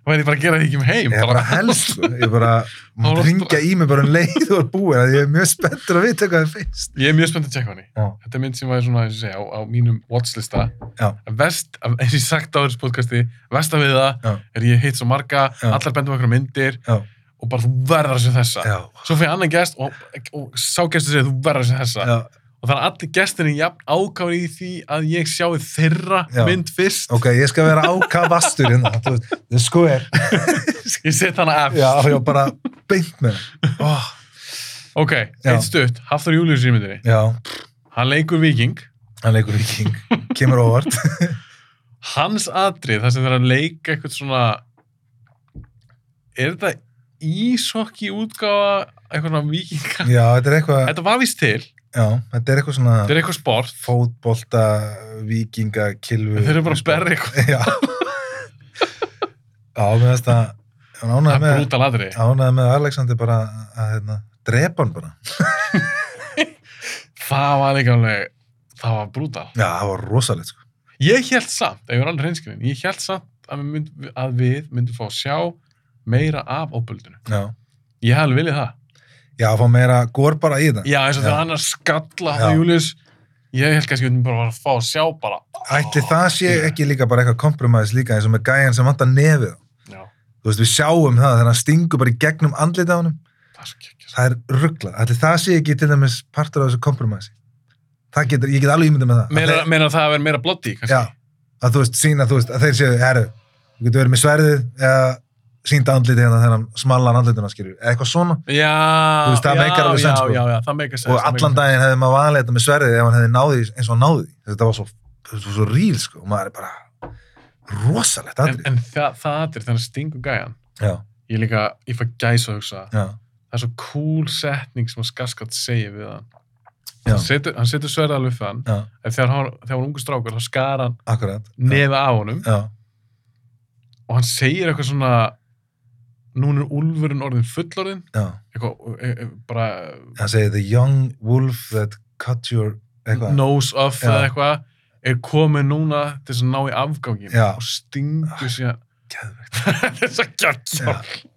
A: væri ég bara að gera því ekki um heim
B: ég er bara helst sko. ég er
A: <laughs>
B: bara, maður
A: Álastra.
B: ringja í mig bara um leið og er búin, að ég er mjög spenntur að vita hvað það finnst
A: Ég er mjög spennt að tjekka hann í.
B: Já.
A: Þetta er mynd sem var svona, eins og segja, á, á mínum watchlista.
B: Já.
A: Vest, af- eins og ég sagt á þessu podcasti, vest af við það,
B: Já.
A: er ég hitt svo marga,
B: Já.
A: allar bendum okkur á myndir
B: Já.
A: og bara þú verðar sem þessa.
B: já,
A: Svo fyrir annan gest og, og sá gestur segir þú verðar sem þessa.
B: já,
A: Og þannig að allir gestinni jafn ákáður í því að ég sjái þeirra
B: Já.
A: mynd fyrst.
B: ok, ég skal vera ákavastur hérna, þú veist, the square
A: <laughs> Ég set hana af.
B: já, já, bara beint með það oh,
A: Ok,
B: Já.
A: eitt stutt, Hafþór Július í myndinni.
B: já,
A: Hann leikur viking.
B: hann leikur viking kemur óvart,
A: hans atrið, það sem þeir að leika eitthvað svona er þetta ísokki útgáfa eitthvað svona vikinga
B: já, þetta er eitthvað
A: þetta var vist til,
B: já, þetta er eitthvað svona
A: þetta er eitthvað sport
B: fótbolta, vikinga, kilvu
A: þeir eru bara að berra eitthvað
B: já já, mér finnst það
A: það
B: hann ánæði
A: er
B: með
A: brútal atrið
B: ánæði með Alexander bara að hérna, drepa hann bara.
A: það var líka alveg, það var brútal
B: Já, það var rosalegt sko.
A: ég held samt, ef ég var alveg reynskilin ég held samt að við, mynd, að við myndum fá að sjá meira af óböldinu
B: Já.
A: ég hef alveg viljað það
B: Já, að fá meira gór bara í þetta.
A: já, eins og
B: Já.
A: þegar hann er að skalla
B: Já.
A: á Július ég held kannski að við myndum bara að fá að sjá bara
B: Ætli það sé
A: Já.
B: ekki líka bara eitthvað kompromise líka eins og með gæjan sem vantar nefið. á.
A: já,
B: Þú veist, við sjáum það þegar hann stingur bara í gegnum andlita á honum.
A: það er svo kekkja
B: Það er rugglað. Ætli það sé ekki til dæmis partur af þessu kompromise. Það getur, ég get alveg ímyndið með það.
A: meira,
B: að,
A: meira það að vera meira blotti
B: þeir, já,
A: kannski.
B: að þú veist, sína, þú veist, að þeir séu, herru, þú getur verið með sverðið eða sínda andlitið hérna þegar hann smallar andlituna skilur, eða eitthvað svona
A: Já, já,
B: Þú veist, það
A: já,
B: meikar alveg sens, sko.
A: já, já, það meikar sens.
B: og
A: það
B: allan
A: meikar sens.
B: daginn hefði maður vanlega þetta með sverðið ef hann hefði náði eins og hann náði því. þetta var svo, þetta var svo ríl sko og maður er bara rosalegt
A: En,
B: aðrið
A: en það, það atrið, þannig að stingu gæjan.
B: já,
A: Ég líka, ég fæ gæs að hugsa.
B: já,
A: Það er svo cool setning sem að Skarsgård segir við hann.
B: Já.
A: Hann setur, hann setur sverða alveg fyrir hann.
B: já,
A: En þegar hann, þegar hann var ungu strákur, þá skar hann
B: akkurat
A: nefa af honum.
B: já,
A: og hann segir eitthvað svona núna er úlfurinn orðin fullorðin
B: já,
A: eitthvað, e, e, bara
B: hann segir the young wolf that cut your eitthvað,
A: nose off
B: Já.
A: eða eitthvað er komið núna til þess að ná í afgangin
B: Já.
A: og stingur síðan <laughs>
B: Geðveikt.
A: þess að
B: Já.
A: gjörgjá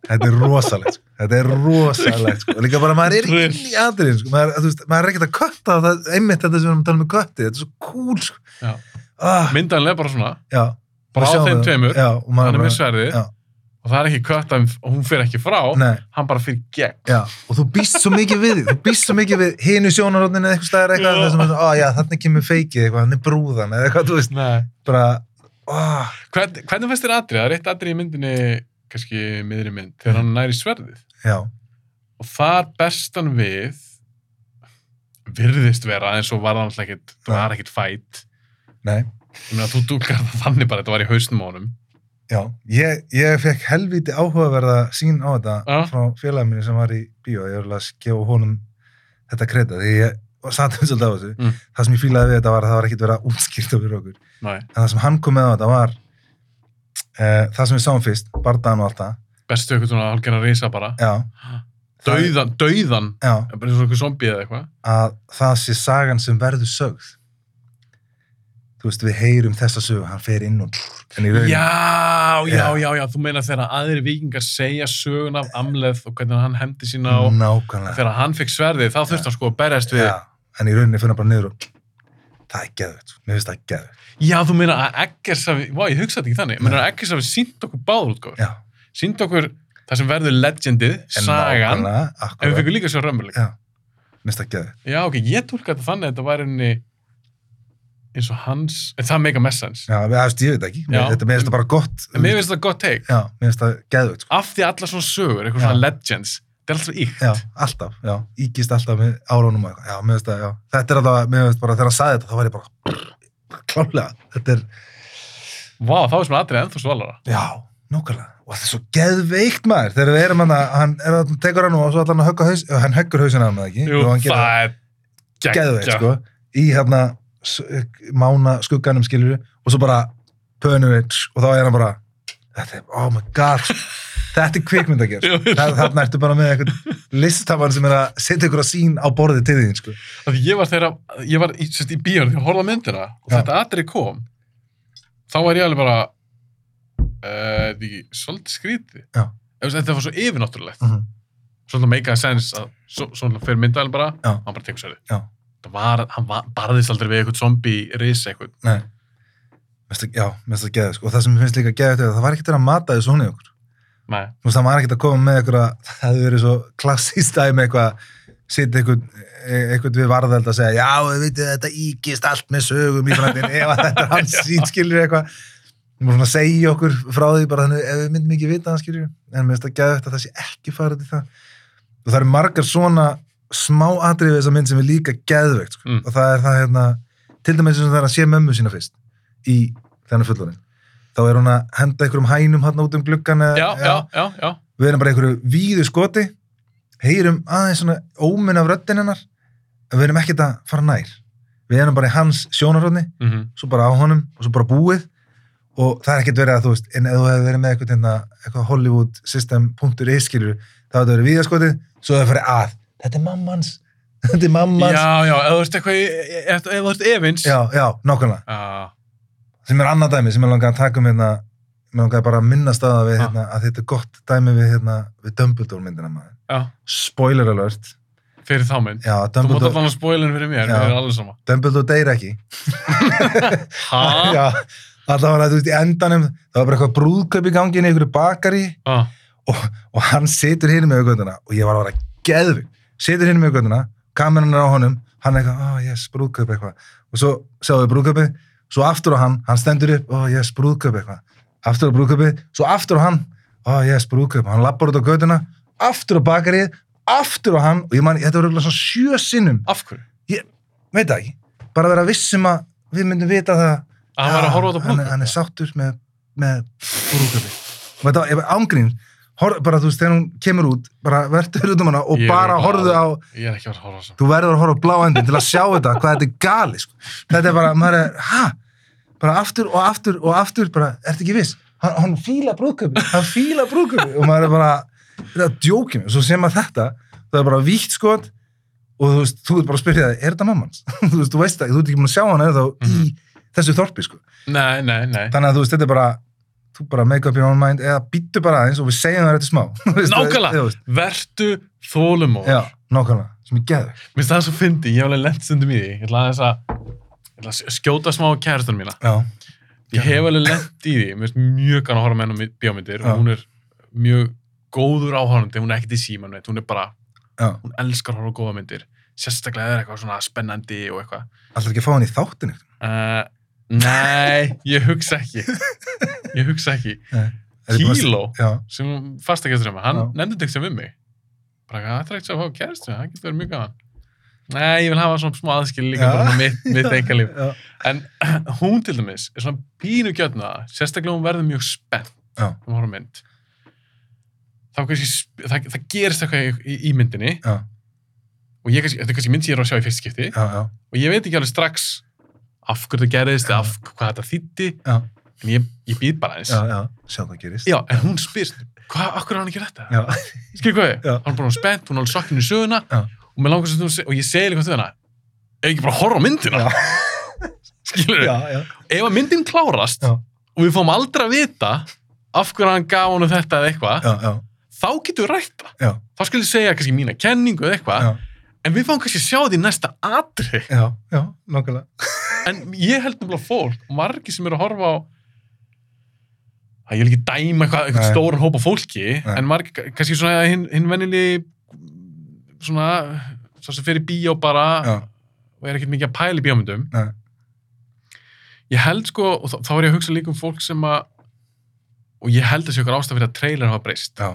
B: þetta er rosalegt sko. þetta er rosalegt, sko. líka bara maður er
A: Drill.
B: inn í aðrin, sko. maður, þú veist, maður er ekkert að kötta á það, einmitt þetta sem við erum að tala um með kötti þetta er svo cool sko.
A: Já.
B: ah,
A: myndanlega bara svona,
B: já,
A: bara
B: Og
A: á
B: sjáum
A: þeim
B: það.
A: tveimur
B: já, og
A: hann
B: maður
A: er með
B: bara,
A: sverði
B: Já.
A: og það er ekki kött að hún fer ekki frá
B: nei
A: hann bara fyrir gegn
B: Já, og þú býst svo mikið við því, þú býst svo mikið við hinu sjónarotninu eða eitthvað staðar eitthvað,
A: Já.
B: þessum að, á já, þannig kemur feikið eitthvað, þannig brúðan eða eitthvað, þú veist,
A: Nei.
B: bara, áh,
A: Hvern, hvernig fannst þér atrið? Það er eitt atrið í myndinni kannski miðri mynd, þegar hann næri sverðið
B: já,
A: og þar berst hann við virðist vera eins og var það náttúrulega ekkit, það var ekkit fætt
B: nei,
A: ég meina þú dúkar það þannig bara, þetta var í hausnum á honum
B: já, ég, ég fekk helviti áhugaverða sín á þetta
A: Já.
B: frá félagin minni sem var í bíó, ég er alveg að gefa honum þetta kreta, því ég satt um svolítið á þessu,
A: Mm.
B: það sem ég fílaði við þetta var að það var ekkit verið að útskýrta fyrir okkur,
A: Nei,
B: en það sem hann kom með á þetta var, uh, það sem við sáum fyrst, bardaðan og allt það,
A: bestu eitthvað svona hálfgerðan risa bara
B: já,
A: dauðan, dauðan,
B: já,
A: bara eins og eitthvað zombi eða eitthvað
B: að það sé sagan sem verður sögð þú veist við heyrum þessa sögu hann fer inn og en í raun
A: Já, já,
B: Já.
A: já, já, þú meina þegar aðri vikingar segja sögun af Amleð og hvernig hann hendi sína á
B: nákvæmlega
A: þegar hann fekk sverðið, þá þurfti hann sko að berjast við
B: Mm. Já, en í rauninni finna bara niður og það er geðvægt, mér finnst það geðvægt
A: Já, þú meina að Eggers hafi, vá, ég hugsaði ekki þannig, ég meina að Eggers hafi sínt okkur báðrútgáður,
B: já,
A: sínt okkur það sem verður legendið,
B: en
A: sagan,
B: nákvæmlega
A: en við
B: akkurat,
A: fengum líka svo römmuleik.
B: Já. mér finnst það geðvægt
A: Já, ok, ég tólka þetta þannig að þetta væri henni eins og hans, en það meika messans.
B: já, við hefst, ég veit ekki, mér,
A: Já.
B: þetta, mér finnst það bara gott
A: En mér finnst þetta gott teik,
B: já, mér finnst það geðvægt sko.
A: af því allar svona sögur, eitthvað
B: Já.
A: svona legends, þetta er alltaf íkt.
B: já, alltaf, já, íkist alltaf með árónum og eitthvað, já, mér finnst það, já þetta er alltaf, mér finnst bara, þegar hann saði þetta, þá var ég bara klálega, þetta er
A: Vá, þá er sem aðrið ennþá svalara.
B: Já, nákvæmlega. Og það er svo geðveikt maður þegar við erum hann að, hann er að tekur hann og svo ætlar hann að högga haus, eh, hann höggur hausin að hann eða ekki.
A: Jú,
B: og hann gerir
A: það er
B: það geðveikt,
A: geggjað.
B: sko, í hérna s- mána skugganum skilur og svo bara pönum við tss, og þá er hann bara, þetta er, oh my god, sko. þetta er kvikmynd að gera.
A: Jú,
B: sko. Það- Þarna ertu bara með eitthvað listamann sem er að setja ykkur að sín á borðið til þín, sko.
A: Af því ég var þeirra, ég var í, sérst, í bíónu þegar horfða myndina og
B: Já.
A: þetta atrið kom þá var ég alveg bara uh, því, svolítið skríti
B: Já.
A: þetta var svo yfirnáttúrulegt
B: Mm -hmm.
A: svolítið meika sens að svo, svona fyrir myndaðal bara
B: Já.
A: hann bara tekur sér
B: Já.
A: það var, hann var, barðist aldrei við eitthvað zombi risa eitthvað,
B: Nei. Mér finnst það- Já, mér finnst það geðið, sko. Og það sem mér finnst líka geðið er að það var ekkert verið að mata þessu hún í okkur.
A: nei,
B: þú veist, það var ekkert að koma með eitthvað, það hefði verið svo klassíst dæmi eitthvað, sitt eitthvað, eitthvað e- við varðald að segja, já, við veitum þetta íkist allt með sögum í frændin, ef að
A: <laughs>
B: þetta er hans sínskilur eitthvað, þú múið svona að segja okkur frá því bara þannig, ef við myndum ekki vita hann skilur, en mér finnst það geðvægt að það sé ekki farið til það, og það eru margar svona smá atriði við þessa mynd sem er líka geðveikt, sko.
A: Mm.
B: og það er það hérna, til dæmis sem það er að sé mömmu sína fyrst í þennan fullorinn þá er hún að henda einhverjum hænum hann út um gluggan eða-
A: já, já, já, já.
B: við erum bara í einhverju víðu skoti heyrum aðeins svona óminn af röddinn hennar en við erum ekkert að fara nær við erum bara í hans sjónarhóðni
A: Mm
B: svo bara á honum og svo bara búið og það er ekkert verið að þú veist en ef þú hefði verið með eitthvað, hérna, eitthvað Hollywood system punktur iskilur það hefði verið víða skotið svo hefði farið að þetta er mammans <laughs> þetta er mammans
A: já, já, ef þú ert eitthvað í- ef ef þú ert Ah, evins
B: já, já nákvæmlega
A: Já.
B: sem er annað dæmi sem ég langaði að taka um hérna mér langaði bara að minnast á það við,
A: Ah.
B: hérna, að þetta er gott dæmi við, hérna, við Dumbledore myndina maður
A: já, spoiler
B: alert
A: fyrir þá mynd
B: Já,
A: þú mátt
B: Dumbledore,
A: allan að spoilin fyrir mér,
B: Já.
A: mér er alveg sama
B: Dumbledore deyr ekki.
A: ha?
B: <laughs> Já, allavega, þú veist, í endanum, það var bara eitthvað brúðkaup í ganginni, einhverju bakari
A: Já.
B: og hann situr hinn með aukvönduna og ég var bara geðvig. Situr hinn með aukvönduna, kameran er á honum, hann er eitthvað, oh yes, brúðkaup eitthvað. Og svo sjáum við brúðkaupið, svo aftur á hann, hann stendur upp, oh yes, brúðkaup eitthvað. Aftur á brúðkaupið, svo aftur á hann, oh yes, brúðkaup. Hann lappar út á göduna, aftur á bakarið, aftur á hann og ég man, þetta var eitthvað svona sjö sinnum
A: af hverju?
B: veit það ekki, bara vera vissum að við myndum vita það
A: að hann var að horfa á þetta
B: hann, er- hann er sáttur með, með brúðköpi og þetta var ángrín hor, bara þú veist, þegar hún kemur út bara verður út um hana
A: Ég
B: og
A: er
B: bara
A: bara-
B: horfðu á
A: Ég er ekki að fara að horfa á þessu.
B: þú verður að horfa á bláendin til að sjá þetta hvað þetta er gali, sko. þetta er bara, maður er hæ, bara aftur og aftur og aftur bara, ertu ekki viss hann, hann fíla brúðköpi, hann fíla brúðköpi og maður er bara, þetta er djókjum svo sem að þetta, það er bara vítt skot og þú veist, þú ert bara að spyrja það er þetta mammans, <laughs> þú veist, þú veist það, þú ert ekki búin að sjá hann eða þá
A: Mhm.
B: í þessu þorpi sko.
A: Nei, nei, nei.
B: þannig að þú veist, þetta er bara þú bara make up your own mind eða býttu bara aðeins og við segjum það þetta smá <laughs> Þú veist,
A: Nákvæmlega.
B: þú veist.
A: Vertu þólumóður.
B: já, nákvæmlega, sem ég geðu
A: Mér finnst það svo fyndi, ég hef alveg lent stundum í því. Ég ætla aðeins að, ég ætla að skjóta smá á kærastunum mína.
B: já,
A: Ég hef alveg lent í því, mér finnst mjög gana að horfa með henn á bíómyndir
B: Já.
A: og hún er mjög góður áhörandi, hún er ekkert í síman, veit, hún er bara,
B: já,
A: hún elskar að horfa á góða myndir. Sérstaklega ef það er eitthvað svona spennandi og eitthvað.
B: alltaf ekki að fá hann í þáttinu
A: Uh, nei, ég hugsa ekki.
B: <laughs>
A: Ég hugsa ekki.
B: Er þið búin að-
A: Kíló?
B: já,
A: sem fastakesturinn, hann
B: Já.
A: nefndi þetta ekki sem við mig bara eitthvað, það er ekkert sem að fá kæristu það getur verið mjög gaman nei, ég vil hafa svona smá aðskil líka
B: Já.
A: bara svona mitt,
B: <laughs>
A: mitt engalíf
B: já,
A: en <clears throat> hún til dæmis er svona pínu gjörna sérstaklega hún verður mjög spennt
B: já,
A: um horfum mynd þá kannski, sp- það, það gerist eitthvað í, í, í myndinni
B: já,
A: og ég kannski, þetta er kannski mynd sem ég er að sjá í fyrst skipti
B: já, já.
A: og ég veit ekki alveg strax af hverju það gerist eða af hvað þetta þýtti
B: Já.
A: en ég, ég býð bara eins
B: já, já, sjá hvað gerist
A: Já, en hún spyrst, hvað, akkur er hann ekki þetta?
B: já,
A: Skilur hvað ég?
B: Já.
A: Hann er bara spennt, hún er alveg sokkinn í söguna
B: Já.
A: og, mig langar sem þú se- og ég segi líka til hana ef ekki bara horfa á myndina <laughs>
B: Já.
A: skilur
B: já,
A: við,
B: já,
A: ef að myndin klárast
B: Já.
A: og við fáum aldrei að vita af hverju hann gaf hann þetta eða eitthvað
B: já, já,
A: þá getum við rætt
B: Já.
A: það þá skulle ég segja kannski mína kenningu eða eitthvað
B: já,
A: en við fáum kannski að sjá því næsta atri
B: já, já, nákvæmlega
A: en ég held nefnilega fólk margir sem eru að horfa á að ég vil ekki dæma eitthvað, eitthvað
B: Nei.
A: stóran hóp af fólki
B: Nei.
A: en margir, kannski svona hinn hin venili svona svo sem fer í bíó bara
B: já,
A: og er ekkert mikið að pæla í bíómyndum
B: Nei.
A: ég held sko og þá, þá er ég að hugsa líka um fólk sem að og ég held að sé okkur ástæð fyrir að trailer hafa breyst
B: já,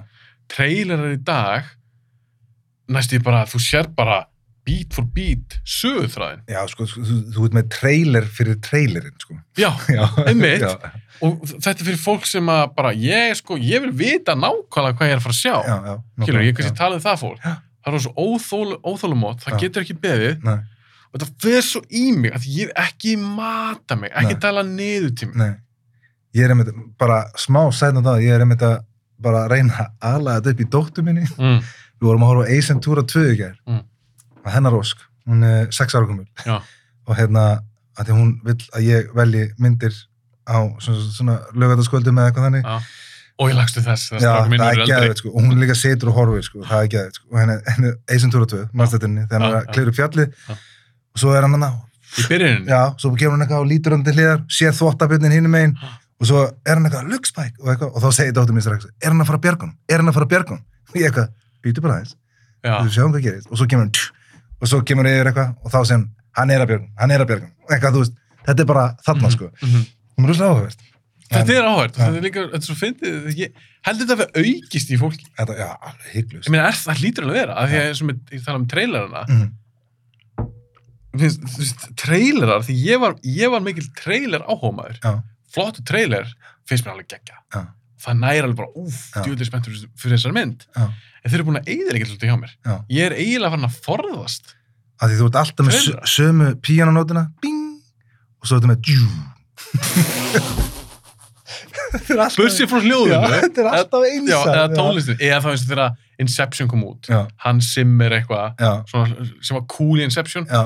A: trailerar í dag næstu ég bara, þú sér bara beat for beat sögutræðin
B: já, sko, sko, þú, þú ert með trailer fyrir trailerinn, sko
A: já,
B: já,
A: Einmitt.
B: já,
A: og þetta er fyrir fólk sem að bara, ég sko, ég vil vita nákvæmlega hvað ég er að fara að sjá
B: já, já,
A: Kjölur, ég
B: já,
A: kannski talaði það fólk
B: Já.
A: það er svo óþól, óþólumót, það
B: Já.
A: getur ekki beðið
B: nei,
A: og þetta fer svo í mig að ég ekki mata mig, ekki
B: Nei.
A: tala niður til mig
B: nei ég er einmitt, bara smá sætna það ég er einmitt að bara reyna að ala þetta upp í dóttu minni
A: mm.
B: við vorum að horfa á Ace Ventura 2 í gær
A: Mm.
B: að hennar ósk, hún er 6 ára komul
A: Já.
B: og hérna að því hún vill að ég velji myndir á svona, svona lögataskvöldum eða eitthvað þannig
A: Já. og ég lagstu þess, það
B: Já,
A: strákur minn
B: það
A: er
B: er
A: eldri
B: geðveit sko, og hún líka setur og horfir sko, það er geðveit sko, og henni, henni Eisen Túra 2, mannstættinni, þegar hann
A: Já,
B: er að
A: já.
B: klifra upp fjallið,
A: Já.
B: og svo er hann hann á,
A: í byrjunin,
B: já, svo kemur hann eitthvað og lítur hann til hliðar, sér þvottabjörnin hinum megin,
A: Já.
B: og svo er hann eitthvað, look Spike, og eitthvað, og þá segir dóttir mín strax, er hann að fara að bjarga honum, er hann að fara að bjarga honum, og ég eitthvað, býtu bara aðeins,
A: já,
B: við sjáum hvað gerist, og svo kemur hann, tjú, og svo kemur yfir eitthvað, og þá segir hann, hann er að bjarga honum, hann er að bjarga honum, eitthvað, þú veist, þetta er bara þarna, sko,
A: Mhm.
B: hún er rosalega áhugavert.
A: þetta er áhört
B: Já.
A: þetta er líka, þetta er svo fyndið ég heldur þetta að vera aukist í fólki
B: Þetta, já, alveg hygglust.
A: ég meina, er, það hlýtur alveg að vera, af því að eins og með, ég tala um trailerana
B: Mm,
A: Mér finnst- þú veist, trailerar, því ég var, ég var mikil trailer áhómaður
B: já,
A: flottu trailer finnst mér alveg geggja
B: Já.
A: það næri alveg bara, úf,
B: Já.
A: djúðlega spenntur fyrir þessar mynd
B: já,
A: en þeir eru búin að eyðir ekkert svolítið hjá mér
B: já.
A: ég er eiginlega farin að forðast
B: að því þú ert alltaf með sö-
A: Trailer.
B: sömu píanonótina bing, og svo ertu með
A: <laughs>
B: djú Þetta er alltaf
A: bussi frá hljóðinu
B: Já, þetta er alltaf
A: já,
B: einsa
A: eða tónlistin, eða þá eins og þegar Inception kom út,
B: já,
A: hann simmir eitthvað
B: já,
A: svona, sem var cool í Inception
B: já,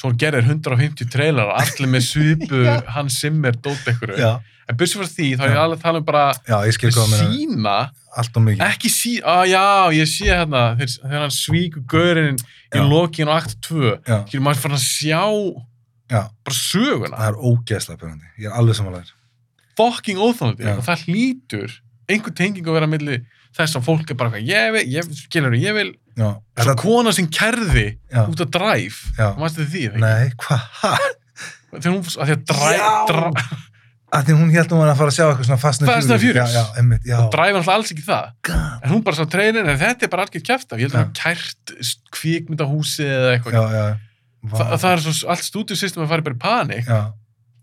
A: svo gerir 150 trailer allir með svipu,
B: <laughs> Já.
A: hann simmir dótt ekkur,
B: já,
A: en bussi frá því þá er ég
B: Já.
A: alveg að tala um bara
B: já, ég skil hvað með
A: sína
B: allt og mikið
A: ekki sí, að já, ég sé hérna þegar, þegar hann svíkur gaurinn í
B: Já.
A: lokin á akt 2
B: já,
A: skilur maður fann að sjá
B: já,
A: bara söguna,
B: það er ógeðslega pyrrandi ég er alveg samanlegar
A: fucking óþólandi
B: Já.
A: og það hlýtur einhver tenging að vera milli þess að fólk er bara eitthvað, ég vil, ég, skilur, ég vil
B: já,
A: svo
B: þetta,
A: kona sem kerði
B: já,
A: út af dræf
B: Já.
A: mannstu því, eða
B: nei, hvað, ha
A: ekki? þegar hún, að því að dræf
B: Já.
A: dræf,
B: að því hún held hún var að fara að sjá eitthvað svona fast and
A: Fast and Furious.
B: já, já, emmitt, já,
A: dræf er alltaf alls ekki það
B: God.
A: en hún bara sá treynin, en þetta er bara algjör kæft af, ég held að
B: Já.
A: það kært kvikmyndahúsi eða eitthvað,
B: já, já, Vá.
A: Þa, það er svo allt stúdíusystem að fara bara í panik
B: já,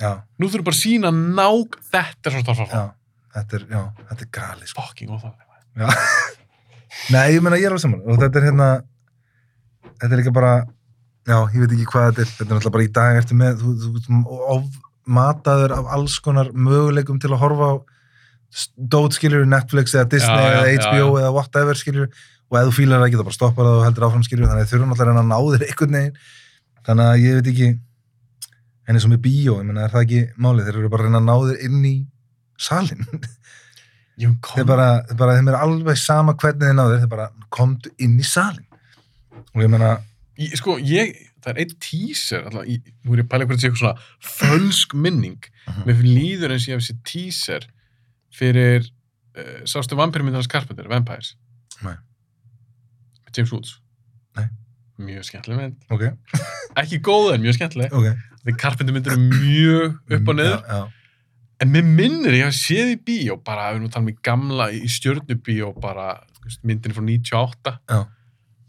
B: já,
A: nú þurfum bara að sína nák þetta er svona þarf að
B: já þetta er, já, þetta er gali sko.
A: fucking óþálega
B: Nei, ég meina ég er alveg saman og þetta er hérna þetta er líka bara já, ég veit ekki hvað þetta er, þetta er náttúrulega bara í dag eftir með, þú, þú, þú of, mataður af alls konar möguleikum til að horfa á dót skilur Netflix eða Disney
A: Já, já,
B: eða
A: já,
B: HBO eða whatever skilur og ef þú fílar það ekki þá bara stoppar það og heldur áfram skilur þannig að þau þurfum alltaf að reyna að ná þér einhvern veginn þannig að ég veit ekki en eins og með bíó, ég meina er það ekki málið þeir eru bara að reyna að ná þér inn í salin
A: Jú,
B: þeir bara, þeir bara, þeim er alveg sama hvernig þeir ná þér þeir bara komdu inn í salin og ég meina,
A: Ég, sko, ég, það er einn teaser alltaf, ég, nú er ég að pæla hvernig sé eitthvað svona fölsk minning,
B: Mhm.
A: mér líður eins og ég hef sér teaser fyrir uh, sástu vampirmynd hans Carpenter, Vampires
B: Nei.
A: með James Woods
B: Nei.
A: mjög skemmtileg mynd,
B: ok,
A: ekki góð en mjög skemmtileg
B: ok
A: því Carpenter myndir eru mjög upp og niður
B: Mm, já, já.
A: en mér minnir, ég hef séð í bíó bara, ef við nú talum í gamla, í stjörnubíó bara, þú veist, myndin frá 98
B: Já.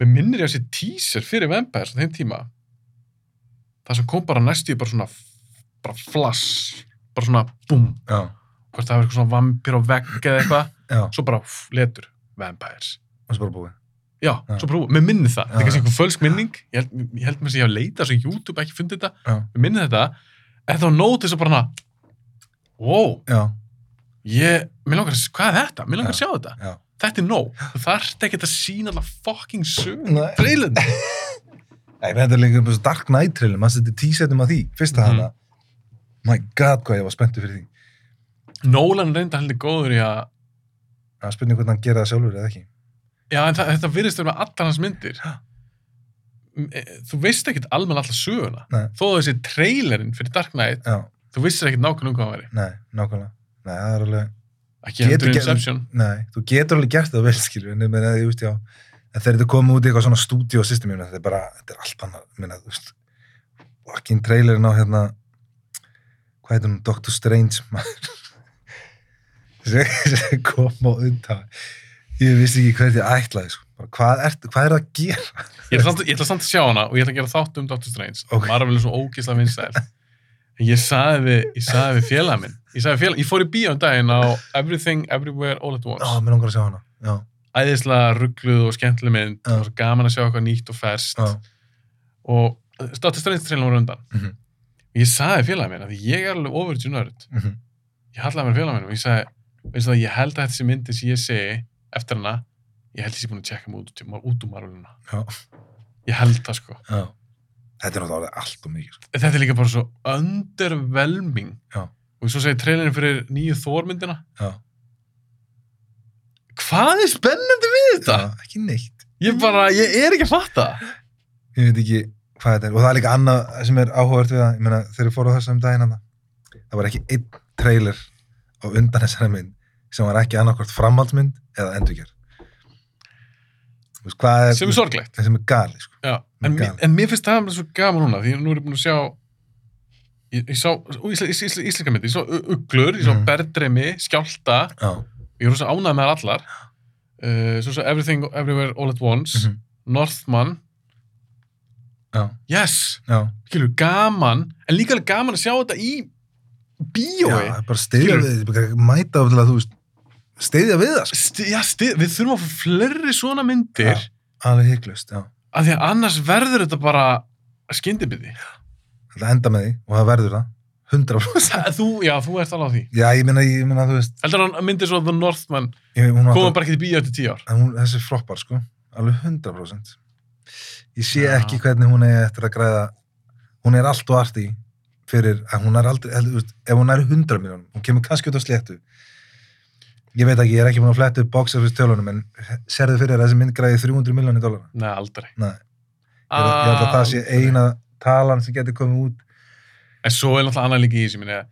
A: mér minnir ég að sé teaser fyrir Vampires á þeim tíma það sem kom bara næstu í bara svona bara flass, bara svona búm,
B: já,
A: hvort það var eitthvað svona vampir á vegg eða eitthvað,
B: já,
A: svo bara pff, letur, Vampires
B: og svo bara búið
A: já,
B: Já.
A: svo prófum, mér minnir það,
B: Já,
A: þetta er kannski
B: já.
A: einhver fölsk minning ég held, ég held mér að ég hef leitað svo YouTube ekki fundið þetta,
B: já,
A: mér minnir þetta en þá nótis að bara hana wow,
B: já,
A: ég, mér langar að, s- hvað er þetta? Mér langar að
B: Já.
A: sjá þetta.
B: já.
A: Þetta er nóg. Þú þarft ekki að sína alltaf fucking sögum.
B: Nei.
A: Breilin.
B: Nei, þetta er líka um þessu Dark Knight trailer, maður setti tísetum að því, fyrsta
A: Mhm.
B: hana. My god, hvað ég var spenntur fyrir því.
A: Nólan reynda heldur góður í að,
B: Það er spurning hvernig hann gera það sjálfur eða ekki.
A: já, en það, þetta virðist verið með allar hans myndir.
B: Já.
A: M- e, Þú veist ekkit almenn alltaf söguna.
B: Nei.
A: Þó að þessi trailerinn fyrir Dark Knight,
B: Já,
A: þú vissir ekkit nákvæmlega um hvað hann væri.
B: nei, nákvæmlega. Nei, það er alveg,
A: Ekki
B: Getur
A: hendur
B: ekki-
A: Inception.
B: nei, þú getur alveg gert það vel, skilur, en ég meina, ég veist, já, en þegar þetta komið út í eitthvað svona stúdíosystem, ég meina, þetta er bara, þetta er allt annað, ég meina, þú veist, fucking trailerin á hérna, hvað heitir hún, Doctor Strange, maður, sem sem kom á undan. Ég vissi ekki hvernig ég ætlaði, sko, bara, hvað er, hvað er það að gera?
A: Ég ætla, samt, ég ætla samt að sjá hana og ég ætla að gera þátt um Dr. Strange.
B: Ok.
A: Marvel er svo ógislega vinsæl. En ég sagði við, ég sagði við félag minn. Ég sagði við félag, ég fór í bíó um daginn á Everything, Everywhere, All at Once.
B: Já, mér langar að sjá hana. Já,
A: æðislega ruggluð og skemmtileg mynd
B: Já.
A: það var svo gaman að sjá eitthvað nýtt og ferst
B: já,
A: og Dr. Strange trailin var undan
B: Mhm.
A: ég sagði félagin minn að ég er alveg overdue nörd
B: mhm,
A: ég hallaði mér félagin minn og ég sagði veistu það, ég held að þessi myndi sem ég segi eftir hana, ég held að ég sé búin að tjekka mig út, út, út um marvulina
B: Já.
A: ég held það sko
B: já. Þetta er náttúrulega allt og mikið. sko.
A: En þetta er líka bara svo underwhelming
B: Já.
A: og svo segi trailerin fyrir nýju þórmyndina
B: Já.
A: hvað er spennandi við þetta?
B: Já, Ekki neitt.
A: ég bara, ég er ekki að fatta
B: Ég veit ekki hvað þetta er. Og það er líka annað sem er áhugavert við það. Ég meina, þegar ég fór á þessum daginn hann, það var ekki einn trailer á undan þessari mynd sem var ekki annarkvort framhaldsmynd eða endurgerð. Þú veist, hvað er...
A: sem er sorglegt
B: Það sem er gali, sko.
A: Já, en,
B: Gaman.
A: mér- en mér finnst það bara svo gaman núna því nú er ég búin að sjá ég, ég sá ó, ísl, ísl, ísl, íslenska myndi, ég sá u- uglur ég sá
B: Mhm.
A: berðdreimi, skjálta
B: Já.
A: ég er rosa ánægð með þær allar uh, svo svo Everything Everywhere All at Once
B: mhm,
A: Northman,
B: Já,
A: yes
B: já.
A: skilur, gaman, en líka alveg gaman að sjá þetta í
B: Já,
A: bíói
B: það er bara stiðja
A: Skilur.
B: við, bara mæta af til að þú veist, stiðja við það, sko.
A: Sti, já, sti, við þurfum að fá fleiri svona myndir
B: Já. Alveg hygglust, já.
A: af því að annars verður þetta bara
B: <laughs>
A: skyndibindi
B: Það enda með því og það verður það. 100%.
A: þú, já, þú ert alveg á því
B: Já, ég meina, ég meina, þú veist,
A: heldur hann myndir svo The Northman
B: ég, hún var
A: komum bara ekki til bíó eftir tíu ár
B: en hún, þessi floppar, sko, alveg 100%. Ég sé
A: Já.
B: ekki hvernig hún er eftir að græða, hún er allt og allt í fyrir að hún er aldrei, held, þú veist, ef hún er 100 miljónum, hún kemur kannski út á sléttu. Ég veit ekki, ég er ekki búin að fletta upp box-office tölunum, en serðu fyrir að þessi mynd græði 300 miljónir dólara?
A: Nei, aldrei.
B: Nei, ég, ah, ég held að það sé
A: Aldrei.
B: eina talan sem getur komið út.
A: En svo er náttúrulega annað líka í þessu, minni að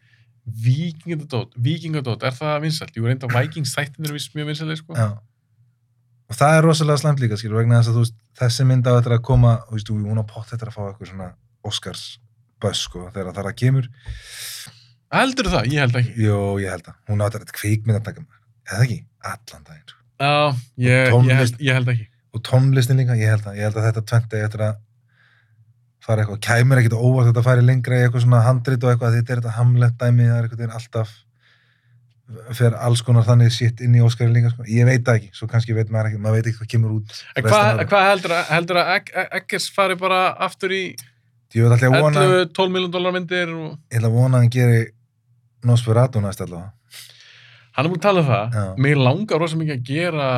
A: Víkingadótt, Víkingadótt, er það vinsælt? Jú, reynda Vikings þættin er vist mjög vinsæli, sko.
B: Já. Og það er rosalega slæmt líka, skilur, vegna þess að þú veist, þessi mynd á þetta að koma, þú veist, og hún á pott þetta að fá eitthvað svona Oscars börs, sko, þegar það kemur.
A: Heldur það? Ég held ekki.
B: Jó, ég held að, hún á þetta kvikmynd að taka maður, eða ekki, allan daginn, sko.
A: Já, ég,
B: Og
A: ég,
B: tónlist.
A: held, ég held ekki.
B: Og tónlistin líka, ég held að, ég held að þetta tventi eftir að fara eitthvað, kæmur ekkit á óvart að þetta fari lengra í eitthvað svona handrit og eitthvað, þetta er þetta hamlet dæmi, það er eitthvað þeir alltaf fer alls konar þannig sitt inn í Óskari líka, sko. Ég veit það ekki, svo kannski veit maður ekki, maður veit ekki hvað kemur út.
A: En
B: restina af
A: hvað
B: árinu.
A: hva heldur að, heldur að Egg- Egg- Eggers fari bara aftur í
B: Ég veit alltaf að vona...
A: 11-12 miljón dólar myndir og...
B: ég ætla að vona að hann geri Nosferatu næst allavega
A: Hann er búin að tala um það.
B: Já.
A: Mér langar rosa mikið að gera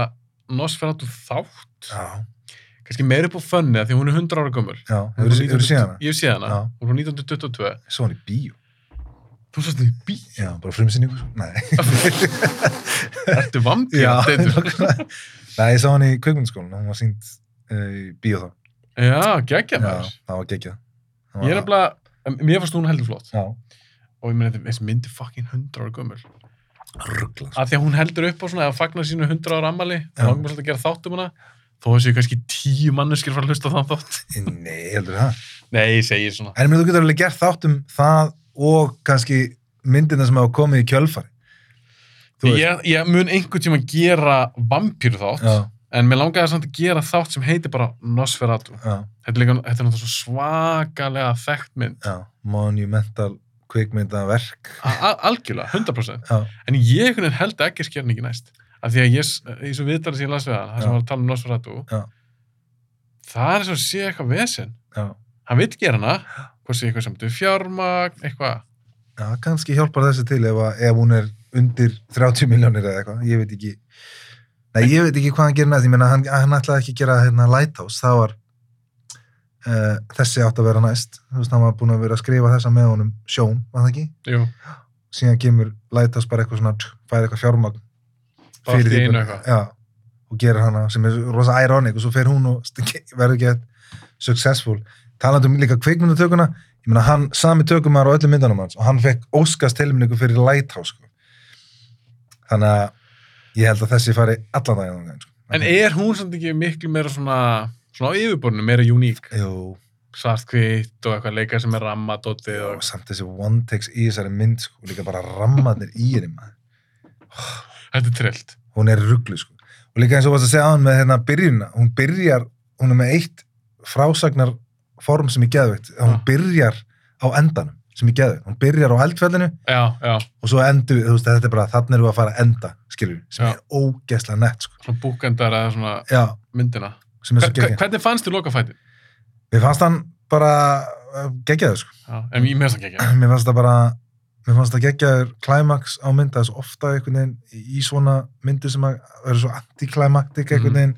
A: Nosferatu þátt.
B: Já,
A: Kannski meir upp á fönni að því hún er 100 ára gömul.
B: já,
A: Hún er
B: hefur
A: frá
B: þú
A: 1920
B: séð hana?
A: Ég hef séð hana.
B: Já.
A: Hún er frá 1922.
B: Svo hann í bíó.
A: Þú sast því bí.
B: Já, bara frumsynningu. svo. Nei.
A: <laughs> Ertu vampir?
B: Já,
A: Já,
B: nákvæmlega. <laughs> Nei, ég sá hann í kveikmyndaskólan, hún var sínd uh, í bíó þá.
A: já geggja
B: Já,
A: maður.
B: það var geggjað. Það
A: Ég er
B: var-
A: nefnilega, em, mér fannst hún heldur flott.
B: Já,
A: Og ég meina þessi myndi fucking 100 ára gömul.
B: ruggla.
A: Af því að hún heldur upp á svona að fagna sínu 100 ára ammali.
B: Já.
A: Það langar mér svolítið að gera þátt um hana. Þó að séu kannski tíu manneskir frá að hlusta á þann þátt. <laughs>
B: Nei, heldur það.
A: Nei, ég segi svona.
B: En ég meina, þú getur alveg gert þátt um það og kannski myndina sem hafa komið í kjölfari. Þú veist.
A: Ég, ég mun einhvern tíma gera vampíru þátt,
B: Já,
A: en mér langaði samt að gera þátt sem heitir bara Nosferatu.
B: já,
A: Þetta er, líka, þetta er náttúrulega svo svakalega þekkt mynd.
B: já. Monumental kveikmyndaverk.
A: A a- algjörlega, 100%.
B: Já,
A: En ég einhvern veginn held ekki skerningi næst. Af því að ég, s- í svo viðtalið sem ég las við hann, það sem
B: Já.
A: var að tala um Nosferatu,
B: Já.
A: það er svo að sé eitthvað vesen.
B: já.
A: Hann vil gera hana, hvað sé eitthvað sem duð fjármagn, eitthvað.
B: Já, kannski hjálpar þessi til ef, að, ef hún er undir 30 miljónir eða eitthvað, ég veit ekki Nei, ég veit ekki hvað hann gerir næst, ég meina hann, hann ætlaði ekki að gera hérna Lighthouse, það var uh, þessi átt að vera næst þú veist, hann var búin að vera að skrifa þessa með honum Sjón, var það ekki?
A: Jú,
B: Síðan kemur Lighthouse bara eitthvað svona tsk, fær eitthvað fjármagn
A: Bara allt í
B: því
A: einu
B: bara-
A: eitthvað.
B: Já, og gerir hana sem er rosa ironic og svo fer hún og <laughs> st- verður ekki successful talandi um líka kveikmyndatökuna ég meina hann, sami tökumar á öllum myndunum hans og hann fekk óskast tilmyndingu fyrir Lighthouse sko. þannig að ég held að þessi fari allan daginn þangað, sko.
A: en er hún samt ekki miklu meira svona, svona á yfirborðinu, meira uník?
B: Jú,
A: svartkvitt og eitthvað leika sem er rammadótið
B: og
A: og
B: samt þessi one takes í þessari mynd sko, líka bara rammarnir í henni maður.
A: þetta er trillt.
B: hún er rugglu sko. og líka eins og varst að segja á hann með hérna byrjunna hún byrjar, hún er með eitt frásagnar form sem er geðveikt hún
A: Já.
B: byrjar á endanum sem er geðveikt, hún byrjar á eldfellinu
A: Já, já,
B: og svo endur, við, þú veist, þetta er bara þannig erum við að fara að enda, skilur við, sem
A: Já.
B: er ógeðslega nett, sko,
A: svona búkendar eða svona
B: já,
A: myndina.
B: sem er svo
A: Hver,
B: geggjað
A: hvernig fannst þér lokafætið?
B: mér fannst hann bara uh, geggjaður, sko,
A: Já, en ég meðst ekki ekki.
B: <clears throat> mér fannst það bara mér fannst það geggjaður klæmaks á mynd það er svo ofta einhvern veginn í- í svona myndu sem að vera svo antiklæmaktik einhvern
A: Mhm.
B: veginn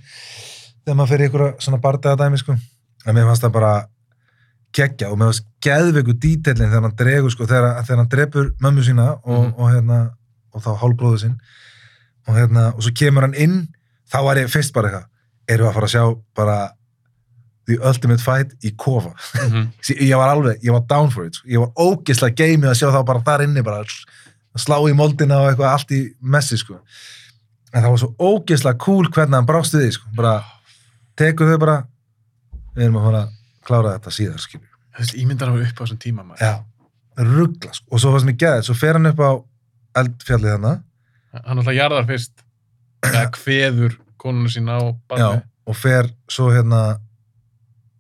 B: þegar maður fer í einhverja svona bardaða dæmi, sko en mér fannst það bara geggja og mér fannst geðveiku dítellin þegar hann dregur sko, þegar, þegar hann drepur mömmu sína og,
A: Mhm.
B: og hérna, og þá hálbróðu sinn og hérna, og svo kemur hann inn þá var ég fyrst bara eitthvað erum við að fara að sjá bara The Ultimate Fight í kofa
A: Mhm.
B: Sí- ég var alveg, ég var down for it sko. ég var ógeðslega geimið að sjá þá bara þar inni bara tss, að slá í moldina og eitthvað allt í messi sko en það var svo ógeðslega cool hvernig hann brást við því sko, bara tekur þau bara við erum að fara að klára þetta síðar skilju
A: Þessi ímyndar að vera upp á þessum tíma maður.
B: já, ruggla sko og svo það sem ég geði, svo fer hann upp á eldfjallið þarna
A: Hann alltaf jarðar fyrst
B: <clears throat>
A: eða kveður konuna sína á
B: já,
A: barni.
B: og fer svo hérna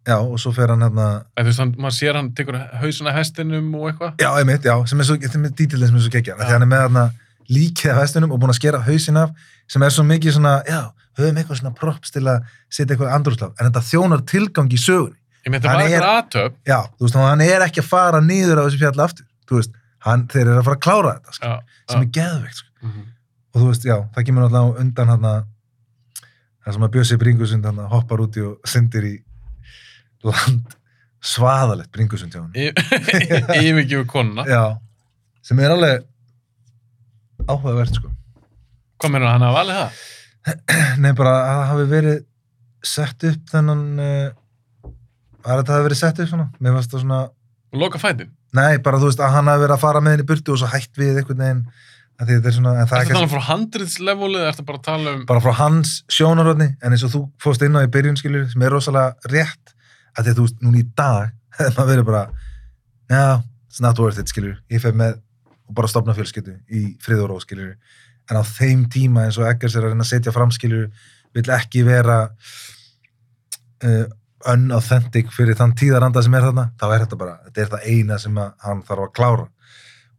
B: já, og svo fer hann hérna
A: En þú veist, hann, maður sér hann tekur hausuna hestinum og eitthvað.
B: Já, einmitt, já, sem er svo, þetta er dítilinn sem er svo geggjar,
A: Já.
B: því hann er með þarna líkið af hestunum og búin að skera hausin af sem er svo mikið svona, já, höfum eitthvað svona props til að setja eitthvað andrúrslaf en þetta þjónar tilgang í sögunni
A: Ég meina, þetta
B: Hann
A: var
B: er- hérna-
A: eitthvað aðtöp.
B: já, þú veist, hann er ekki að fara niður á þessu fjalli aftur, þú veist, hann, þeir eru að fara að klára þetta, sko,
A: Já,
B: sem
A: já.
B: er geðveikt sko.
A: Mhm.
B: og þú veist, já, það kemur náttúrulega á undan hann það sem að Bjössi Bringusund hann hoppar úti og syndir í land svaðalegt Bringusund hjá hann
A: Í- <laughs> Yfirgefur konuna.
B: já, sem er alveg áhugavert sko
A: Hvað meina hérna, hann að valið það?
B: Nei, bara að það hafi verið sett upp þennan uh, að þetta hafi verið sett upp svona mér varst það svona,
A: Og lokafætið?
B: nei, bara þú veist að hann hafi verið að fara með henni í burtu og svo hætt við einhvern veginn að því þetta er svona, en það
A: Ertu
B: er
A: að
B: ekki
A: tala um frá handriðslevelið eða ertu bara að tala um...
B: bara frá hans sjónarhóðni en eins og þú fórst inn á í byrjun skilur sem er rosalega rétt að því að þú veist, núna í dag <laughs> hefði maður verið bara já, it's not worth it skilur ég fer með og bara stopna fjölskyldu í frið og ró skilur en á þeim tíma eins og Eggers er að reyna að setja fram skilur vill ekki vera uh, unauthentic fyrir þann tíðaranda sem er þarna þá er þetta bara, þetta er það eina sem að hann þarf að klára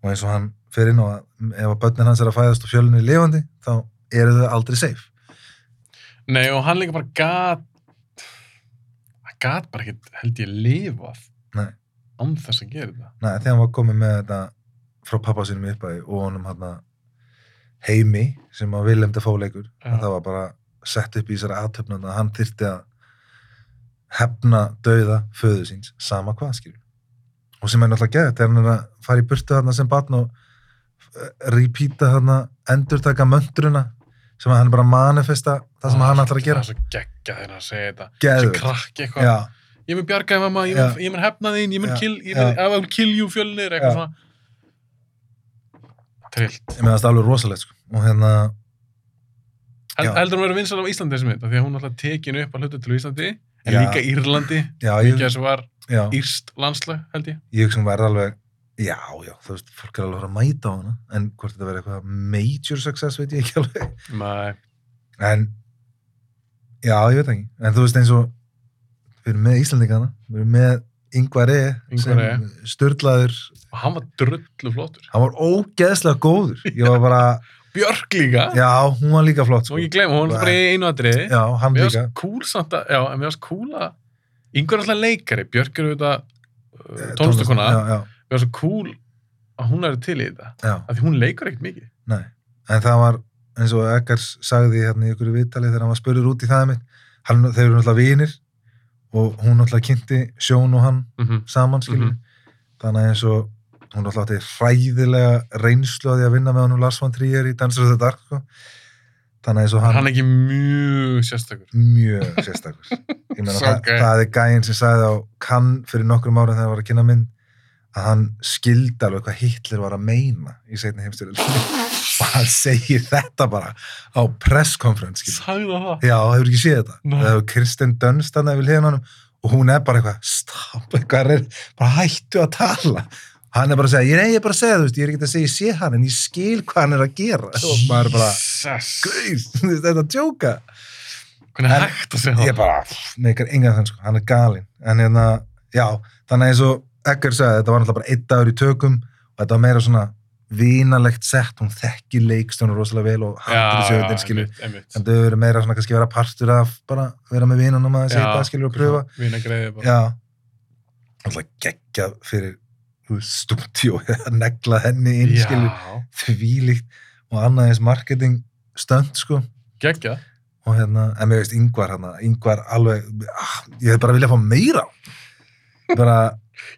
B: og eins og hann fer inn á að ef að börnin hans er að fæðast og fjölunni er lifandi þá eru þau aldrei safe
A: Nei, og hann líka bara gat hann gat bara ekkert, held ég, lifað
B: Nei.
A: án þess að gera þetta
B: Nei, þegar hann var komið með þetta frá pappa sínum í uppæði og honum hann heimi sem að Willem Dafoe leikur
A: Já.
B: en það var bara sett upp í þessari aðtöfna að hann þyrfti að hefna dauða föðu síns sama hvað skilur og sem er náttúrulega geðið þegar hann er að fara í burtu þarna sem barn og eh, repeata þarna endurtaka möndruna sem að hann er bara að manifesta það
A: Ah,
B: sem hann ætlar að gera
A: Það er svo geggja þegar að segja þetta. Þessi
B: geðið,
A: krakki eitthvað.
B: já,
A: Ég mun bjarga þér mamma, ég mun,
B: Já.
A: ég mun hefna þín, ég mun
B: Já.
A: kill, ég mun,
B: Já.
A: I will kill you fjölnir, eitthvað
B: Já.
A: svona. Trillt.
B: ég með það alveg rosalegt sko. og hérna,
A: Hel,
B: Já.
A: heldur hún verið vinsal á Íslandi þessi mynd, af því að hún alltaf tekin upp að hlutu til á Íslandi, en
B: Já.
A: líka Írlandi,
B: já,
A: ekki
B: ég,
A: að þessu var
B: já,
A: írst landslag, held ég.
B: ég hugsa um verð alveg já, já, þú veist, fólk er alveg að fara að mæta á hana en hvort þetta verði eitthvað major success veit ég ekki alveg
A: Nei.
B: en, já, ég veit ekki en þú veist eins og við erum með Íslandingana, við erum með Ingvar E
A: Ingvar E.
B: styrlaður,
A: Og hann var drullu flottur.
B: hann var ógeðslega góður ég var bara,
A: Björk líka,
B: já, hún var líka flott
A: svo
B: sko.
A: ekki glem, hún var bara í einu atriði.
B: já, hann
A: Mér
B: líka
A: finnst cool samt að, já, en mér finnst cool að Ingur er alltaf leikari, Björk er auðvitað uh, tónlistakona,
B: Eh, já, já,
A: mér finnst svo cool að hún er til í þetta,
B: já,
A: af því hún leikur ekkert mikið
B: nei en það var, eins og Eggers sagði hérna í ykkur viðtali þegar hann var spurður út í það mitt, hann, þeir eru náttúrulega vinir og hún náttúrulega kynnti Sjón og hann
A: mm -hmm.
B: saman skilur þannig að eins og hún alltaf átti hræðilega reynslu að því að vinna með honum Lars von Trier í Dancer of the Dark sko. þannig að eins og hann,
A: Hann er ekki mjög sérstakur
B: mjög
A: <laughs>
B: sérstakur ég meina
A: So
B: það,
A: gay.
B: það er gæinn sem sagði á kann fyrir nokkrum árum þegar hann var að kynna mynd að hann skildi alveg hvað Hitler var að meina í seinni heimstyrjum
A: <laughs>
B: og hann segir þetta bara á presskonferens skilur.
A: Sagði það það?
B: Já, hefur ekki séð þetta.
A: Nei.
B: Það hefur Kristen Dunst hann hefur hliðin honum og hún er bara eitthvað, stopp, eitthvað er, bara hættu að tala. Hann er bara að segja, nei, ég er bara að segja, þú veist, ég er ekki að segja, ég sé hann, en ég skil hvað hann er að gera. Og maður er bara,
A: Jesus.
B: gauð, þú veist, <laughs> þetta er að djóka.
A: Hvernig er
B: En-
A: hægt að segja
B: Ég
A: það?
B: er bara, pff, með ykkur engan þann, sko, hann er galinn. En hérna, já, þannig að eins og Egger sagði, þetta var náttúrulega bara einn dagur í tökum og þetta var meira svona vinalegt sett, hún þekki leikstjónu rosalega vel og hattur í sjöðin, skilur
A: einmitt, einmitt.
B: en þau eru meira svona kannski vera partur af bara vera með um vinunum að segja það skilur og pröfa
A: Vina greiði bara
B: já alltaf geggja fyrir stúdíu <laughs> að negla henni inn
A: Já,
B: skilur þvílíkt og annað eins marketing stönd sko
A: geggjað.
B: og hérna, en mér veist yngvar hérna yngvar alveg, ah, ég hef bara viljað fá meira bara,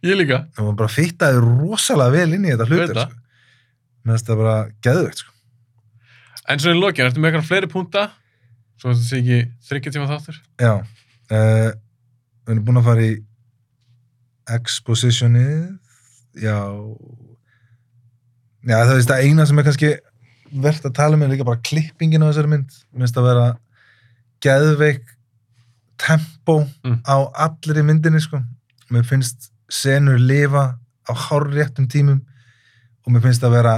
A: Ég líka
B: það var bara fittaði rosalega vel inn í þetta
A: Veit
B: hlutur
A: það.
B: sko. mér finnst það bara geðvegt sko
A: En svo í lokin, ertu með eitthvað fleiri púnta Svo þetta sé ekki þryggja tíma þáttur
B: Já, uh, við erum búin að fara í expositionið, já, já það veist það eina sem er kannski verðt að tala um er líka bara klippingin á þessari mynd, minnst að vera geðveik tempo
A: Mm.
B: á allri myndinni sko, mér finnst senur lifa á hárréttum tímum og mér finnst að vera,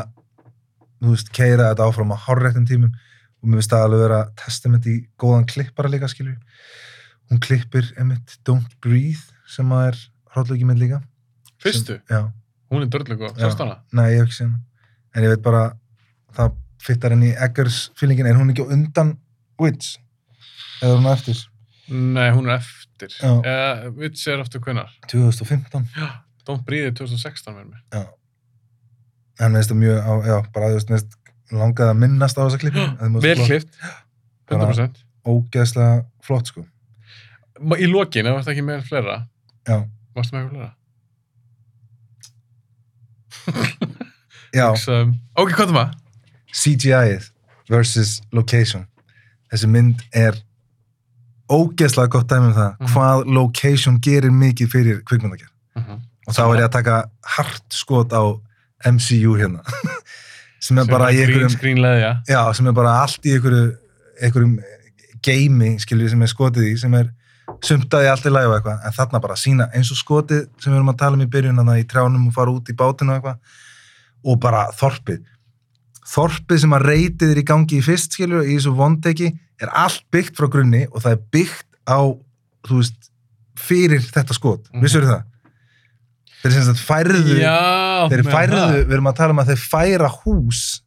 B: þú veist, keira þetta áfram á hárréttum tímum og mér finnst það alveg vera testament í góðan klippara líka skilur hún klippir einmitt Don't Breathe sem að er hróllöki mynd líka
A: Fyrstu,
B: sem, já,
A: hún er dörlega góð,
B: Já.
A: sást hana
B: nei, ég hef ekki séð hana en ég veit bara, það fittar henni í Eggers fílingin, er hún ekki á undan Witch, eða er hún á eftir
A: Nei, hún er eftir
B: Já.
A: Eh, Vits er eftir hvenar
B: 2015
A: Don't Breathe er 2016 með mér
B: já. en mér finnst það mjög á, já, bara þú veist, mér finnst langaði að minnast á þessa klippi
A: Já, Vel klift, 100%
B: ógeðslega flott sko
A: Ma- Í lokin, ef varst ekki með fleira
B: já,
A: Varstu með eitthvað fleira?
B: já
A: Sem, ok, hvað það var?
B: CGI-ið versus location. Þessi mynd er ógeðslega gott dæmi um það
A: Mhm.
B: hvað location gerir mikið fyrir kvikmyndagerð. Og þá er ég að taka hart skot á MCU hérna. <laughs> sem er bara í
A: Green
B: einhverjum,
A: screen leðja
B: já, sem er bara allt í einhverju, einhverjum geimi, skilju, sem er skotið í, sem er sumtaði allt í lagi og eitthvað, en þarna bara sína eins og skotið sem við erum að tala um í byrjun þannig í trjánum og fara út í bátinu og eitthvað og bara þorpið þorpið sem að reytið er í gangi í fyrst skilur í þessu vondteki er allt byggt frá grunni og það er byggt á þú veist, fyrir þetta skot
A: Mhm.
B: mm -hmm. vissur það þeir sem sagt færðu
A: Já,
B: þeir
A: með
B: færðu,
A: það.
B: við erum að tala um að þeir færa hús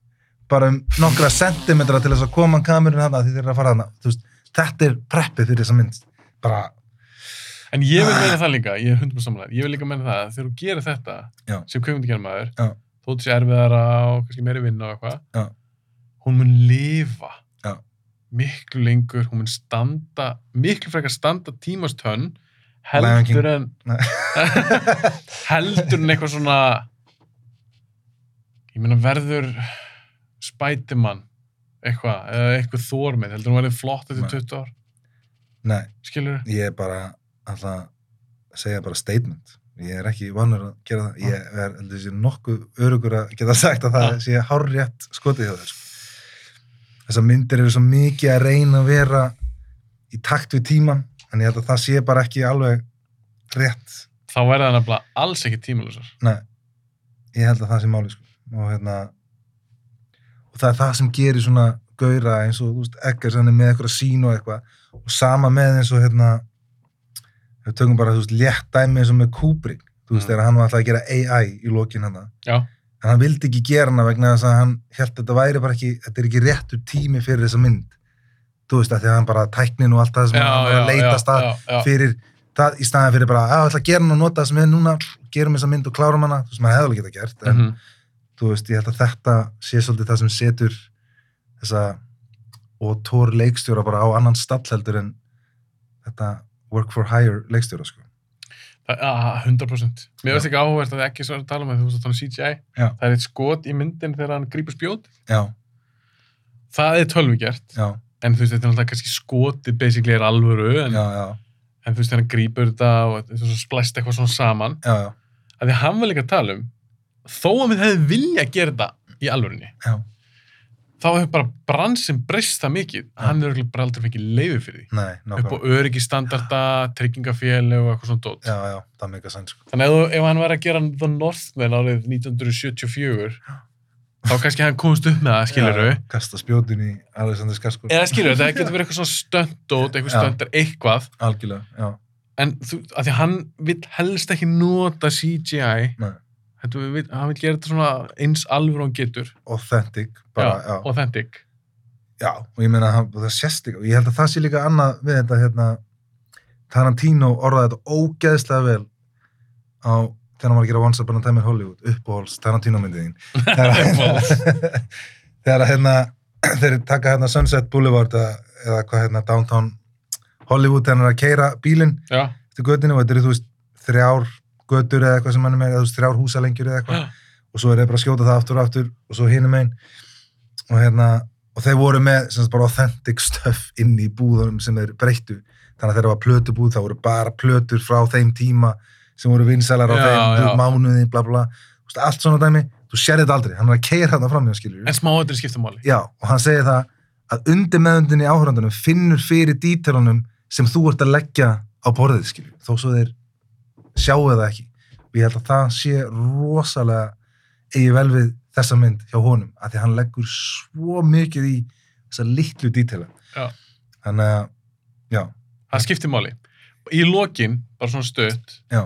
B: bara um nokkra sentimetra til þess að koma kamerun hana því þeir eru að fara hana veist, þetta er preppið fyrir þess að mynd bara,
A: En ég vil
B: Ah.
A: meina það líka, ég er hundum samanlega Ég vil líka meina það að þegar þú gerir þetta
B: Já.
A: sem kvikmyndagerð maður
B: Já.
A: þótt sér erfiðara og kannski meiri vinna og eitthvað
B: Já.
A: hún mun lifa
B: Já.
A: miklu lengur, hún mun standa miklu frekar standa tímastönn
B: Lion King.
A: heldur en
B: Nei.
A: <laughs> heldur en eitthvað svona ég meina verður Spiderman eitthvað, eða eitthvað þórmið heldur hún verður flott
B: Nei.
A: eftir 20 ár
B: Nei,
A: skilur þú?
B: ég er bara alltaf að segja bara statement. Ég er ekki vanur að gera það. Ég er heldur þessi nokkuð örugur að geta sagt að það
A: Ah.
B: sé hárrétt skotið hjá þér. sko. Þessar myndir eru svo mikið að reyna að vera í takt við tíman, en ég held að það sé bara ekki alveg rétt.
A: þá verður það nefnilega alls ekki tímalusar
B: Nei, ég held að það sé máli, sko. Og hérna, og það er það sem gerir svona gauðra eins og, þú veist, ekkert sem er með eitthvað sín og eitthvað. Og sama með eins og, hérna, ef við tökum bara, þú veist, létt dæmi eins og með Kubrick, þú veist,
A: Mm.
B: þegar hann var alltaf að gera AI í lokin hann
A: já,
B: En hann vildi ekki gera hana vegna þess að hann held að þetta væri bara ekki, þetta er ekki réttur tími fyrir þessa mynd. Þú veist, að því að hann bara tæknin og allt það sem
A: já,
B: hann
A: já,
B: var að
A: já,
B: leitast að
A: já, já.
B: fyrir það í staðan fyrir bara að ætla að gera hann og nota það sem er núna gerum þessa mynd og klárum hana, þú veist, maður hefði alveg geta gert en
A: Mhm.
B: þú veist, ég held að þetta sé svolítið það sem setur þessa og tór leikstjóra bara á annan stall heldur en þetta work for hire leikstjóra sko.
A: Það- ah, 100% mér
B: Já.
A: veist ekki áhugavert að það er ekki svona að tala með þú veist að tala um CGI
B: Já.
A: það er eitt skot í myndin þegar hann grýpur spjót
B: já,
A: það er tölvigert
B: já,
A: en þú veist þetta er alltaf kannski skoti basically er alvöru en,
B: já, já,
A: en þú veist þegar hann grýpur þetta og þetta er svo splæst eitthvað svona saman
B: já, já.
A: að því að hann var líka að tala um þó að við hefði vilja að gera þetta í alvörunni
B: Já.
A: þá hefur bara bransin breyst það mikið hann er örugglega bara aldrei fengið leiði fyrir því
B: nei,
A: upp á
B: nákvæmlega
A: öryggistandarda, tryggingafélag og eitthvað svona dót
B: já, já, það er mega sænt sko.
A: Þannig að ef, ef hann væri að gera The Northman árið 1974 þá kannski hann komst upp með það, skilur
B: Já,
A: við.
B: já, kasta spjótin í Alexander Skarsgård
A: Eða skilur við, það getur verið eitthvað svona stöndót, eitthvað
B: Já.
A: stöndar, eitthvað.
B: algjörlega, já,
A: En þú, að því að hann vill helst ekki nota CGI,
B: nei,
A: þetta, vill, hann vill gera þetta svona eins alveg og hann getur,
B: authentic bara, já,
A: authentic.
B: Já, og ég meina, hann- og það sést líka, og ég held að það sé líka annað við þetta, hérna, Tarantino orðaði þetta ógeðslega vel á, þegar hann var að gera Once Upon a Time in Hollywood, uppbóls, Tarantino myndið þín.
A: Uppáhalds.
B: Þegar, <laughs> þegar að, hérna, þeir taka hérna Sunset Boulevard eða, eða hvað hérna, Downtown Hollywood, þegar hann er að keira bílinn
A: Já,
B: eftir götinu og þetta eru, þú veist, þrjár götur eða eitthvað sem hann er með, eða þú veist, þrjár húsalengjur eða eitthvað og svo er þeir bara að skjóta það aftur og aftur og svo hinum einn og hérna, og þeir voru með sem sagt bara authentic stuff inn í búðunum sem þeir breyttu, þannig að þeir var plötubúð þá voru bara plötur frá þeim tíma sem voru vinsælar á
A: Já, já.
B: þeim já. mánuði, bla bla, Þú veist, allt svona dæmi þú sér þetta aldrei, hann er að keira þarna fram hjá skilur
A: en smá öllur skiptumáli.
B: já, og hann segir það að undir meðundinni áhörandunum finnur fyrir dítalunum sem þú ert að leggja á borðið skilur, þó svo þeir sjáu það ekki og ég held að það sé rosalega eigi vel við þessa mynd hjá honum af því að hann leggur svo mikið í þessa litlu dítala
A: Já.
B: þannig að, já,
A: Það skiptumáli. Í lokin, bara svona stött,
B: já,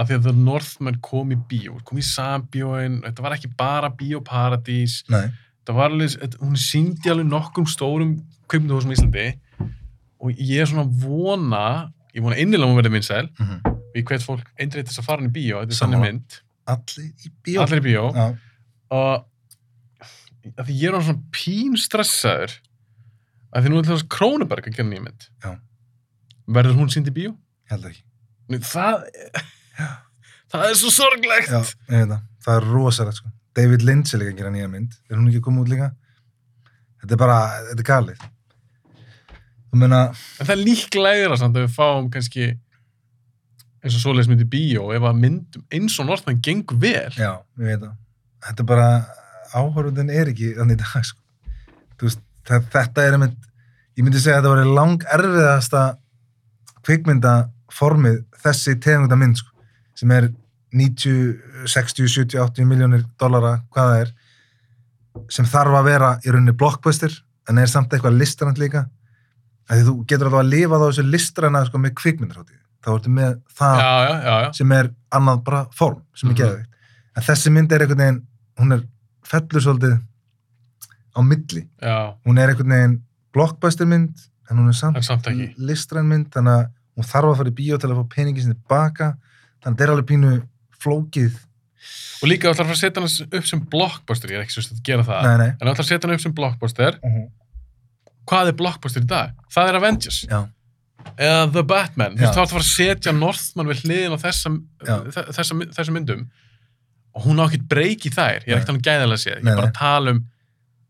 A: að því að The Northman kom í bíó, kom í sambjóin, þetta var ekki bara bíóparadís,
B: nei
A: það var alveg, þetta- hún síndi alveg nokkrum stórum kaupmynduhúsum í Íslandi og ég er svona að vona ég vona innilega að hún verði minnsæl
B: mm
A: ég hvet fólk eindreitt þess að fara hann í bíó þetta er
B: Sammála.
A: þannig mynd,
B: allir í bíó
A: allir í bíó
B: já,
A: og að því ég er orðinn svona pín stressaður að því nú er þess að Krónuberg að gera nýja mynd
B: Já.
A: verður hún síndi í bíó?
B: ég held ekki
A: Nei, það það er svo sorglegt
B: já, ég veit það, það er rosalegt sko David Lynch er líka að gera nýja mynd er hún ekki að koma út líka þetta er bara, þetta er galið þú meina,
A: En það er líklegra samt að við fáum kannski eins og svoleiðis myndi bíó ef að myndum eins og Northman gengur vel.
B: já, ég veit það þetta er bara, áhörðin er ekki þannig í dag sko Þú veist, það, þetta er einmitt ég myndi segja að þetta var lang erfiðasta kvikmyndaformið þessi tegunda mynd sko sem er 90, 60, 70, 80 miljónir dollara, hvað það er sem þarf að vera í rauninni blockbuster en er samt eitthvað listrænt líka af því þú getur alveg að lifa þá þessu listræna sko með kvikmyndarháttið þá ertu með það
A: Já, já, já, já.
B: sem er annað bara form sem er
A: Mhm.
B: geðveikt. En þessi mynd er einhvern veginn, hún er fellur svolítið á milli.
A: já.
B: Hún er einhvern veginn blockbuster mynd, en hún er samt
A: En samt
B: Mm.
A: ekki.
B: listræn mynd, þannig að hún þarf að fara í bíó til að fá peningi sinni baka, þannig að þetta er alveg pínu flókið
A: Og líka þú ætlar að fara að setja hann upp sem blockbuster, ég er ekki svo að gera það. Mhm.
B: Nei, nei.
A: En þú ætlar að setja hann upp sem blockbuster. Hvað er blockbuster í dag? Það er Avengers.
B: Já.
A: Eða The Batman. Þú
B: Já.
A: veist, þá ætlar að fara að setja Northman við hliðin á þessa,
B: Já.
A: þessa, þessa myndum. Og hún á ekkert breyk í þær. Ég er
B: Nei.
A: ekkert hann um gæðalega séð. Ég
B: Nei,
A: er bara
B: nei.
A: að tala um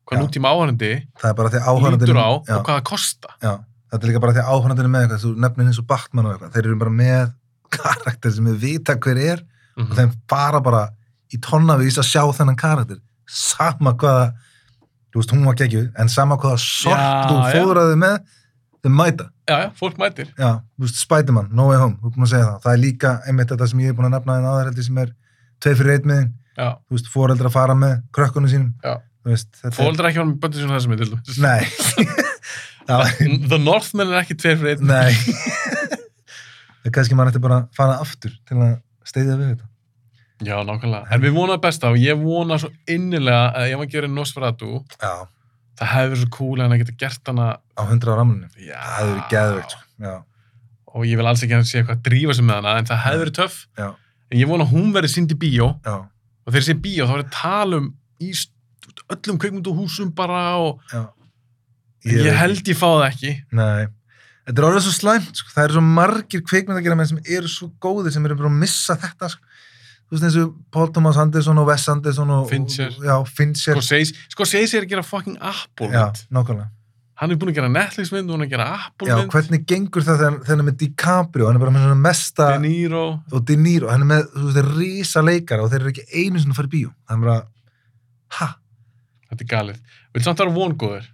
A: hvað
B: Já.
A: nútíma áhærandi
B: Það er bara því áhörnandinu...
A: lítur á
B: já,
A: og hvað það kosta.
B: já. Þetta er líka bara því áhörnandinu með eitthvað. Þú nefnir eins og Batman og eitthvað. Þeir eru bara með karakter sem við vita hver er og
A: Mhm.
B: þeim fara bara í tonnavís að sjá þennan karakter. Sama hvaða... Þú veist, hún var geggjuð, en sama hvaða
A: Já,
B: sort þú
A: já.
B: fóðraði með, þeim mæta. Já,
A: Já, já, fólk mætir.
B: þú veist, Spiderman, No Way Home, þú er búin að segja það. Það er líka einmitt þetta sem ég er búin að nefna en aðarhaldi sem er tveir fyrir eitt miðin,
A: Já.
B: þú veist, foreldra að fara með krökkunum sínum,
A: Já.
B: þú veist, þetta er-
A: Fóldar ekki varum böndið sem þessum mynd, til dæmis. <laughs>
B: Nei. það var,
A: The Northman er ekki tveir fyrir einn.
B: nei. það kannski maður ætti bara að fara aftur til að steyðja við þetta.
A: Já, nákvæmlega. En við vonum það besta og ég vona svo innilega að ef hann gerir Nosferatu,
B: Já.
A: það hefur verið svo cool að hann geta gert hana...
B: Á hundra á ramlunni.
A: Já.
B: Það hefur verið geðveikt, sko. Já.
A: Og ég vil alls ekki að hann sé eitthvað að drífa sig með hana, en það hefur verið töff.
B: Já.
A: En ég vona að hún verið sýnd í bíó og
B: Já.
A: þegar sé bíó þá verið talum í st- öllum kveikmynduhúsum bara og
B: Já.
A: ég, held ég fá það ekki.
B: Nei. Þetta er orðið svo slæmt, sko. Það eru svo margir kveikmyndagera menn sem eru svo góðir sem eru bara að missa þetta, sko. Þú veist eins og Paul Thomas Anderson og Wes Anderson og...
A: Fincher.
B: Og, já, Fincher.
A: Scorsese, Scorsese er að gera fucking Apple
B: Já,
A: mynd.
B: nákvæmlega.
A: Hann er búin að gera Netflix mynd og hann er að gera Apple
B: Já,
A: mynd.
B: hvernig gengur það þegar þegar hann er með DiCaprio, hann er bara með svona mesta...
A: De Niro.
B: og De Niro, hann er með, þú veist, þeir rísa leikara og þeir eru ekki einu sinni að fara í bíó. Það er bara, ha,
A: Þetta er galið. Vil samt vera vongóður.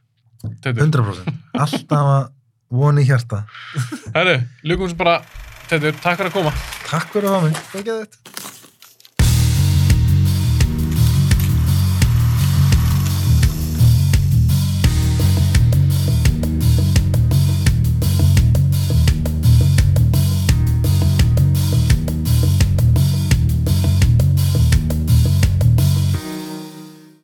A: Þetta
B: 100%. Alltaf að voni í hjarta.
A: Herru, ljúkum sem bara, Teitur, takk fyrir að koma.
B: Takk fyrir að hafa mig. Það er geðið þetta.